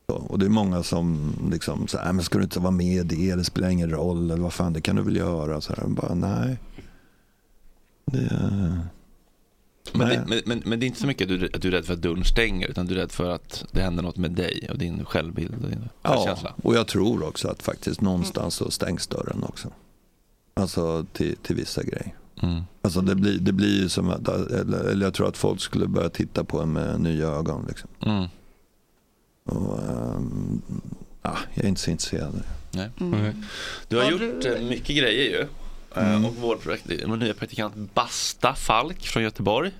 K: ja, och det är många som liksom, så här, "Nej, men ska du inte vara med i det? Det spelar ingen roll. Eller vad fan, det kan du väl göra? Så här, bara, nej. Det, eh, är-
C: Men det, men, men, men det är inte så mycket att du, att du är rädd för att dörren stänger, utan du är rädd för att det händer något med dig och din självbild och din
K: ja,
C: självkänsla.
K: och jag tror också att faktiskt någonstans så stängs dörren också. Alltså till, till vissa grejer.
H: Mm.
K: Alltså det blir, det blir ju som att, eller, eller jag tror att folk skulle börja titta på en med nya ögon. Liksom.
C: Mm.
K: Och, ehm, ah, jag är inte så intresserad av det.
C: Nej.
K: Mm.
C: Du har, gjort eh, mycket grejer ju. Eh, Och vår, praktik- vår nya praktikant Basta Falk från Göteborg.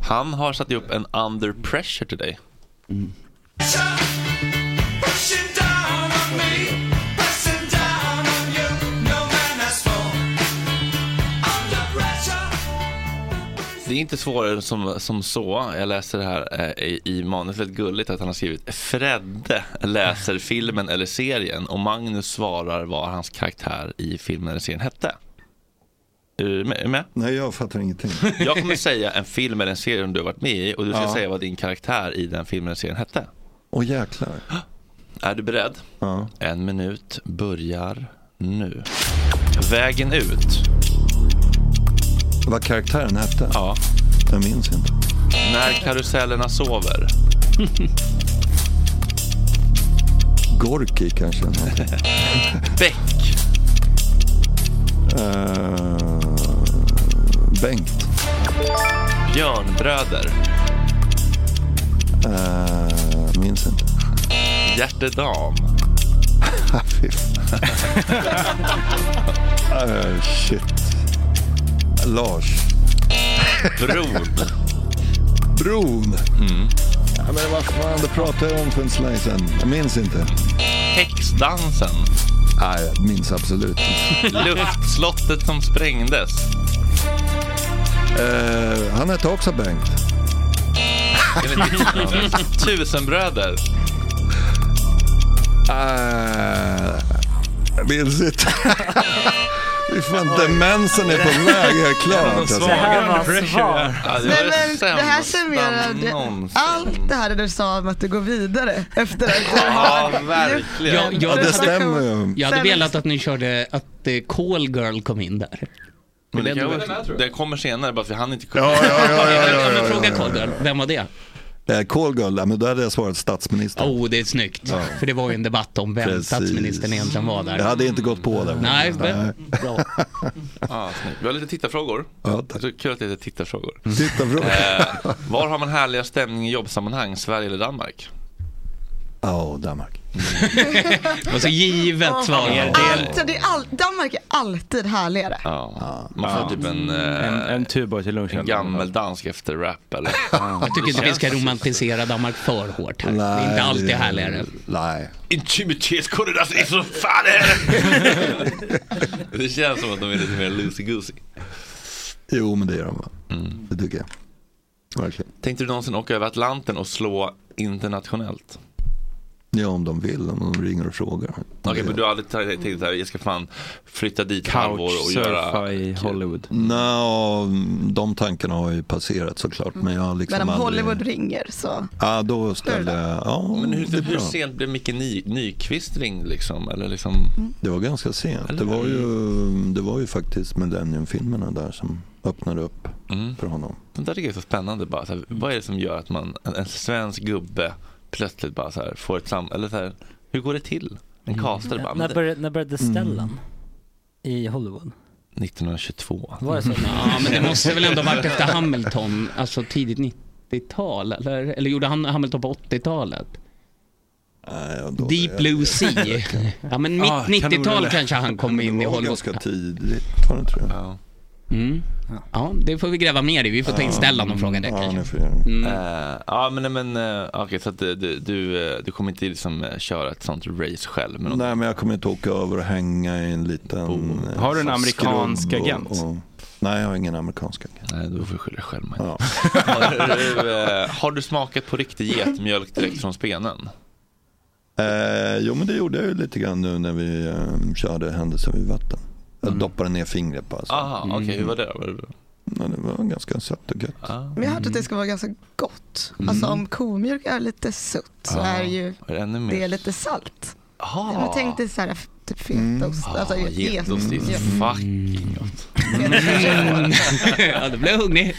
C: Han har satt ihop en under pressure till dig. Det är inte svårare som, som så. Jag läser det här eh, i, i manuset väldigt gulligt att han har skrivit Fredde
K: [laughs]
C: läser filmen eller serien och Magnus svarar vad hans karaktär i filmen eller serien hette. Är du med? är du med?
K: Nej, jag fattar ingenting.
C: [laughs] Jag kommer säga en film eller en serie som du har varit med i och du ska
K: Ja.
C: säga vad din karaktär i den filmen eller serien hette.
K: Åh jäklar.
C: Är du beredd?
K: Ja.
C: En minut börjar nu. Vägen ut.
K: Vad karaktären hette?
C: Ja.
K: Jag minns inte. [laughs]
C: När karusellerna sover.
K: Gorki kanske?
C: [laughs] Bäck.
K: Eh, Bengt.
C: Björnbröder.
K: Eh, minns inte. [laughs]
C: Hjärtedam.
K: Fy fan. Eh, shit. Lars.
C: Bron.
K: Bron. Ja, men vad fan, det pratade jag om för en slang sedan. Jag minns inte.
C: Häxdansen.
K: Nej, jag minns absolut
C: [laughs]
K: inte.
C: Luftslottet som sprängdes.
K: Eh, han hette också Bengt.
C: Tusenbröder.
K: Äh, Uh, minns inte. Det är fan demensen
F: [laughs]
K: är på väg, helt klart. Alltså.
F: Det här var svagt.
K: Ja, det var
F: Nej,
K: det
F: men det här
K: sämsta
F: summerade
K: någonsin.
F: allt det här du sa om att du går vidare efter att [laughs]
H: verkligen. Ja, ja, det stämmer
K: ju.
H: Jag hade
F: Sen-
H: velat att ni körde att eh, Call Girl kom in där.
C: Men det,
H: Den
C: kan
H: var-
C: väl, det kommer senare, bara att vi hann inte
H: Men fråga Call Girl, vem var det?
K: Eh, Call Girl, ja, men då hade jag svarat statsminister.
H: Oh, det är snyggt.
K: Ja.
H: För det var ju en debatt om vem
K: Precis.
H: statsministern egentligen var där.
K: Jag hade inte gått på det.
H: Nej, men- bra.
C: [laughs] Ah, snyggt. vi har lite tittarfrågor.
K: Ja, Mm.
C: Så kul att det heter tittarfrågor.
K: Tittarfrågor.
C: Eh, var har man härligast stämning i jobbsammanhang, Sverige eller Danmark?
K: Ja, Danmark.
C: Mm.
H: [laughs] Det var så givet
C: svar.
F: Alltid, det är all, Danmark är alltid härligare.
C: Ja. Man får
M: Ja.
C: typ en, eh,
M: En, en tuba till lunchen.
C: en gammeldansk efter rap
K: [laughs]
C: eller?
H: Jag tycker inte vi ska romantisera Danmark för hårt här. Det är inte alltid härligare.
K: Nej.
C: Intimitetskorridor är så fan [laughs]
P: Det känns som att de är lite mer loosey-goosey.
K: Jo, men det gör de va?
H: Mm.
K: Det tycker jag. Verkligen.
C: Tänkte du någonsin åka över Atlanten och slå internationellt?
K: Ja, om de vill, om de ringer och frågar.
C: Okej, men du har aldrig t- tänkt såhär, jag ska fan flytta dit ett halvår och göra...
M: i Hollywood.
K: Nå, de tankarna har ju passerat såklart. Men jag har liksom
F: Men om
K: aldrig...
F: Hollywood ringer så.
K: Ja, då ställde jag... Ja,
C: Men hur,
K: det, är
C: hur
K: bra.
C: sent blev Micke Ny, Nyqvist ringd liksom? Eller liksom?
K: det var ganska sent. Det var, ju, det var ju faktiskt Millennium-filmerna där som öppnade upp
H: Mm.
K: för honom.
C: Det där tycker jag är så spännande bara. Så här, vad är det som gör att man, en, en svensk gubbe plötsligt bara så här, får ett sam... Eller så här, hur går det till? En
K: Mm.
C: castare bara. men
G: När
C: det-
G: började, när började
M: Mm.
G: Stellan i Hollywood?
C: 1922.
G: Var det så?
H: Ja, men det måste väl ändå varit efter Hamilton, alltså tidigt 90-tal? Eller, eller gjorde han Hamilton på 80-talet? Deep Blue
K: [laughs]
H: Sea. Ja, men mitt
K: Ah,
H: 90-tal
K: kanoner.
H: kanske han kom in i
K: Det var
H: Hollywood.
K: ganska tidigt, var det tror jag.
H: Mm. Ja, det får vi gräva mer i. Vi får ta in Stellan och fråga det kanske. Mm. [laughs]
C: Eh, ja, men, nej, men eh, okej, så att du, du, du, eh, du kommer inte liksom eh, köra ett sånt race
K: [laughs]
C: själv? Men
K: Nej, men jag kommer inte åka över och hänga i en liten... eh,
C: Oh. Har du en amerikansk
K: skrubb
C: agent?
K: nej, jag har ingen amerikansk agent.
C: Nej, då får du skylla dig själv. Maja.
K: Ja. [laughs]
C: har, du, eh, har du smakat på riktig getmjölk direkt från spenen?
K: Eh, jo, men det gjorde jag ju lite grann nu när vi eh, körde händelser vid vatten. Jag doppade ner fingret på. Alltså.
C: Mm. Aha, okej, hur var Ah. det då? Var det bra?
K: Men det var ganska sött och gött.
F: Men jag har hört att det ska vara ganska gott.
K: Mm.
F: Alltså om komjölk är lite sutt så
K: Ah.
F: är ju
C: Är det ännu mer?
F: det är lite salt.
C: Aha.
F: Jag tänkte så här, typ fetaost. Alltså,
C: Ah, Getost, det är
F: get-
H: Mm.
C: fucking gott.
H: ja, då blev jag hungrig.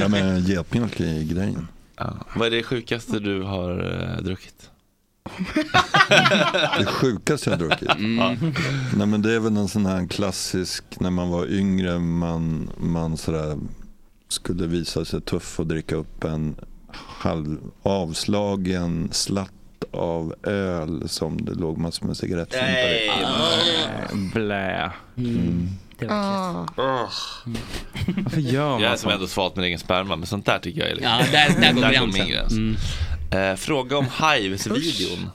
K: Ja, men getmjölk är grejen.
C: Ja. Vad är det sjukaste du har eh, druckit?
K: Det sjukaste jag har
C: [laughs]
K: druckit.
H: Mm.
K: Nej, men det är väl en sån här klassisk, när man var yngre, man, man sådär skulle visa sig tuff och dricka upp en halv avslagen slatt av öl som det låg massor med cigarettfimpar i.
M: Blä.
F: Ah.
M: Varför gör man
C: Jag är som ändå svalt min egen sperma, men sånt där tycker jag är lite...
H: Ja, där- där går gränsen. Mm.
C: min gräns. Eh,
H: [laughs]
C: fråga om Hives-videon.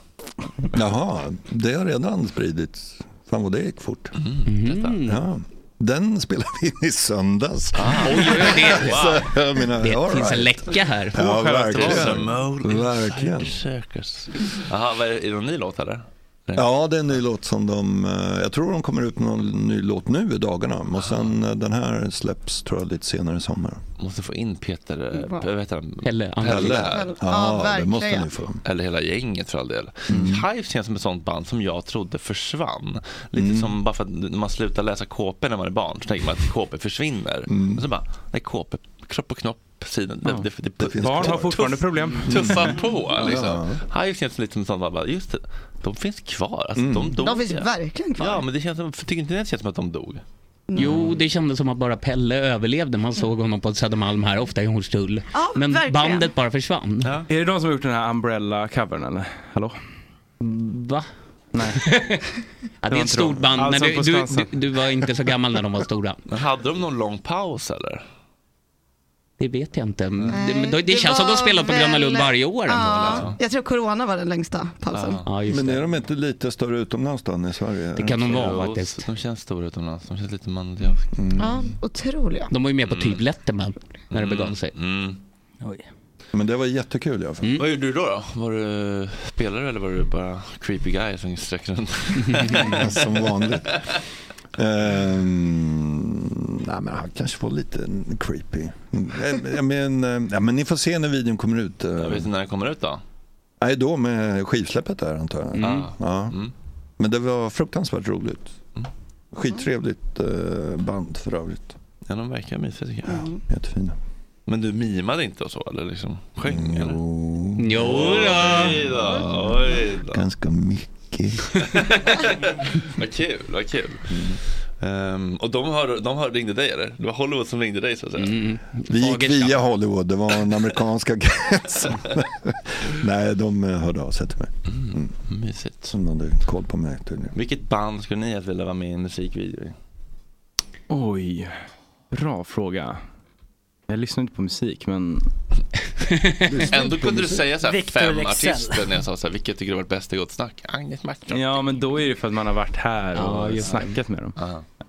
K: Jaha, det har redan spridits. Fan vad det gick fort.
C: Mm,
K: Mm. Ja. Den spelade vi in i söndags.
C: Ah,
H: Oj, oj, oj, det-
K: [laughs] Så, jag menar,
H: Det
K: all
H: finns en
K: right.
H: läcka här.
K: Ja,
C: Mole
K: verkligen. verkligen.
C: Verkligen. Circus. Jaha, vad är, är det någon ny låt eller?
K: Ja, det är en ny låt som de... eh, Jag tror de kommer ut med någon ny låt nu i dagarna.
H: Ah.
K: Och sen eh, den här släpps tror jag lite senare i sommar.
C: Måste få in Peter,
K: Bra.
C: eh, vad heter han?
H: Pelle
K: Pelle.
C: här.
K: Ja, Ja, det måste verkligen. ni få.
C: Eller hela gänget för all del. Hives känns som ett sånt band som jag trodde försvann. Lite som bara för att när man slutar läsa KP när man är barn så tänker man att KP försvinner. Men så bara, nej KP, kropp och knopp, sidan.
M: Ja.
C: Det, det, det,
M: finns Barn har fortfarande problem.
C: [laughs] Tuffa
M: Mm.
C: på liksom.
M: Ja.
C: Hives känns lite som ett sånt band, bara, just det, de finns kvar. Alltså, de, dog.
F: De finns verkligen kvar.
C: Ja, men det känns som, tycker inte ni att det känns som att de dog?
F: Mm.
H: Jo, det kändes som att bara Pelle överlevde. Man såg honom på Södermalm här, ofta i Hornstull. Men
M: verkligen.
H: bandet bara försvann.
M: Är det de som har gjort den här Umbrella-covern eller? Hallå?
H: Va? [laughs]
M: Nej.
H: Ja, det är ett stort band, men du, du, du, du var inte så gammal när de var stora.
C: Men hade de någon lång paus eller?
H: Det vet jag inte. men
F: Nej,
H: Det, men det, det känns som att de
F: var
H: spelar på Gröna Lund
F: väl-
H: varje år. ändå. liksom.
F: Ja, jag tror corona var den längsta pausen.
K: Men är de inte lite större utomlands då än i Sverige?
H: Det kan de vara, faktiskt.
C: De känns stora utomlands, de känns lite manliga.
F: Ja, otroliga.
H: De var ju med på
C: Mm.
H: typ Letterman när det begav sig.
K: Men det var jättekul i alla fall.
C: Vad gjorde du då? då? Var du
K: [laughs]
C: spelare eller var du bara creepy guy som gick sträck runt?
K: Som vanligt. Ehm, nej, men han kanske var lite creepy. Eh, Jag men, eh, ja, men ni får se när videon kommer ut. eh.
C: Jag vet inte när den kommer ut då.
K: Nej, då med skivsläppet där antar jag.
C: Mm. Mm.
K: Ja. Men det var fruktansvärt roligt. Skittrevligt eh, band för övrigt.
C: Ja, de verkar mysiga tycker jag.
K: Jättefina.
C: Men du mimade inte och så eller liksom sjöng? eller?
H: Jo
C: Oj då, oj då.
K: Ganska mycket.
C: [laughs] vad kul, vad kul.
K: Mm.
C: Ehm, och de, hör, de hör, ringde dig eller? Det var Hollywood som ringde dig så att säga?
H: Mm.
K: Vi gick via Hollywood, det var den amerikanska gränsen. [laughs] Nej, de eh, hörde av sig till mig. Mm.
C: Mysigt.
K: Som de hade koll på mig tydligen.
C: Vilket band skulle ni vilja vara med i en musikvideo i?
M: Oj, bra fråga. Jag lyssnar inte på musik, men...
C: [laughs] Ändå kunde du säga så här
M: Victor
C: fem
M: Leksell.
C: artister när jag sa så här, vilket tycker du varit bäst i Gott Snack? Agnes Martin.
M: Ja, men då är det för att man har varit här
C: Ja,
M: och
C: just det.
M: snackat med dem.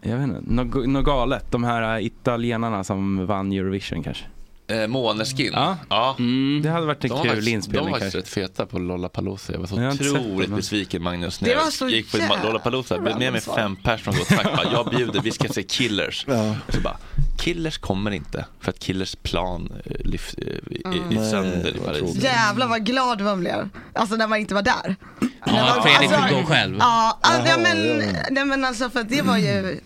M: Jag vet inte, något nå galet. De här äh, italienarna som vann Eurovision kanske.
C: Eh, Måneskin. Ja.
M: Det hade varit en
C: De var
M: kul
C: faktiskt- De
M: inspelning
C: var faktiskt
M: kanske.
C: rätt feta på Lollapalooza. Jag var så
M: Jag har inte sett
C: otroligt
M: dem.
C: besviken Magnus
M: Det
C: när
M: var så
C: jag gick på
M: jävla
C: Lollapalooza. Jag blev med mig
M: bra
C: fem pers från Gott Snack. Bara, Jag bjuder, vi ska se Killers.
K: Ja.
C: Och så bara, Killers kommer inte för att Killers plan eh, lyfts eh, i-
M: Mm.
C: i- i
K: Nej,
C: sönder i
K: vad
C: Paris. Mm.
K: tråkigt.
F: Jävlar vad glad man blev. Alltså när man inte var där. När man-
C: Fredrik
F: alltså-
C: fick gå själv.
F: Ja, alltså,
H: Jaha,
F: men,
H: ja.
F: nej, men alltså för att det var ju,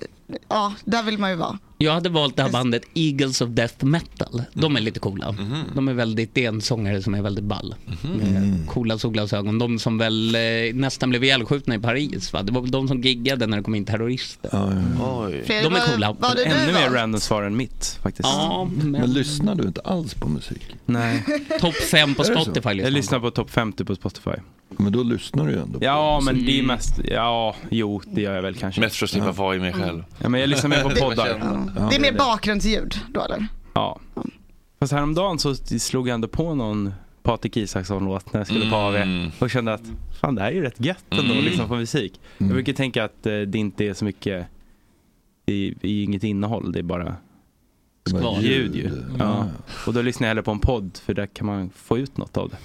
F: ja där vill man ju vara.
H: Jag hade valt det här bandet Eagles of Death Metal. De är lite coola.
C: Mm.
H: De är väldigt, det är en sångare som är väldigt ball.
G: Mm.
H: Med coola solglasögon. De som väl eh, nästan blev ihjälskjutna i Paris. Va? Det var väl de som giggade när det kom in terrorister.
M: Fredrik,
H: De är
M: vad-
H: coola.
M: vad hade du Ännu mer valt? random svar än mitt faktiskt.
H: Ja, men...
K: Men lyssnar du inte alls på musik? [laughs]
M: Nej.
H: Topp 5
K: på Är det så? Spotify lyssnar
M: Jag lyssnar på topp 50 på Spotify.
K: Men då lyssnar du ju ändå.
M: Ja, men det är mest, ja, jo, det gör jag väl kanske.
C: Mest för att slippa vara i mig själv.
M: Ja, men jag lyssnar mer på
C: [laughs] Det-
M: poddar.
F: Det är mer bakgrundsljud då eller?
M: Ja. Fast häromdagen så slog jag ändå på någon Patrik Isaksson-låt när jag skulle på AV
K: Mm.
M: och kände att fan det här är ju rätt gött ändå
C: Mm.
M: liksom på musik.
K: Mm.
M: Jag brukar tänka att eh, det inte är så mycket, det är, det är ju inget innehåll, det är bara
K: Det är bara
M: ljud ju.
K: ljud.
M: Ja. Och då lyssnar jag hellre på en podd för där kan man få ut något av det.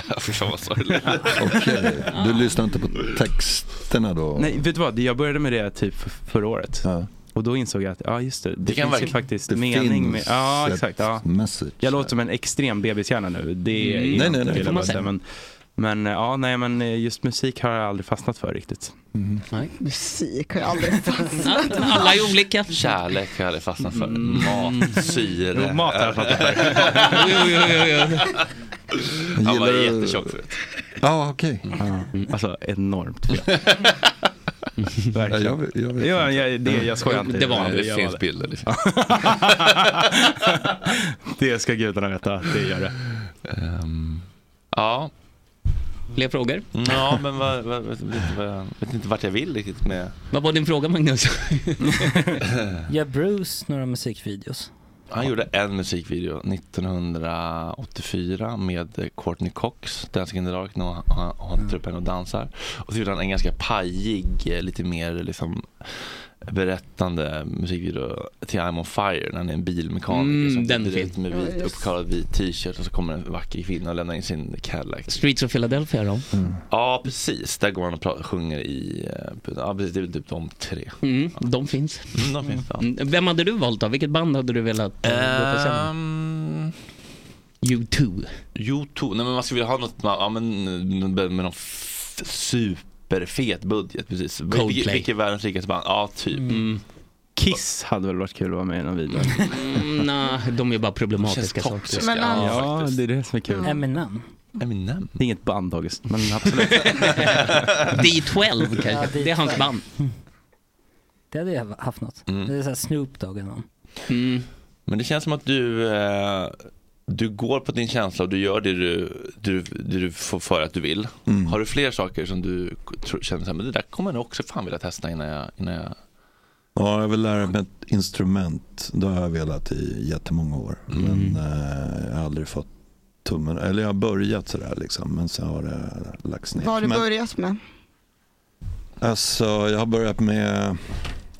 K: [laughs]
C: [laughs] Fy fan vad sorgligt.
K: Okej, du lyssnar inte på texterna då?
M: Nej, vet du vad? Jag började med det typ för- förra året. Och då insåg jag att, ja just det, det,
C: kan
M: finns ju
C: verkligen-
M: faktiskt
C: det
M: mening med...
C: finns
M: Ja,
C: ett
M: exakt. Ja.
K: message
M: Jag låter som en extrem bebishjärna nu. Det är
K: Mm. Nej,
M: jag
K: nej,
M: inte,
K: nej.
M: vill
K: Får
M: jag
K: man
M: bara säga,
K: säga.
M: men, men eh, ja, nej men just musik har jag aldrig fastnat för riktigt.
K: Mm-hmm.
F: Musik har
H: [laughs]
F: jag aldrig fastnat för.
H: Alla är olika.
C: Kärlek har jag aldrig fastnat för.
H: Mm.
C: Mat, syre.
M: Jo, mat har jag fastnat för.
C: Han var
M: Gillar du-
C: jättetjock förut.
K: Ja, okej.
M: Alltså enormt
K: [laughs]
M: fel. Verkligen.
K: Ja, jag vet- jag vet
M: ja,
K: inte.
M: jag, det, jag skojar inte.
K: Det var han.
M: Jag
K: Det finns
C: bilder, liksom. det
M: det ska gudarna veta, det gör det.
C: Ehm, ja.
H: Fler frågor?
C: Ja, men vad, vad, vet, inte vad, jag- vet inte vart jag vill riktigt med...
H: Vad var din fråga
G: [laughs]
H: Magnus?
G: Gör Bruce några musikvideos?
C: Han gjorde en musikvideo 1984 med eh, Courtney Cox, Dancing in the dark, när han- han
H: Mm.
C: han tar upp henne och dansar. Och så gjorde han en ganska pajig, eh, lite mer liksom berättande musikvideo till I'm on fire när han är en bilmekaniker
H: Mm,
C: som
H: den
C: glider
H: är fin.
C: ut med
H: Ja,
C: vit,
H: just.
C: uppkallad vit t-shirt och så kommer en vacker kvinna och lämnar in sin Cadillac.
H: Streets of Philadelphia då?
C: Mm. Ja, precis. Där går han och pratar, sjunger i... eh, Ja, precis. Det är typ de tre.
H: Mm, de finns.
C: Mm, de finns, ja.
H: Mm, Vem hade du valt då? Vilket band hade du velat eh, gå på scen?
C: Ehm,
H: U2.
C: U2. Nej, men man skulle vilja ha något man- ja, men, med någon f- superfet budget. Precis. Vil-
M: Coldplay.
C: Vilket, vilket är världens rikaste band? Ja, typ.
M: Kiss hade väl varit kul att vara med i någon video. [laughs]
H: Mm, Nej, de är bara problematiska
M: Känns toxiska,
H: saker.
M: Men han- ja, det är det som är kul.
G: Mm. Eminem.
C: Eminem?
M: Det är inget band August, men
H: [laughs]
M: absolut.
H: D12 kanske.
G: Ja,
H: det är hans
G: D12.
H: band.
G: Det hade jag haft något.
H: Mm.
G: Det är såhär Snoop Dogg eller någon.
C: Men det känns som att du, eh, du går på din känsla och du gör det du, du, det du får för att du vill.
K: Mm.
C: Har du fler saker som du tro, känner så här, men det där kommer jag nog också fan vilja testa innan jag... Innan jag...
K: Ja, jag vill lära mig ett instrument. Det har jag velat i jättemånga år. Men eh, jag har aldrig fått tummen. Eller jag har börjat sådär liksom. Men sen har det lagts ner.
F: Vad har du
K: Men-
F: börjat med?
K: Alltså, jag har börjat med,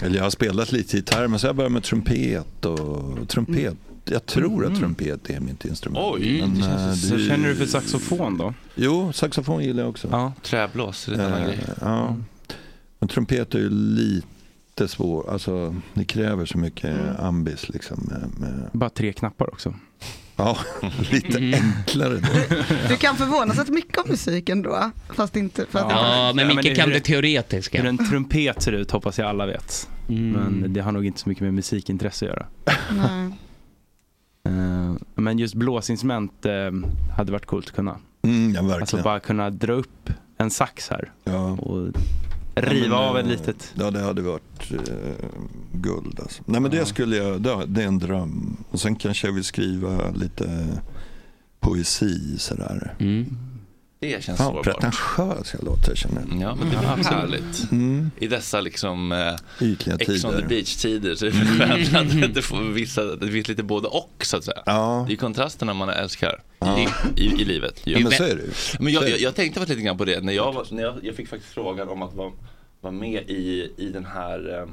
K: eller jag har spelat lite gitarr, men så har jag börjat med trumpet och trumpet. Jag tror att trumpet är mitt instrument.
M: Mm. Oj,
K: men,
M: det känns
K: eh,
M: så- känner du för saxofon då?
K: Jo, saxofon gillar jag också.
M: Ja.
C: Träblås, det är en annan
K: Eh,
C: grej.
K: ja. Men trumpet är ju lite jättesvår. Alltså, det kräver så mycket
M: Mm.
K: ambis. Liksom, med, med...
M: Bara tre knappar också.
K: Ja, [laughs] lite
M: Mm.
K: enklare då.
M: [laughs]
F: Du kan förvånas rätt mycket om musik ändå. Fast inte för att
H: teoretiska.
M: Hur en trumpet ser ut hoppas jag alla vet. Men det har nog inte så mycket med musikintresse att göra.
F: Nej.
M: Eh, Men just blåsinstrument eh, hade varit coolt att kunna.
K: Mm, ja, verkligen.
M: Alltså bara kunna dra upp en sax här och riva
K: Ja, men,
M: av en
K: eh,
M: litet.
K: Ja, det hade varit eh, guld. Alltså. Nej, men det skulle jag, det, det är en dröm. Och sen kanske jag vill skriva lite poesi sådär.
C: Det känns
K: Fan,
C: sårbart.
K: pretentiös jag låter känner jag.
C: Ja, men det är väl
K: Absolut.
C: härligt.
K: Mm.
C: I dessa liksom eh,
K: Ytliga
C: Ex on the
K: tider.
C: beach-tider så är det skönt att det, får vissa, det finns lite både och så att säga. Det är kontrasterna man älskar i, i, i livet.
K: Ja, men så är det ju.
C: Men
K: Så
C: jag,
K: är det.
C: jag, jag tänkte faktiskt lite grann på det när jag, var, när jag, jag fick faktiskt frågan om att vara, vara med i, i den här eh,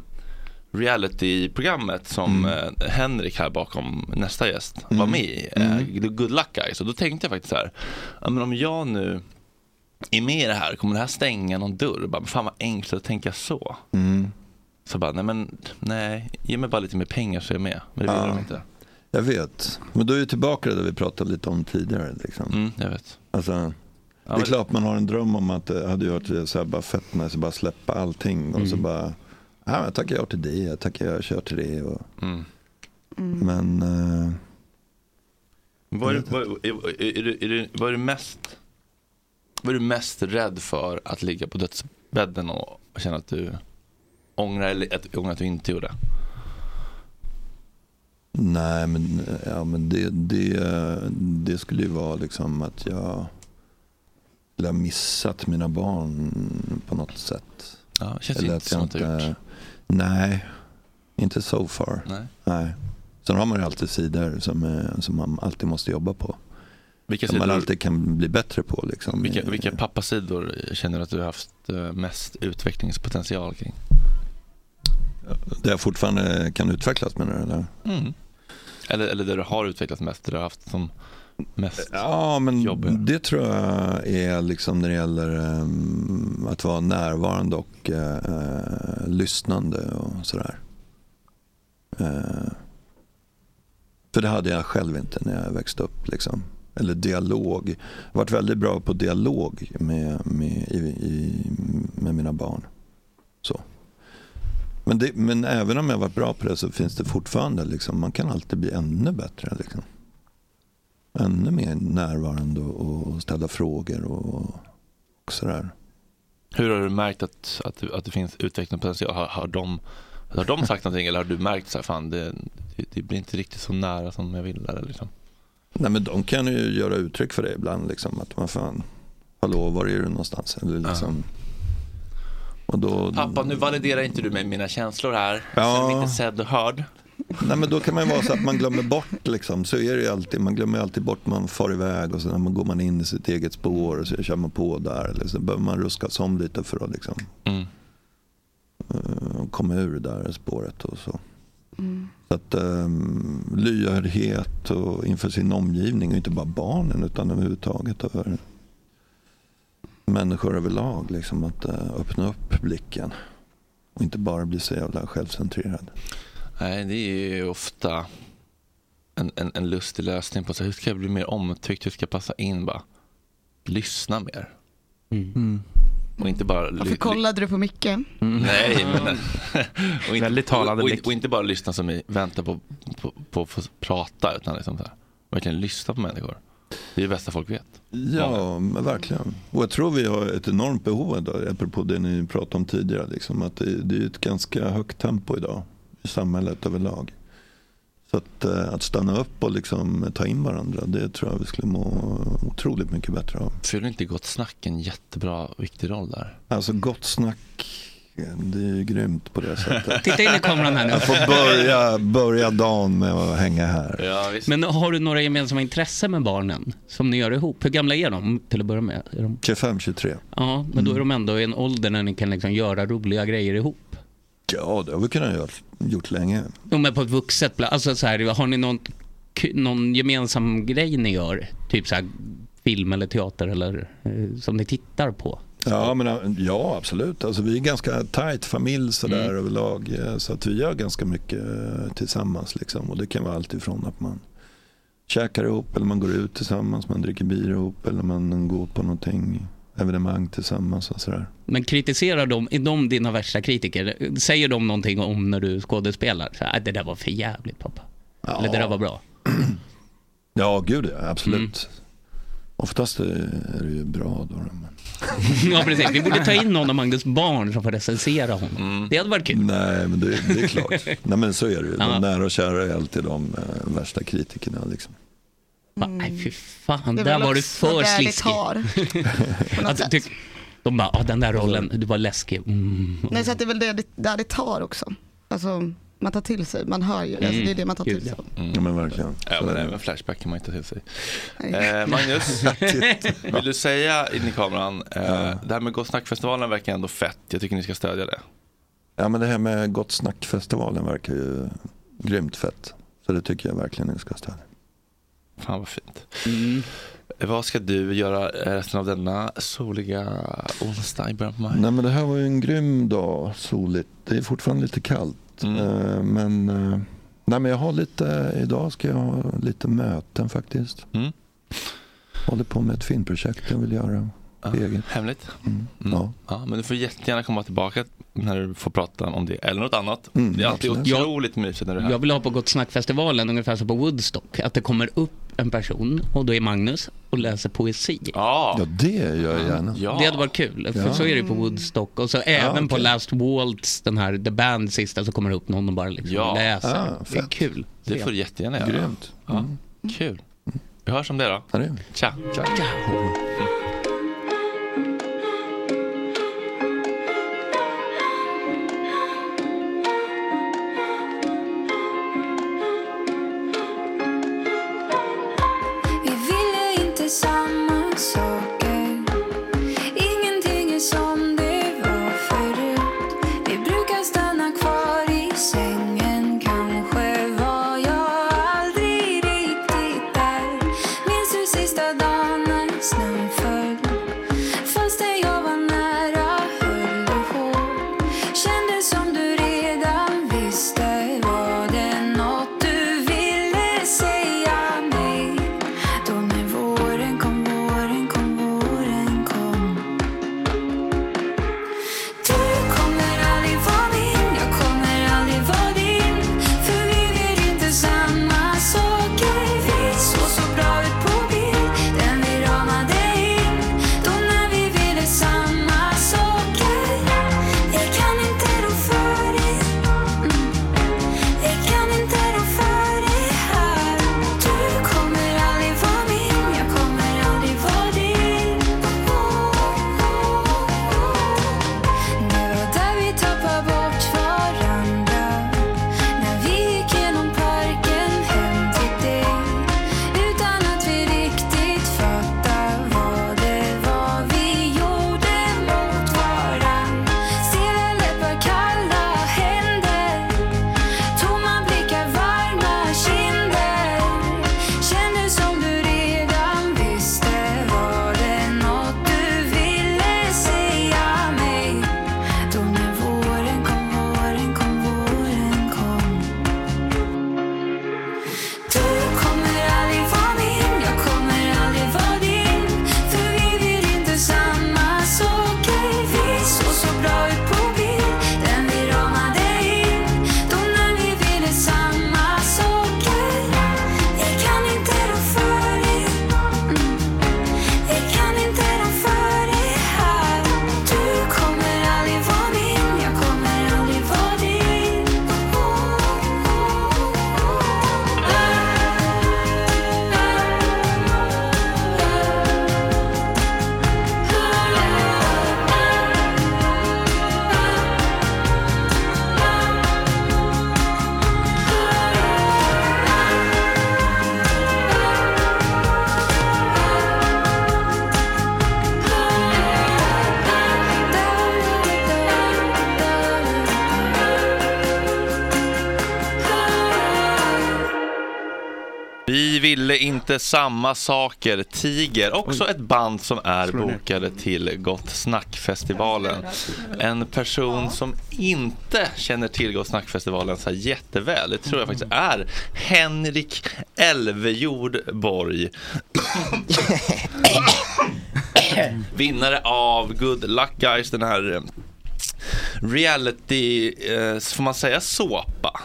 C: reality-programmet som
K: Mm.
C: eh, Henrik här bakom nästa gäst var med i, eh,
K: Mm.
C: Good Luck Guys. Och då tänkte jag faktiskt så här, ja, men om jag nu är med i det här, kommer det här stänga någon dörr? Bara, men fan vad enkelt att tänka så. Så bara, nej men nej, ge mig bara lite mer pengar så är jag med. Men det vill
K: Ja.
C: de inte.
K: Jag vet. Men då är vi tillbaka där vi pratade lite om tidigare. Liksom.
C: Mm, jag vet.
K: Alltså, det är
C: men-
K: klart man har en dröm om att det hade gjort det så här bara fett med sig, bara släppa allting och
C: Mm.
K: så bara, ja, jag tackar jag till det, jag tackar jag kör till det. Och,
C: Mm.
K: Men, eh,
C: Vad är,
K: Mm.
C: vad, är, är, du- är, du- vad är du mest vad är du mest rädd för att ligga på dödsbädden och känna att du ångrar eller att, ångrar att du inte gjorde?
K: nej men, ja, men det, det, det skulle ju vara liksom att jag skulle ha missat mina barn på något sätt.
C: Ja, det känns inte som att du har gjort.
K: Nej, inte so far.
C: Nej.
K: Nej. Sen har man ju alltid sidor som, eh, som man alltid måste jobba på.
C: Vilka
K: som man
C: sidor-
K: alltid kan bli bättre på. Liksom.
C: Vilka,
K: Eh,
C: vilka pappasidor känner du att du har haft eh, mest utvecklingspotential kring?
K: Där jag fortfarande eh, kan utvecklas menar du? Eller?
C: Mm. Eller, eller där du har utvecklat mest, där du har haft som mest
K: Ja, men det tror jag är liksom när det gäller ehm, att vara närvarande och eh, eh, lyssnande och sådär. Eh, för det hade jag själv inte när jag växte upp. Liksom. Eller dialog. Jag har varit väldigt bra på dialog med, med, i, i, med mina barn. Så. Men, det, men även om jag varit bra på det så finns det fortfarande, liksom, man kan alltid bli ännu bättre. Liksom ännu mer närvarande och, och ställa frågor och, och sådär.
C: Hur har du märkt att, att, du- att det finns utvecklingspotential? Har, har, de, har de sagt någonting eller har du märkt så här, fan det, det, det blir inte riktigt så nära som jag vill? Eller liksom?
K: Nej men de kan ju göra uttryck för det ibland liksom att man fan, hallå var är du någonstans? Eller liksom, och då,
C: Pappa, nu validerar inte du med mina känslor här.
K: Ja.
C: Jag är inte sedd och hörd.
K: nej men då kan man ju vara så att man glömmer bort liksom, så är det ju alltid, man glömmer alltid bort, man far iväg och sen går man in i sitt eget spår och så kör man på där. Eller så behöver man ruskas om lite för att liksom,
C: Mm.
K: eh, komma ur det där spåret och så. Så att um, lyhördhet och inför sin omgivning och inte bara barnen utan överhuvudtaget över människor överlag. Liksom att eh, öppna upp blicken och inte bara bli så jävla självcentrerad.
C: Nej, det är ju ofta en, en, en lustig lösning på så här, hur ska jag bli mer omtyckt, hur ska jag passa in? Bara, lyssna mer.
G: Mm.
C: Och inte bara... ly-
F: Varför kollade du på
C: [laughs]
F: Micke?
C: Nej, men... Och inte, Mm. Väldigt talande och, och, och inte bara lyssna som i vänta på att på, på, få prata, utan liksom så här, verkligen lyssna på människor. Det är det bästa folk vet.
K: Ja, men verkligen. Och jag tror vi har ett enormt behov idag, apropå det ni pratade om tidigare, liksom, att det, det är ett ganska högt tempo idag i samhället överlag. Så att, eh, att stanna upp och liksom ta in varandra, det tror jag vi skulle må otroligt mycket bättre av.
C: Fyller inte Gott Snack en jättebra, viktig roll där?
K: Alltså gott snack, det är ju grymt
C: [laughs]
K: på det sättet.
H: Titta in i kameran här nu.
K: Jag får börja, börja dagen med att hänga här.
H: Men har du några gemensamma intressen med barnen som ni gör ihop? Hur gamla är de till att börja med? Är de...
K: 25, 23.
H: Ja, men då är
K: Mm.
H: de ändå i en ålder när ni kan liksom göra roliga grejer ihop.
K: Ja, det har vi kunnat göra gjort länge.
H: Jo, men på ett vuxet plan. Alltså så här, har ni någon, k- någon gemensam grej ni gör? Typ så här film eller teater eller eh, som ni tittar på?
K: Ja, men, äh, ja absolut. Alltså, vi är ganska tajt familj sådär
H: Mm.
K: överlag. eh, Så att vi gör ganska mycket eh, tillsammans. Liksom. Och det kan vara allt ifrån att man käkar ihop eller man går ut tillsammans. Man dricker bira ihop eller man går på någonting evenemang tillsammans och sådär.
H: Men kritiserar de, är de dina värsta kritiker? Säger de någonting om när du skådespelar? Så, "Ah, det där var för jävligt pappa. Eller det där var bra.
K: Ja, gud ja, absolut.
H: Mm.
K: Oftast eh, är det ju bra då. då, Men...
H: [laughs] ja, precis. Vi borde ta in någon av Magnus barn som får recensera honom. Det hade varit kul.
K: Nej, men det, det
H: [laughs]
K: är klart. Nej, men så är det ju. De nära och kära är alltid de eh, värsta kritikerna. Liksom.
H: Va, Nej, fy fan.
F: Mm. Det är väl
H: Där var du
F: också
H: för
F: där det
H: sliskig. [laughs]
F: tar.
H: Alltså, tyck, de bara, ah, den där rollen, du var läskig. Mm.
F: Nej, så att det är väl det, det- där det tar också. Alltså, man tar till sig, man hör ju. Alltså, det är det man tar
Q: Mm,
F: till sig.
K: Ja, men verkligen.
C: Mm. Ja, men även Flashback kan man inte ta till sig.
F: Nej.
C: Eh,
F: [laughs]
C: Magnus, vill du säga in i kameran, eh, det här med Gott snackfestivalen verkar ändå fett. Jag tycker ni ska stödja det.
K: Ja, men det här med Gott snack-festivalen verkar ju grymt fett. Så det tycker jag verkligen ni ska stödja.
C: Fan vad fint. Eh, Vad ska du göra resten av denna soliga onsdag i början på maj?
K: Nej, men det här var ju en grym dag, soligt. Det är fortfarande lite kallt. Eh, Men, eh, nej, men jag har lite, idag ska jag ha lite möten faktiskt. Håller på med ett filmprojekt jag vill göra. Eget.
C: Hemligt?
K: Mm. Ja.
C: Ja, men du får jättegärna komma tillbaka när du får prata om det eller något annat.
K: Mm,
C: det är alltid
H: absolut.
C: otroligt mysigt när du är här.
H: Jag vill ha på Gott Snack-festivalen, ungefär som på Woodstock, att det kommer upp en person och då är Magnus och läser poesi.
C: Ja,
K: det gör jag gärna.
H: Det hade varit kul, för
K: Ja.
H: så är det ju på Woodstock. Och så även på Last Waltz, den här The Band sista, så kommer det upp någon och bara liksom
C: Ja.
H: läser.
C: Ah,
H: det är
C: fett.
H: kul.
C: Det får du jättegärna göra.
K: Grymt. Mm.
C: Ja. Kul. Vi hörs om det då.
K: Ja, det gör
C: Tja.
R: Vi ville inte samma saker Ingenting är som det var förut Vi brukar stanna kvar i sängen Kanske var jag aldrig riktigt där Minns du sista dagen när snön föll
C: ville inte samma saker, Tiger. Också ett band som är bokade till Gott Snack-festivalen. En person som inte känner till Gott Snack-festivalen så här jätteväl, det tror jag faktiskt är Henrik Elvejord Borg. Vinnare av Good Luck Guys, den här eh, reality, eh, får man säga såpa?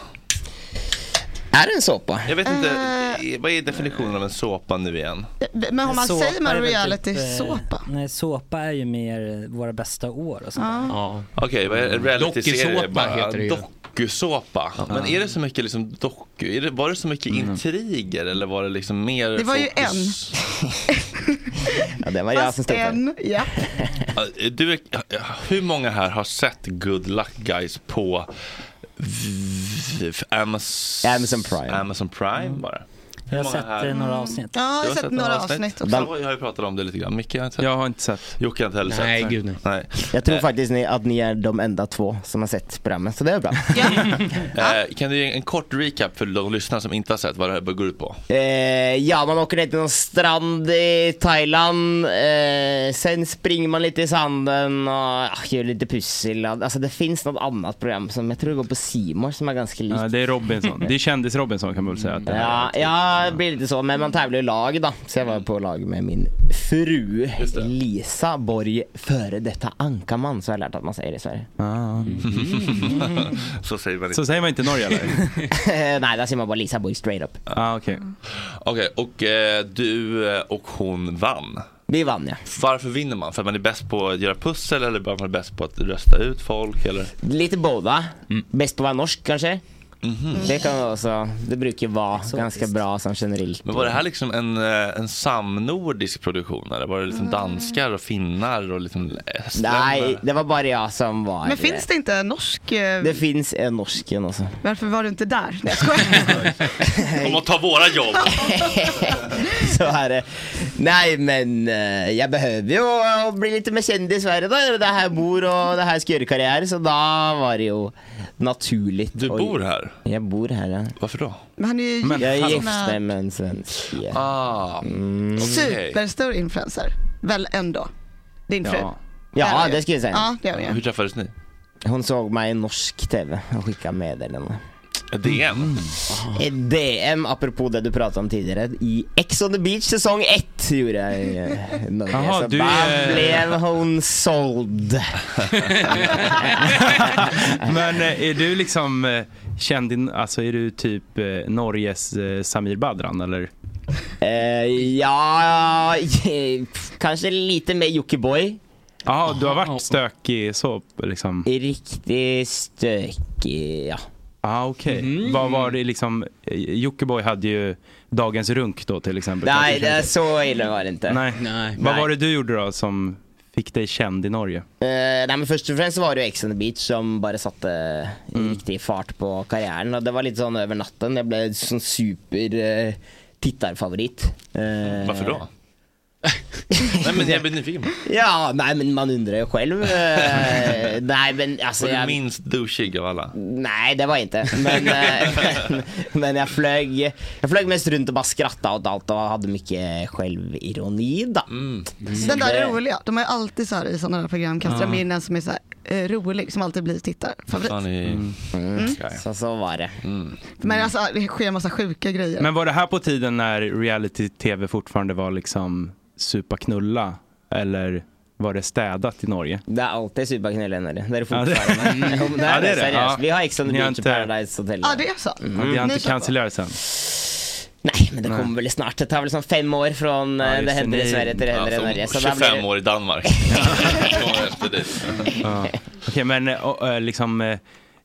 Q: Är det en såpa?
C: Jag vet inte, eh, vad är definitionen av en såpa nu igen?
F: Eh, Men om man
G: Såpa
F: säger man
G: är väl
F: reality
G: eh,
F: såpa?
G: Nej, såpa är ju mer eh, våra bästa år och sånt där.
C: Ja. Okej, vad är det? Reality-serie?
G: Dokusåpa
C: bara
G: heter det ju.
C: Dokusåpa. Men är det så mycket liksom doku? Är det, var det så mycket intriger eller var det liksom mer
F: Det var ju en.
C: fokus?
Q: Ja, den var
F: Fast en, ja.
C: Eh, Du, är- hur många här har sett Good Luck Guys på v- Amazon, Amazon Prime? Amazon Prime bara.
G: Jag har
C: Hur många
G: sett
C: här?
G: eh, några avsnitt.
F: Mm. Ja, jag har sett några avsnitt också.
C: Jag har ju pratat om det lite grann. Micke har inte sett. Jag har inte sett. Jocke har inte heller sett.
Q: Nej, gud,
C: nej.
Q: Jag tror
C: Eh.
Q: faktiskt ni, att ni är de enda två som har sett programmet, så det är bra.
C: Eh, kan du ge en kort recap för de lyssnare som inte har sett vad det här går ut på?
Q: Eh, ja, man åker ner till någon strand i Thailand, eh, sen springer man lite i sanden och ah, gör lite pussel. Alltså det finns något annat program som jag tror går på Simor som är ganska likt.
M: Ja, det är Robinson. Det är kändis-Robinson kan man väl säga att det är.
Q: Ja, ja, det blir lite så. Men man tävlar i lag då. Så jag var på lag med min fru Lisa Borg, före detta Ankaman, så har jag lärt att man säger i Sverige.
M: Ah.
C: [laughs] så säger man
M: Mm. Så säger man inte i Norge
Q: [laughs]
M: eller?
Q: Eh, Nej, där säger man bara Lisa Borg straight up.
C: Ah, Okej, och eh, du eh, och hon vann.
Q: Vi vann ja.
C: Varför vinner man? För att man är bäst på att göra pussel eller bara man är bäst på att rösta ut folk? Eller?
Q: Lite båda.
M: Mm.
Q: Bäst på att vara norsk kanske.
C: Mhm.
Q: Det kan också, det brukar ju vara ganska bra som generellt.
C: Men var det här liksom en, eh, en samnordisk produktion? Eller var det liksom danskar och finnar och liksom estländare?
Q: Mm. Nej, det var bara jag som var...
F: Men finns det inte en norsk? eh,
Q: Det finns en norsken också. [laughs]
F: Varför var du inte där? Nej, jag skojar.
C: Kom och ta våra jobb!
Q: [laughs] Så är det. Nej men eh, jag behöver ju å- å bli lite mer kändis varje dag. Det här bor och det här ska göra karriär. Så då var det ju naturligt. Du
C: bor här?
Q: Jag bor här ja.
C: Varför då?
F: Men han är ju
Q: jag är
F: gift
Q: gift
F: med
Q: med en svensk. ja.
C: Ah,
Q: mm.
F: superstor influencer. Väl ändå. Din fru.
Q: Ja. Ja, det skulle jag säga.
F: Ja, det gör jag.
C: träffades ni?
Q: Hon såg mig i norsk TV och skickade Mm. meddelande.
C: DM?
Q: Ett DM, apropå det du pratade om tidigare, i Ex on the beach säsong 1 gjorde jag i eh, Norge.
M: Jaha,
Q: så
M: du
Q: där
M: är-
Q: blev hon såld.
M: [laughs] Men eh, är du liksom eh, känd, i- alltså är du typ eh, Norges eh, Samir Badran eller?
Q: Eh, ja, [laughs] eh, kanske lite mer Jockiboi.
M: Ja, du har varit stökig så liksom?
Q: Riktigt stökig, ja.
M: ah, okej. Vad var det liksom, eh, Jockiboi hade ju Dagens Runk då till exempel.
Q: Nej,
M: Kanske
Q: det är
M: känns
Q: så illa var det inte.
M: Nej.
Q: Nej.
M: Vad var det du gjorde då som fick dig känd i Norge?
Q: Eh, nej men först och främst så var det ju Ex on the beach som bara satte eh,
C: Mm.
Q: riktig fart på karriären och det var lite sån över natten. Jag blev sån super eh, tittarfavorit. Eh,
C: Varför
Q: [laughs]
C: då? Nej men jag blir nyfiken.
Q: Ja, nej men man undrar ju själv.
C: [laughs]
Q: Eh, nej men alltså
C: Var du
Q: jag...
C: minst douchig av alla?
Q: Nej, det var jag inte.
C: [laughs]
Q: Men, eh, [laughs] men, men jag, flög, jag flög mest runt och bara skrattade åt allt och hade mycket självironi då.
C: Mm.
Q: Så
F: Den där
Q: Mm. det-
F: är roliga. De är alltid så här i sådana här program kastar de
Q: Ja.
F: in en som är så här, eh, rolig som alltid blir tittarfavorit.
C: Mm.
Q: Mm. Så, så var det. Mm.
F: Men alltså det sker en massa sjuka grejer.
M: Mm. Men var det här på tiden när reality-tv fortfarande var liksom supa knulla? Eller var det städat i Norge?
Q: Det är alltid superknull i Norge. Det
M: Ja, [laughs]
Q: är det
M: det-
Q: fortfarande. Jo, men det
M: Ja,
Q: är
M: det
Q: det,
M: är det.
Q: seriöst.
M: Ja.
Q: Vi har Ex on the
M: Ni har
Q: beach och
M: inte-
Q: Paradise Hotel.
F: Ja, det är så?
M: Mm. Vi har inte cancellerat sen.
Q: Nej, men det kommer väl snart. Det tar väl som fem år från eh, det, händer i Sverige till det händer i Norge. Så där blir
C: 25
Q: det-
C: Alltså, år i
Q: [laughs]
C: Danmark. [laughs] Kommer efter dit.
M: Ja. Okej, men eh, och, eh, liksom eh,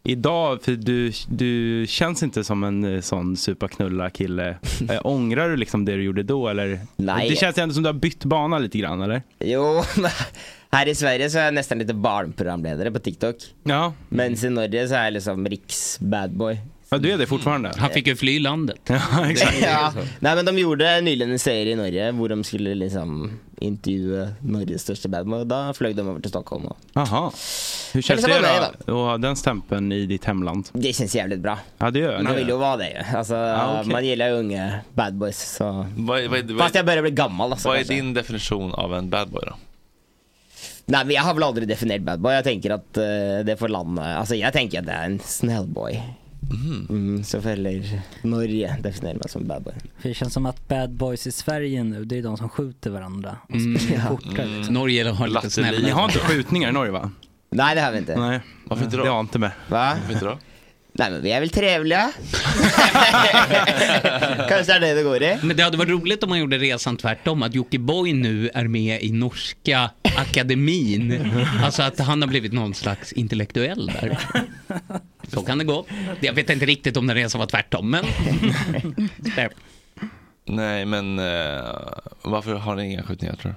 M: idag, för du, du känns inte som en eh, sån
Q: [laughs]
M: supaknulla-kille. Eh, Ångrar du liksom det du gjorde då eller?
Q: Nej.
M: Det känns ju ändå som du har bytt bana lite grann eller?
Q: Jo, [laughs] men här i Sverige så är jag nästan lite barnprogramledare på TikTok.
M: Ja.
Q: Men i Norge så är jag liksom riks Mm. badboy.
M: Ja, du är det fortfarande? [laughs]
Q: Han fick
H: ju fly landet.
M: Ja,
Q: Ja. Nej men de gjorde nyligen en serie i Norge hvor de skulle liksom intervjue Norges största band. Men da fløy de over til Stockholm. Og
M: Aha. Hur känns
Q: Eller så var
M: det
Q: det
M: då? Och den stämpeln i ditt hemland?
Q: det känns jävligt bra.
M: Ja, det gör
Q: Man
M: det.
Q: vill ju vara det ju. Alltså,
M: Ja, okej.
Q: Man gillar ju unga bad boys. Så.
C: Vad, vad, vad,
Q: Fast jag börjar bli gammal. Alltså,
C: vad är
Q: kanske.
C: din definition av en bad boy då?
Q: Nej, men jag har väl aldrig definierat bad boy. Jag tänker att eh, det får landa. Alltså, jag tänker att det är en snäll boy.
M: Mhm.
Q: Mm. så fäller Norge definierar mig som bad boy.
G: För det känns som att bad boys i Sverige nu, det är de som skjuter varandra. Och springer
Q: [laughs] ja.
G: fortare. liksom.
H: Norge har lite snällare.
M: Ni har inte skjutningar i Norge va?
Q: Nej, det har vi inte.
M: Nej. Varför inte då? Det har jag inte med.
Q: Va?
C: Varför inte då?
Q: Nej, men vi är väl trevliga. Kanske är det det går i.
H: Men det hade varit roligt om man gjorde resan tvärtom, att Jockiboi nu är med i norska akademin. Alltså att han har blivit någon slags intellektuell där. Så kan det gå. Jag vet inte riktigt om den resan var tvärtom, men... Där.
C: Nej, men eh, varför har ni inga skjutningar tror du?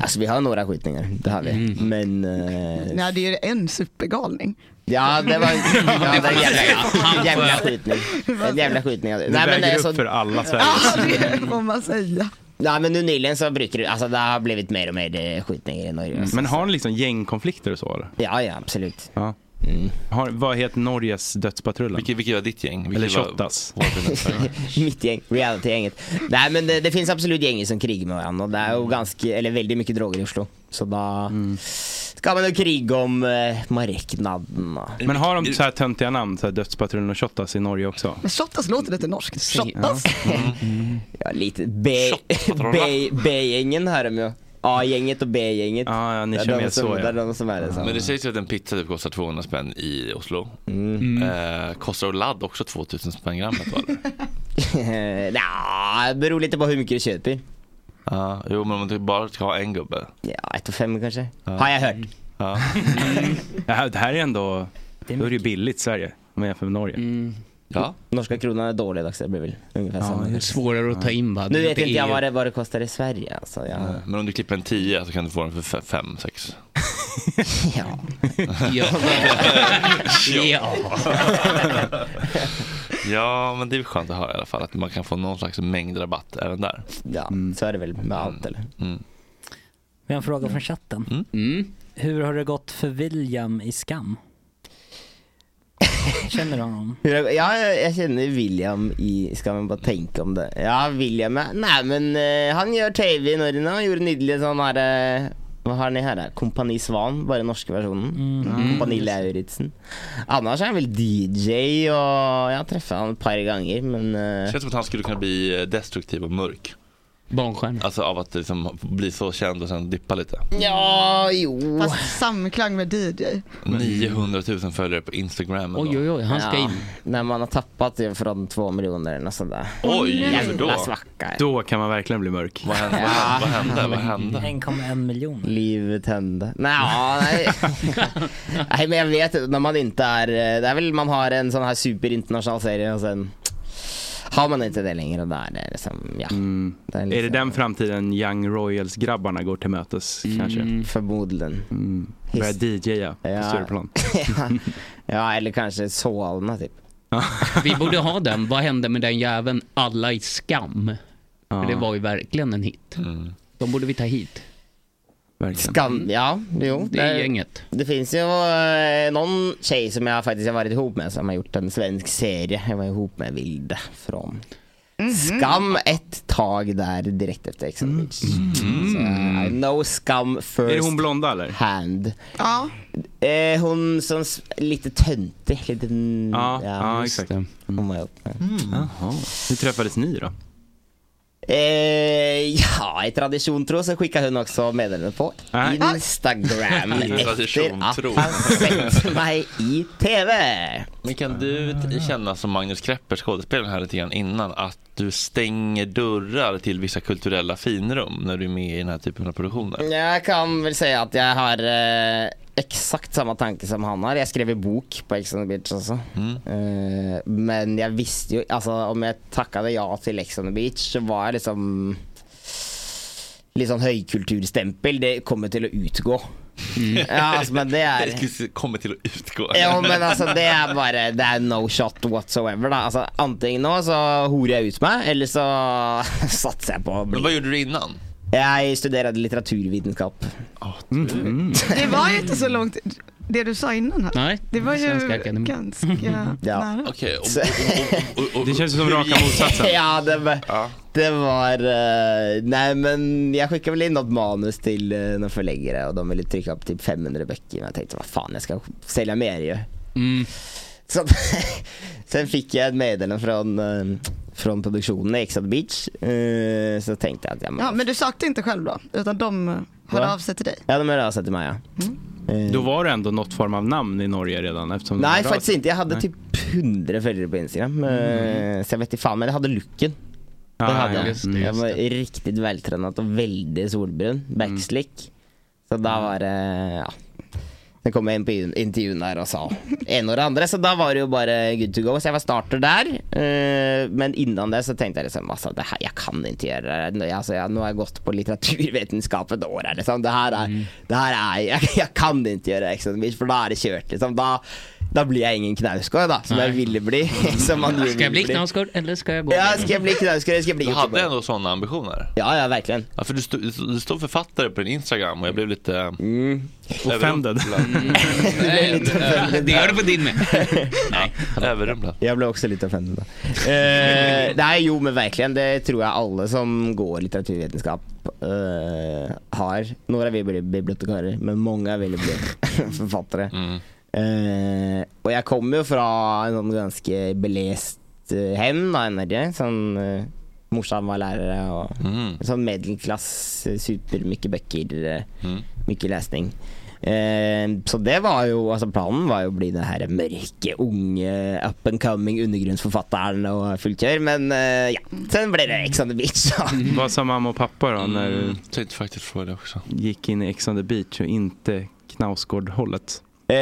Q: Alltså vi har några skjutningar, det har vi. Men... eh,
F: Nej, det är ju en supergalning. [laughs]
Q: ja, det var, [laughs] ja, det var en jävla,
F: Han
Q: en jävla
F: får-
Q: skjutning. En jävla skjutning.
F: Det
M: väger upp
Q: så-
M: för alla Sverige.
F: Ja,
Q: [laughs]
F: det får man säga.
Q: Nej men nu nyligen så brukar det, alltså det har blivit mer och mer eh, skjutningar i Norge.
M: Men har ni liksom gängkonflikter och så eller?
Q: Ja, ja absolut. Mm.
M: Ja. Har, vad heter Norges dödspatrullen? Vilket,
C: vilket var ditt gäng?
M: eller
Q: Vilket var-
M: Shottaz?
Q: [laughs] Mitt gäng, reality-gänget. Nej men det, det finns absolut gäng som krigar med varandra och det är ju ganska, eller väldigt mycket droger i Oslo. Så då
C: Mm.
Q: ska man ju kriga om eh, marknaden. och-
M: Men har de så här töntiga namn, så här Dödspatrullen och Shottaz i Norge också?
F: Men Shottaz låter lite norskt. Shottaz.
Q: Mm. Ja, lite B-
M: Shotpatrullerna.
Q: B- B-gängen här de ju. A-gänget och B-gänget.
C: Ja, ja, ni
Q: Det är
C: kör
Q: de
C: med
Q: som,
C: så, ja.
Q: Det är de som är det.
C: Men det
Q: samma.
C: sägs ju att en pizza typ kostar 200 spänn i Oslo.
Q: Mm.
C: Eh, kostar och ladd också 2000 spänn grammet va?
Q: [laughs] Nja, det beror lite på hur mycket du köper.
C: Ja, jo men om du bara ska ha en gubbe.
Q: Ja, ett och fem kanske. Har jag hört.
C: Ja.
M: [laughs] det, här, det här är ändå, då är det ju billigt i Sverige om man jämför med Norge.
C: Ja.
Q: Mm. Norska kronan är dålig också, det blir väl ungefär
M: Ja,
Q: samma.
M: det är svårare att ta in, va?
Q: Nu
M: Det är
Q: vet
M: inte
Q: inte jag
M: EU.
Q: vad det, vad det kostar i Sverige alltså. Jag...
C: Eh, Men om du klipper en 10 så kan du få den för 5, 6.
Q: [laughs] ja.
C: ja.
Q: Ja.
C: [laughs] ja, men det är skönt att höra i alla fall att man kan få någon slags mängdrabatt även där.
Q: Ja, så är det väl med allt eller?
C: Mm.
G: Vi har en fråga från chatten.
H: Mm.
M: Mm.
G: Hur har det gått för William i Skam? Känner du honom?
Q: Hur jag, ja, jag jag känner William i, ska man bara tänka om det. Ja, William är, nej men eh, han gör TV i Norge nu, han gjorde nydelig sånn her, eh, vad har ni här? eh, Kompani Svan, bara den norska versionen. Kompani Lauritzen. Annars är han väl DJ och jag träffade han ett par gånger men... eh,
C: Känns som att han skulle kunna bli eh, destruktiv och mörk.
H: Barnstjärna.
C: Alltså av att liksom bli så känd och sen dippa lite.
Q: Ja, jo.
F: Fast samklang med DJ.
C: 900 000 följare på Instagram. ändå.
Q: ja, När man har tappat det från två miljoner eller något sånt där.
C: Oj,
Q: Jävla
C: då.
Q: svacka.
M: Då kan man verkligen bli mörk.
C: Vad hände?
Q: Ja.
C: Vad hände? Vad hände?
G: 1,1 miljon.
Q: Livet hände. Nej, ja, nej. nej, men jag vet inte, när man inte är... Det är väl man har en sån här superinternationell serie och sen har man inte det längre. och Där är det liksom, ja.
M: Mm.
Q: Det Mm. är,
M: Är det den framtiden Young Royals-grabbarna går till mötes kanske?
Q: Förmodligen.
M: Mm. Börjar DJa på
Q: Ja.
M: Stureplan.
Q: [laughs] [laughs] ja, eller kanske Solna typ.
H: Vi borde ha den. Vad hände med den jäveln? Alla i skam.
Q: Ja.
H: För det var ju verkligen en hit. De borde vi ta hit.
M: Mm.
Q: Skam, ja, jo.
H: Det är gänget.
Q: Det finns ju eh, någon tjej som jag faktiskt har varit ihop med som har gjort en svensk serie. Jag var ihop med Vilde från Skam ett tag där direkt efter Ex on the Beach. Så, eh, I know Skam first
M: Mm. Är det hon blonda eller?
Q: hand.
F: Ja.
Q: Eh, hon som s- lite töntig, lite...
M: Ja, ja,
Q: just
M: exakt.
Q: det. Hon var ihop med.
M: Jaha. Hur
Q: [laughs]
M: träffades ni då?
Q: Eh, ja, i tradition tro så skickade hon också meddelande på
M: Nej. [laughs]
Q: Instagram
C: I tradition
Q: efter att
C: tro.
Q: han sett mig i TV.
C: Men kan du t- känna som Magnus Krepper, skådespelaren här lite grann innan, att du stänger dörrar till vissa kulturella finrum när du är med i den här typen av produktioner?
Q: Jag kan väl säga att jag har eh, exakt samma tanke som han har. Jag skrev en bok på Ex on the Beach också. Eh, men jag visste ju, alltså om jag tackade ja till Ex on the Beach så var jag liksom Litt sånn høykulturstempel, det kommer til å utgå. Mm. Ja, altså, men det er
C: [laughs] Det kommer till att utgå.
Q: Ja, men alltså det är bara, det är no shot whatsoever. Då. Alltså, [laughs] antingen då så horar jag ut mig eller så satsar jag på att
C: Men
Q: bli.
C: vad gjorde du innan?
Q: Jag studerade litteraturvetenskap.
F: Det var ju inte så
Q: Mm.
F: långt det du sa innan här. det var ju
Q: [laughs]
F: ganska nära.
P: Okej, och-
Q: Så-
M: Det känns som raka motsatsen.
Q: [laughs] ja, det var... Det var eh, nej men jag skickade väl in något manus till eh, någon förläggare och de ville trycka upp typ 500 böcker. Men jag tänkte vad fan jag ska sälja mer ju. Så, [laughs] sen fick jag ett meddelande från, eh, från produktionen i Exxon Beach. Eh, så tänkte jag att ja, men,
F: Ja, men du sökte inte själv då? Utan de hörde
Q: Va?
F: av sig till dig?
Q: ja de hörde av sig till mig ja.
M: Mm. Då var det ändå något form av namn i Norge redan? Eftersom det
Q: Nej
M: var-
Q: faktiskt inte, jag hade
M: Nej. Mm.
Q: typ 100 följare på Instagram. Eh, Så jag vet inte fan men jag hade looken. Det
M: Ah,
Q: hade jag.
M: just det, Mm.
Q: jag
M: just
Q: var riktigt vältränad och väldigt solbrun. Backslick. Så då
M: Mm.
Q: var det, ja. Sen kom jag in på in- intervjun där och sa en och det andra. Så då var det ju bara good to go. Så jag var starter där. Eh, Men innan det så tänkte jag liksom, alltså, det här, jag kan inte göra det här. Nu- Alltså, jag, nu har jag gått på litteraturvetenskap ett år. här, Liksom. Det här är,
H: Mm.
Q: det här är [laughs] jag, jag kan inte göra Exxon för då är det kört. Liksom. Då, då blir jag ingen knausgård då, som
H: Nej.
Q: jag ville bli. [laughs] som man
H: Ska jag bli
Q: ville
H: knausgård eller ska jag gå?
Q: Ja, ska jag bli knausgård? Ska jag bli
C: Du hade
Q: Göteborg?
C: ändå sådana ambitioner?
Q: Ja, ja verkligen.
C: Ja, för du, stod- du stod- du stod författare på din Instagram och jag blev lite... eh,
Q: Mm.
M: Offended.
C: [laughs]
Q: [laughs]
H: Eh, Det gör du på din med.
C: Nej, överrumplad.
Q: Jag blev också lite offentlig då. Eh, nej, jo men verkligen. Det tror jag alla som går litteraturvetenskap eh, har. Några vill bli bibliotekarier, men många vill bli [laughs] författare. Eh, och jag kommer ju från en sån ganska beläst eh, hem då, i Norge. Sån, eh, morsan var lärare och sån medelklass, eh, supermycket böcker, eh, mycket läsning. Eh, så det var ju, alltså planen var ju att bli den här mörke, unge, up and coming undergrundsförfattaren och fullt kör. Men eh, ja, sen blev det Ex on the beach.
M: [laughs] Vad sa mamma och pappa då när du
C: tänkte faktiskt fråga också.
M: gick in i Ex on the beach och inte Knausgård-hållet?
Q: Eh,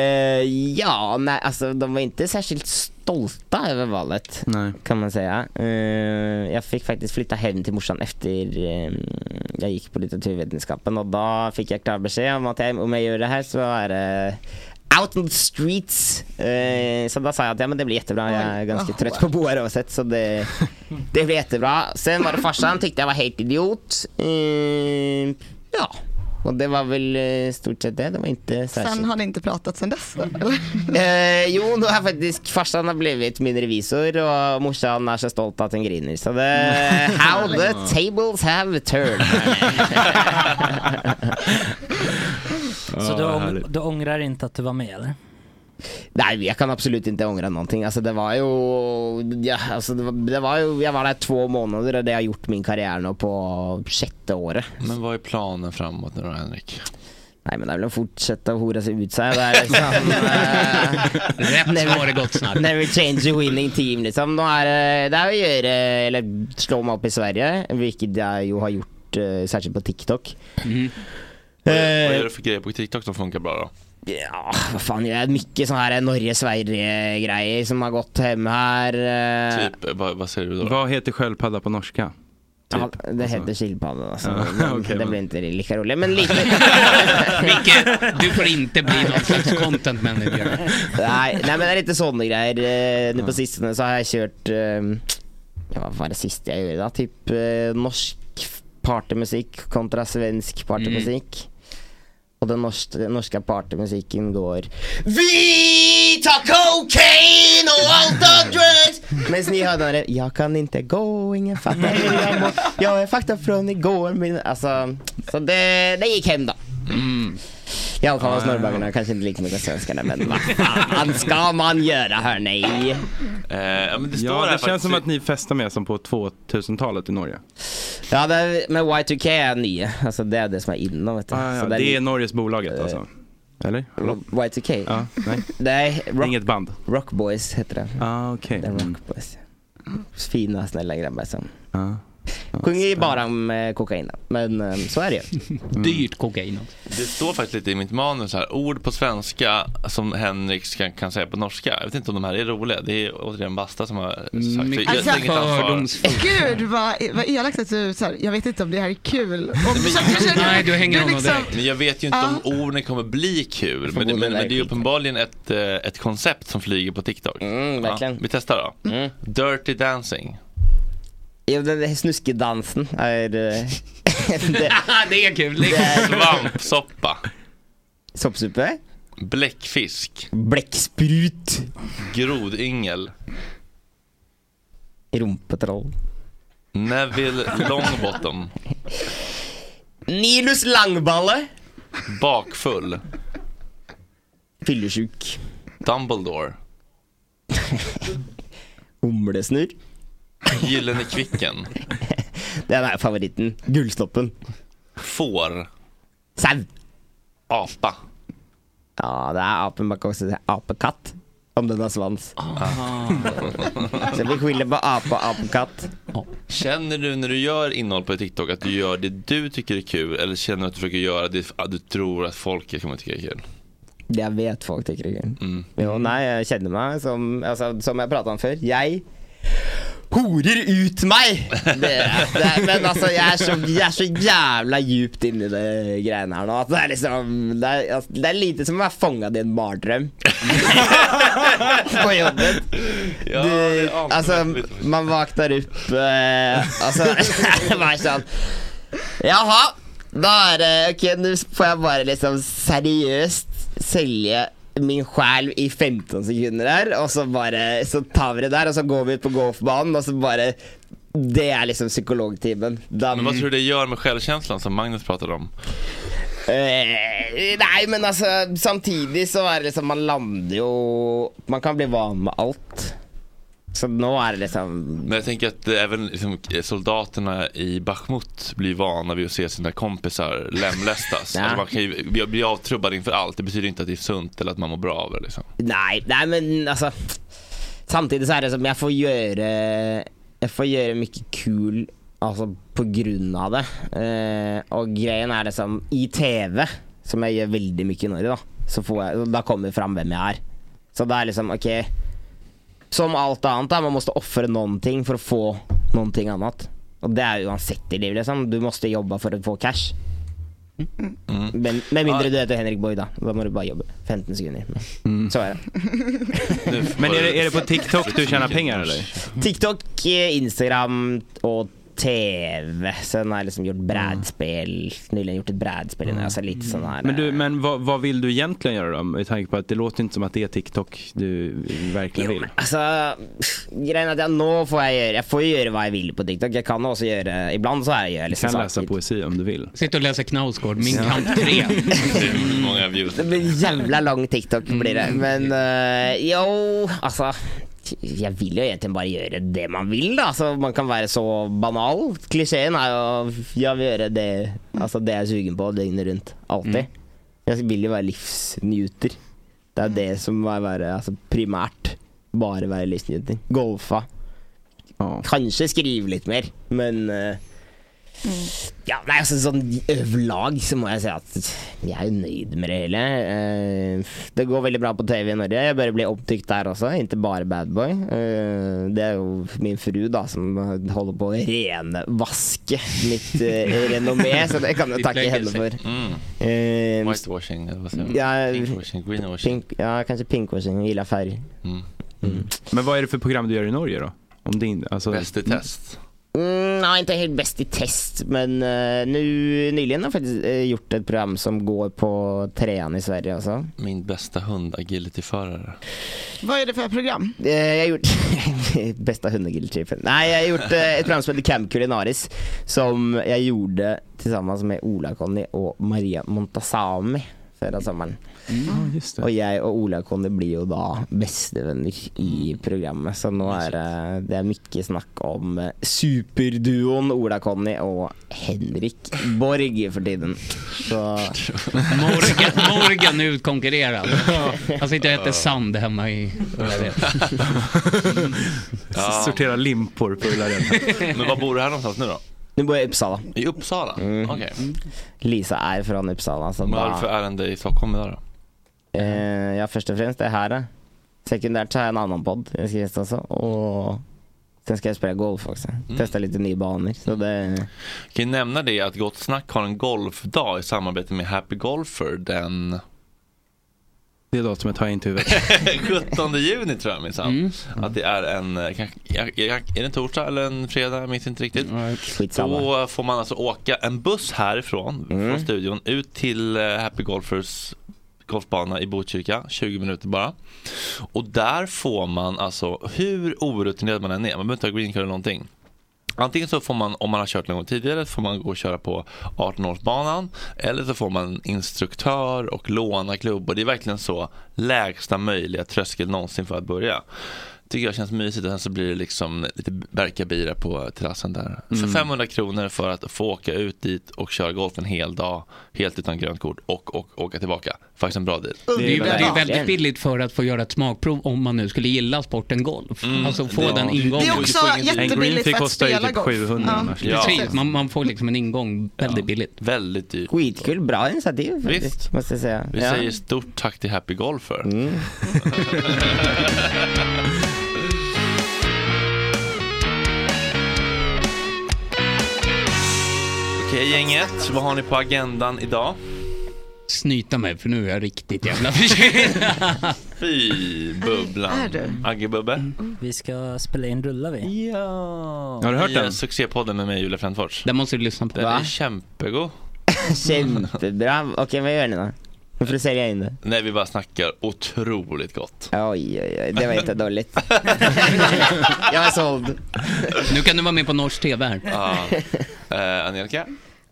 Q: ja, nej, alltså de var inte särskilt stolta över valet. Kan man säga. Eh, jag fick faktiskt flytta hem till morsan efter eh, jag gick på litteraturvetenskapen och då fick jag klar besked om att jag, om jag gör det här så är det Out on the streets! Eh, så då sa jag att ja, men det blir jättebra, jag är ganska
H: Wow.
Q: trött på boar oavsett så det, det blir jättebra. Sen var det farsan, tyckte jag var helt idiot. Eh, ja, och det var väl eh, stort sett det. Det var inte särskilt
F: Sen har ni inte pratat sen dess? Eller?
Q: Eh, jo, nu har faktiskt farsan har blivit min revisor och morsan är så stolt att hon griner. Så det, how the tables have turned. [laughs]
G: Så du, ång- du ångrar inte att du var med eller?
Q: Nej, jag kan absolut inte ångra någonting. Alltså, det var ju, ja, alltså, det var, det var ju, jag var där två månader och det har gjort min karriär nu på sjätte året.
C: Men vad är planen framåt nu då, Henrik?
Q: Nej men det är väl att fortsätta hora sig ut såhär. Det är liksom, eh,
H: Rätt
Q: never-
H: svar är gott snack.
Q: Never change a winning team liksom. Nå är det, det är att göra, eh, eller slå mig upp i Sverige, vilket jag ju har gjort eh, särskilt på TikTok.
F: Mm-hmm.
C: Vad
F: Eh,
C: vad gör du för grejer på TikTok som funkar bra då?
Q: Ja, vad fan, det är mycket sådana här Norge-Sverige-grejer som har gått hem här. eh,
C: Typ, vad, vad säger du då?
M: Vad heter sköldpadda på norska?
Q: Ja, det heter sillpadda alltså.
M: Ja, [laughs]
Q: Men
M: okej,
Q: det
M: men-
Q: blir inte lika roligt
M: [laughs]
Q: men lite. [laughs]
H: Micke, du får inte bli någon slags content manager.
Q: nej, nej men det är lite sådana grejer. Eh, Nu på sistone så har jag kört, eh, ja, vad var det sista jag gjorde då? Typ eh, norsk partymusik kontra svensk partymusik. Och den norska, den norska partymusiken går
A: Vi tar cocaine och allt av
Q: [laughs]
A: drugs
Q: Medan ni hör den där, jag kan inte gå, ingen fattar hur jag mår. Jag är fakta från igår. Min, alltså, så det, det gick hem då. [laughs] I alla fall hos norrbaggarna, kanske inte lika mycket svenskarna men vad fan ska man göra hörni?
C: men
Q: står
M: ja,
Q: här
M: det
Q: faktiskt.
M: känns som att ni festar mer som på 2000-talet i Norge.
Q: Ja det, men Y2K är nya, alltså det är det som är innan vet du.
M: Ah, ja,
Q: Så
M: det,
Q: li-
M: är Norges bolaget alltså? Eller?
Q: Y2K?
M: Ja, nej.
Q: Nej, rock,
M: Inget band?
Q: Rock Boys heter det.
M: Ah, okay.
Q: Det är Rock Boys. Fina snälla grabbar som
M: Ah,
Q: sjunger ju bara om eh, kokain då. men eh, så är det ju.
M: Mm.
H: Dyrt kokain
C: Det står faktiskt lite i mitt manus här, ord på svenska som Henrik kan, kan säga på norska. Jag vet inte om de här är roliga. Det är återigen Basta som har sagt så jag- jag
F: Alltså,
C: har inget ansvar.
F: Gud vad, vad elakt att du så här, jag vet inte om det här är kul. Och försöker- försöker- du liksom-
C: Men jag vet ju inte om orden kommer bli kul. Men, det- men, men det är ju uppenbarligen ett, eh, ett Mm, koncept som flyger på TikTok. Mm.
Q: verkligen.
C: [laughs] vi testar då. Dirty dancing.
Q: Jo, den där snuskedansen är... eh,
C: [laughs]
H: det, är kul. Det är kul.
P: Svampsoppa.
Q: Soppsuppe?
P: Bläckfisk.
Q: Bläcksprut.
P: Grodyngel.
Q: Rumpetroll.
P: Neville Longbottom.
Q: Nilus Langballe.
P: Bakfull.
Q: Fyllesjuk.
P: Dumbledore.
Q: Humlesnurr.
P: Gyllene Kvicken.
Q: Den är favoriten. Gullsnoppen.
P: Får.
Q: Sau.
P: Apa.
Q: Ja, det är apen. Man kan också säga apekatt. Om den har svans. Så vi skiljer på apa och apekatt.
P: Känner du när du gör innehåll på TikTok att du gör det du tycker är kul eller känner du att du försöker göra det att du tror att folk kommer tycka är kul?
Q: Jag vet folk tycker det är kul. Jo, nej, jag känner mig som, alltså, som jag pratade om förr. Jag horer ut mig! Det, det, men alltså jag är, så, jag är så jävla djupt inne i det grejen här nu. Att det, är liksom, det, är, alltså, det är lite som att vara fångad i en mardröm. [laughs] På jobbet. Du, alltså, man vaknar upp, eh, alltså, [laughs] bara sånn Jaha, da er det Ok, nå får jeg bare liksom seriøst selge min sjel i 15 sekunder her, og så bare Så tar vi det der, og så går vi ut på golfbanen, og så bare Det er liksom psykologtimen. Da
P: Men vad tror du det gör med självkänslan som Magnus pratade om?
Q: Eh, nei, men altså, samtidig så er det liksom Man lander jo Man kan bli van med alt. Så nå er det liksom
P: Men jag tänker att eh, även liksom, eh, soldaterna i Bachmut blir vana vid att se sina kompisar lemlästas.
Q: [laughs] Ja.
P: alltså man kan ju bli- bli avtrubbad inför allt. Det betyder inte att det är sunt eller att man mår bra av det. Liksom.
Q: Nei, nei, men altså Samtidig så er det som jeg får gjøre Jeg får gjøre mye kul Altså på grunn av det eh, Og greien er liksom I TV, som jeg gjør veldig mye i Norge da Så får jeg, da kommer det fram hvem jeg er Så det er liksom, ok Som allt annat, da, man måste offra någonting för att få någonting annat. Och det är ju uansett i livet. Liksom. Du måste jobba för att få cash. Men, med mindre du heter Henrik Boy, då. Då måste du bara jobba 15 sekunder. Så är det.
M: Men är det, är det på TikTok du tjänar pengar eller?
Q: TikTok, eh, Instagram och TV. Sen har jag liksom gjort brädspel. Nyligen gjort ett brädspel. Mm. Alltså lite sån här.
M: Men, du, men vad, vad vill du egentligen göra då? Med tanke på att det låter inte som att det är TikTok du verkligen vill.
Q: Altså, Alltså, grejen er at jeg, nå får jeg gjøre Jeg får jo gjøre hva jeg vil på TikTok. Jeg kan også gjøre Iblant så er jeg
M: Du
Q: liksom
M: kan läsa poesi om du vill.
H: Sitt och läsa Knausgård, Min
Q: Ja.
H: kamp
M: [laughs]
H: 3.
P: Hur många views?
Q: Det blir en jävla lång TikTok blir det. Men eh, jo, alltså. Jag vill ju egentligen bara göra det man vill då. Alltså, man kan vara så banal. Klichén är ju jag vill göra det, alltså, det jag är sugen på dygnet runt. Alltid. Jag vill ju vara livsnjuter. Det är det som är vara, alltså, primärt. Bara vara livsnjuter. Golfa. Kanske skriva lite mer, men eh, ja, nei, altså sånn Øverlag så må jeg si at jeg er jo nøyd med det hele. Eh, det går veldig bra på TV i Norge. Jeg bør bli opptykt der også, ikke bare bad boy. Eh, det er jo min fru da som holder på å renvaske mitt uh, renommé, så det [laughs] kan jeg takke henne for.
P: Mm.
Q: Eh, [laughs]
P: Whitewashing, eller vad säger man?
Q: ja,
P: Pinkwashing, greenwashing.
Q: pink, ja, kanskje pinkwashing. Gillar färg.
M: Men vad är det för program du gör i Norge då? Om din, alltså... Bäst
P: i test.
Q: Mm, nej, inte helt bäst i test, men eh, nu, nyligen har jag faktiskt eh, gjort ett program som går på trean i Sverige alltså. också.
P: Min bästa hund, agilityförare.
F: Vad är det för program?
Q: Eh, Jag har gjort [laughs] bästa hundagiltrippen. Nej, jag har gjort eh, ett program som heter Camp Culinaris som jag gjorde tillsammans med Ola-Conny och Maria Montazami förra sommaren. Och jag och Ola-Conny blir ju då bästa vänner i programmet. Så nu är eh, det, det är mycket snack om eh, superduon Ola-Conny och Henrik Borg för tiden. Så...
H: Morgan,
C: [laughs]
H: Morgan är utkonkurrerad. Han sitter och äter sand hemma
C: [laughs]
H: i Ullared.
P: [laughs] Ja.
M: Sortera limpor på Ullared.
P: Men var bor du här någonstans nu då?
Q: Nu bor jag i Uppsala.
P: I Uppsala? Okej.
Q: Mm. Lisa är från Uppsala. Så
P: Vad har
Q: da-
P: du för ärende i Stockholm idag då?
Q: Eh, ja, först och främst det här. eh. Sekundärt så har jag en annan podd jag ska gästa också. Och sen ska jag spela golf också.
P: Mm.
Q: Testa lite nya banor. Så det...
P: Kan ju nämna det att Gott Snack har en golfdag i samarbete med Happy Golfer den
M: Det datumet har jag inte i
C: [laughs]
M: huvudet.
C: 17 juni tror jag minsann. Att det är en, eh, kanske- jag- jag- är det en torsdag eller en fredag? Jag minns inte riktigt.
Q: Skitsamma.
C: Då får man alltså åka en buss härifrån, från studion, ut till eh, Happy Golfers golfbana i Botkyrka, 20 minuter bara. Och där får man alltså, hur orutinerad man än är, man behöver inte ha green card eller någonting. Antingen så får man, om man har kört någon gång tidigare, får man gå och köra på 18-årsbanan. Eller så får man instruktör och låna klubbor. Det är verkligen så lägsta möjliga tröskel någonsin för att börja. Tycker jag känns mysigt och sen så blir det liksom lite berkabira på terrassen där.
P: Mm.
C: För 500 kronor för att få åka ut dit och köra golf en hel dag helt utan grönt kort och, och åka tillbaka. Faktiskt en bra deal.
H: Det är, ju- det är väldigt billigt för att få göra ett smakprov om man nu skulle gilla sporten golf.
C: Mm,
H: alltså få
C: det-
H: den ingången.
C: Det är också En jättebilligt green fee för att kostar ju spela typ golf. 700 Ja. annars. Ja.
H: Precis, man, man får liksom en ingång väldigt billigt.
C: Väldigt dyrt.
Q: Skitkul, bra initiativ faktiskt.
C: Visst.
Q: Måste jag säga.
C: Vi
Q: Ja.
C: säger stort tack till Happy Golfer. [laughs] Okej gänget, vad har ni på agendan
H: [laughs]
C: idag?
H: Snyta mig för nu är jag riktigt jävla [laughs] förkyld.
C: Fy bubblan.
H: Är du? Mm.
C: Aggebubbe.
G: Vi ska spela in Rulla vi.
C: Ja. I, eh, Succépodden med mig Julia Frändfors.
H: Den måste du lyssna på.
C: Den
Q: Va?
H: [laughs]
C: är kämpegod. Mm.
Q: Kämpebra. Okej, vad gör ni då? Nu får du sälja in det.
C: Nej, vi bara snackar otroligt gott.
Q: Oj, oj, oj. Det var
C: [laughs]
Q: inte dåligt. jag är såld.
H: Nu kan du vara med på norsk TV här.
C: Ja. Eh, Angelica?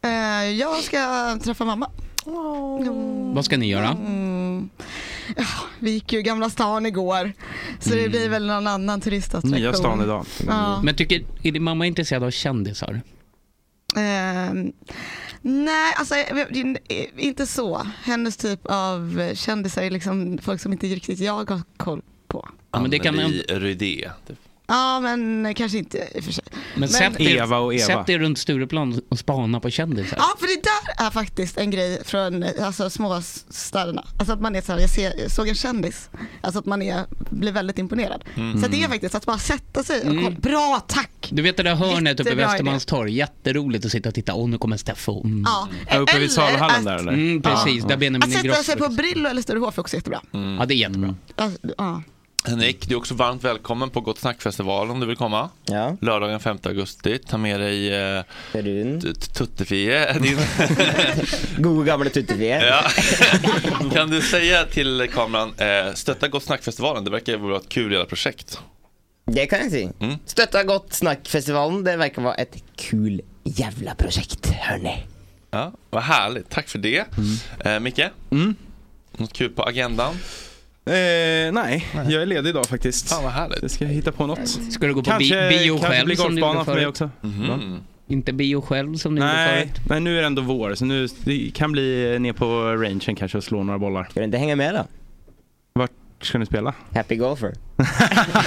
F: Eh, jag ska träffa mamma.
H: Vad ska ni göra?
F: Mm. Ja, vi gick ju Gamla stan igår, så det blir väl någon annan turistattraktion. Ja.
H: Mm. Men tycker, är din mamma intresserad av kändisar?
F: Ehm, nej, alltså eh, inte så. Hennes typ av kändisar är liksom folk som inte riktigt jag har koll på.
H: Ja, men det kan-
C: Anneli Rydé.
F: Ja, men kanske inte i och för sig.
H: Men, sätt, dig, sätt dig runt Stureplan och spana på kändisar.
F: Ja, för det där är faktiskt en grej från eh, alltså, småstäderna. Alltså att man är så här, jag ser, jag såg en kändis. Alltså att man är, blir väldigt imponerad.
H: Mm.
F: Så att det är faktiskt att bara sätta sig och
H: Mm.
F: kolla. Bra, tack!
H: Du vet det där hörnet uppe vid
F: Jättebra
H: Västermalmstorg, jätteroligt att sitta och titta. Åh, nu kommer Steffo. Mm.
F: Ja, Ja, uppe vid eller Saluhallen att- där, eller?
H: Mm, precis,
F: Ja.
H: där Benjamin
F: Att sätta sig
H: Ingrosso.
F: på Brillo eller Sturehof är också jättebra.
H: Ja, det är jättebra.
F: Alltså, ja.
C: Mm. Henrik, du är också varmt välkommen på Gott Snack-festivalen om du vill komma.
Q: Ja.
C: Lördagen 5 augusti. Ta med dig eh,
Q: t-
C: Tuttefie. Din...
Q: God gamla tuttefie.
C: ja. [laughs] kan du säga till kameran, eh, stötta Gott Snack-festivalen. Det verkar vara ett kul jävla projekt. Mm.
Q: Det kan jag säga. Stötta Gott Snack-festivalen. Det verkar vara ett kul jävla projekt, hörni.
C: Ja, vad härligt, tack för det.
Q: Mm.
C: Eh, Micke, något kul på agendan?
M: Eh, nej, jag är ledig idag faktiskt.
C: Fan vad härligt.
M: Jag ska hitta på något.
H: Ska du gå på
M: kanske,
H: bi- bio
M: Kanske
H: själv
M: blir
H: som du gjorde
M: golfbanan för mig
H: förut?
M: också.
H: Mhm.
M: Va?
H: Inte bio själv som ni gjorde
M: Nej,
H: förut.
M: men nu är det ändå vår så nu det kan bli eh, ner på rangen kanske och slå några bollar. Ska
Q: du inte hänga med då?
M: Vart ska ni spela? [laughs]
Q: Happy Golfer.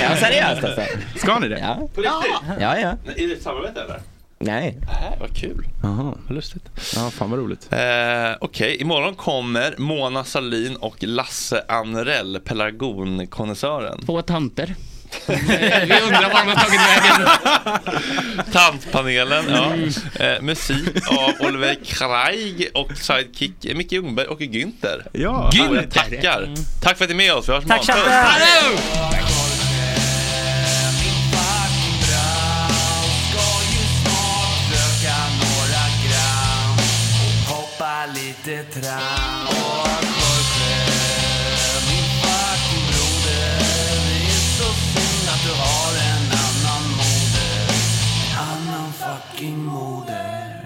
Q: Ja, seriöst alltså.
M: Ska ni det?
Q: Ja.
C: På riktigt?
Q: Ja, ja.
C: Är det ett samarbete eller?
Q: Nej.
C: Nej, vad kul.
M: Jaha,
C: vad lustigt.
M: Ja, fan vad roligt.
C: Eh, Okej, imorgon kommer Mona Salin och Lasse Anrell, pelargonkonnässören.
H: Två tanter. Vi undrar var de har tagit vägen.
C: Tantpanelen, ja. Eh, musik av Oliver Kraig och sidekick eh, Micke Ljungberg och Günther.
M: Ja.
C: Fan, jag
M: Günther.
C: Tackar. Tack för att ni är med oss. Vi hörs
A: Tack,
C: imorgon.
A: Chatte.
C: Puss.
A: Hallå! Lite tram och Jorge, min fucking broder Det är så synd att du har en annan moder En annan fucking moder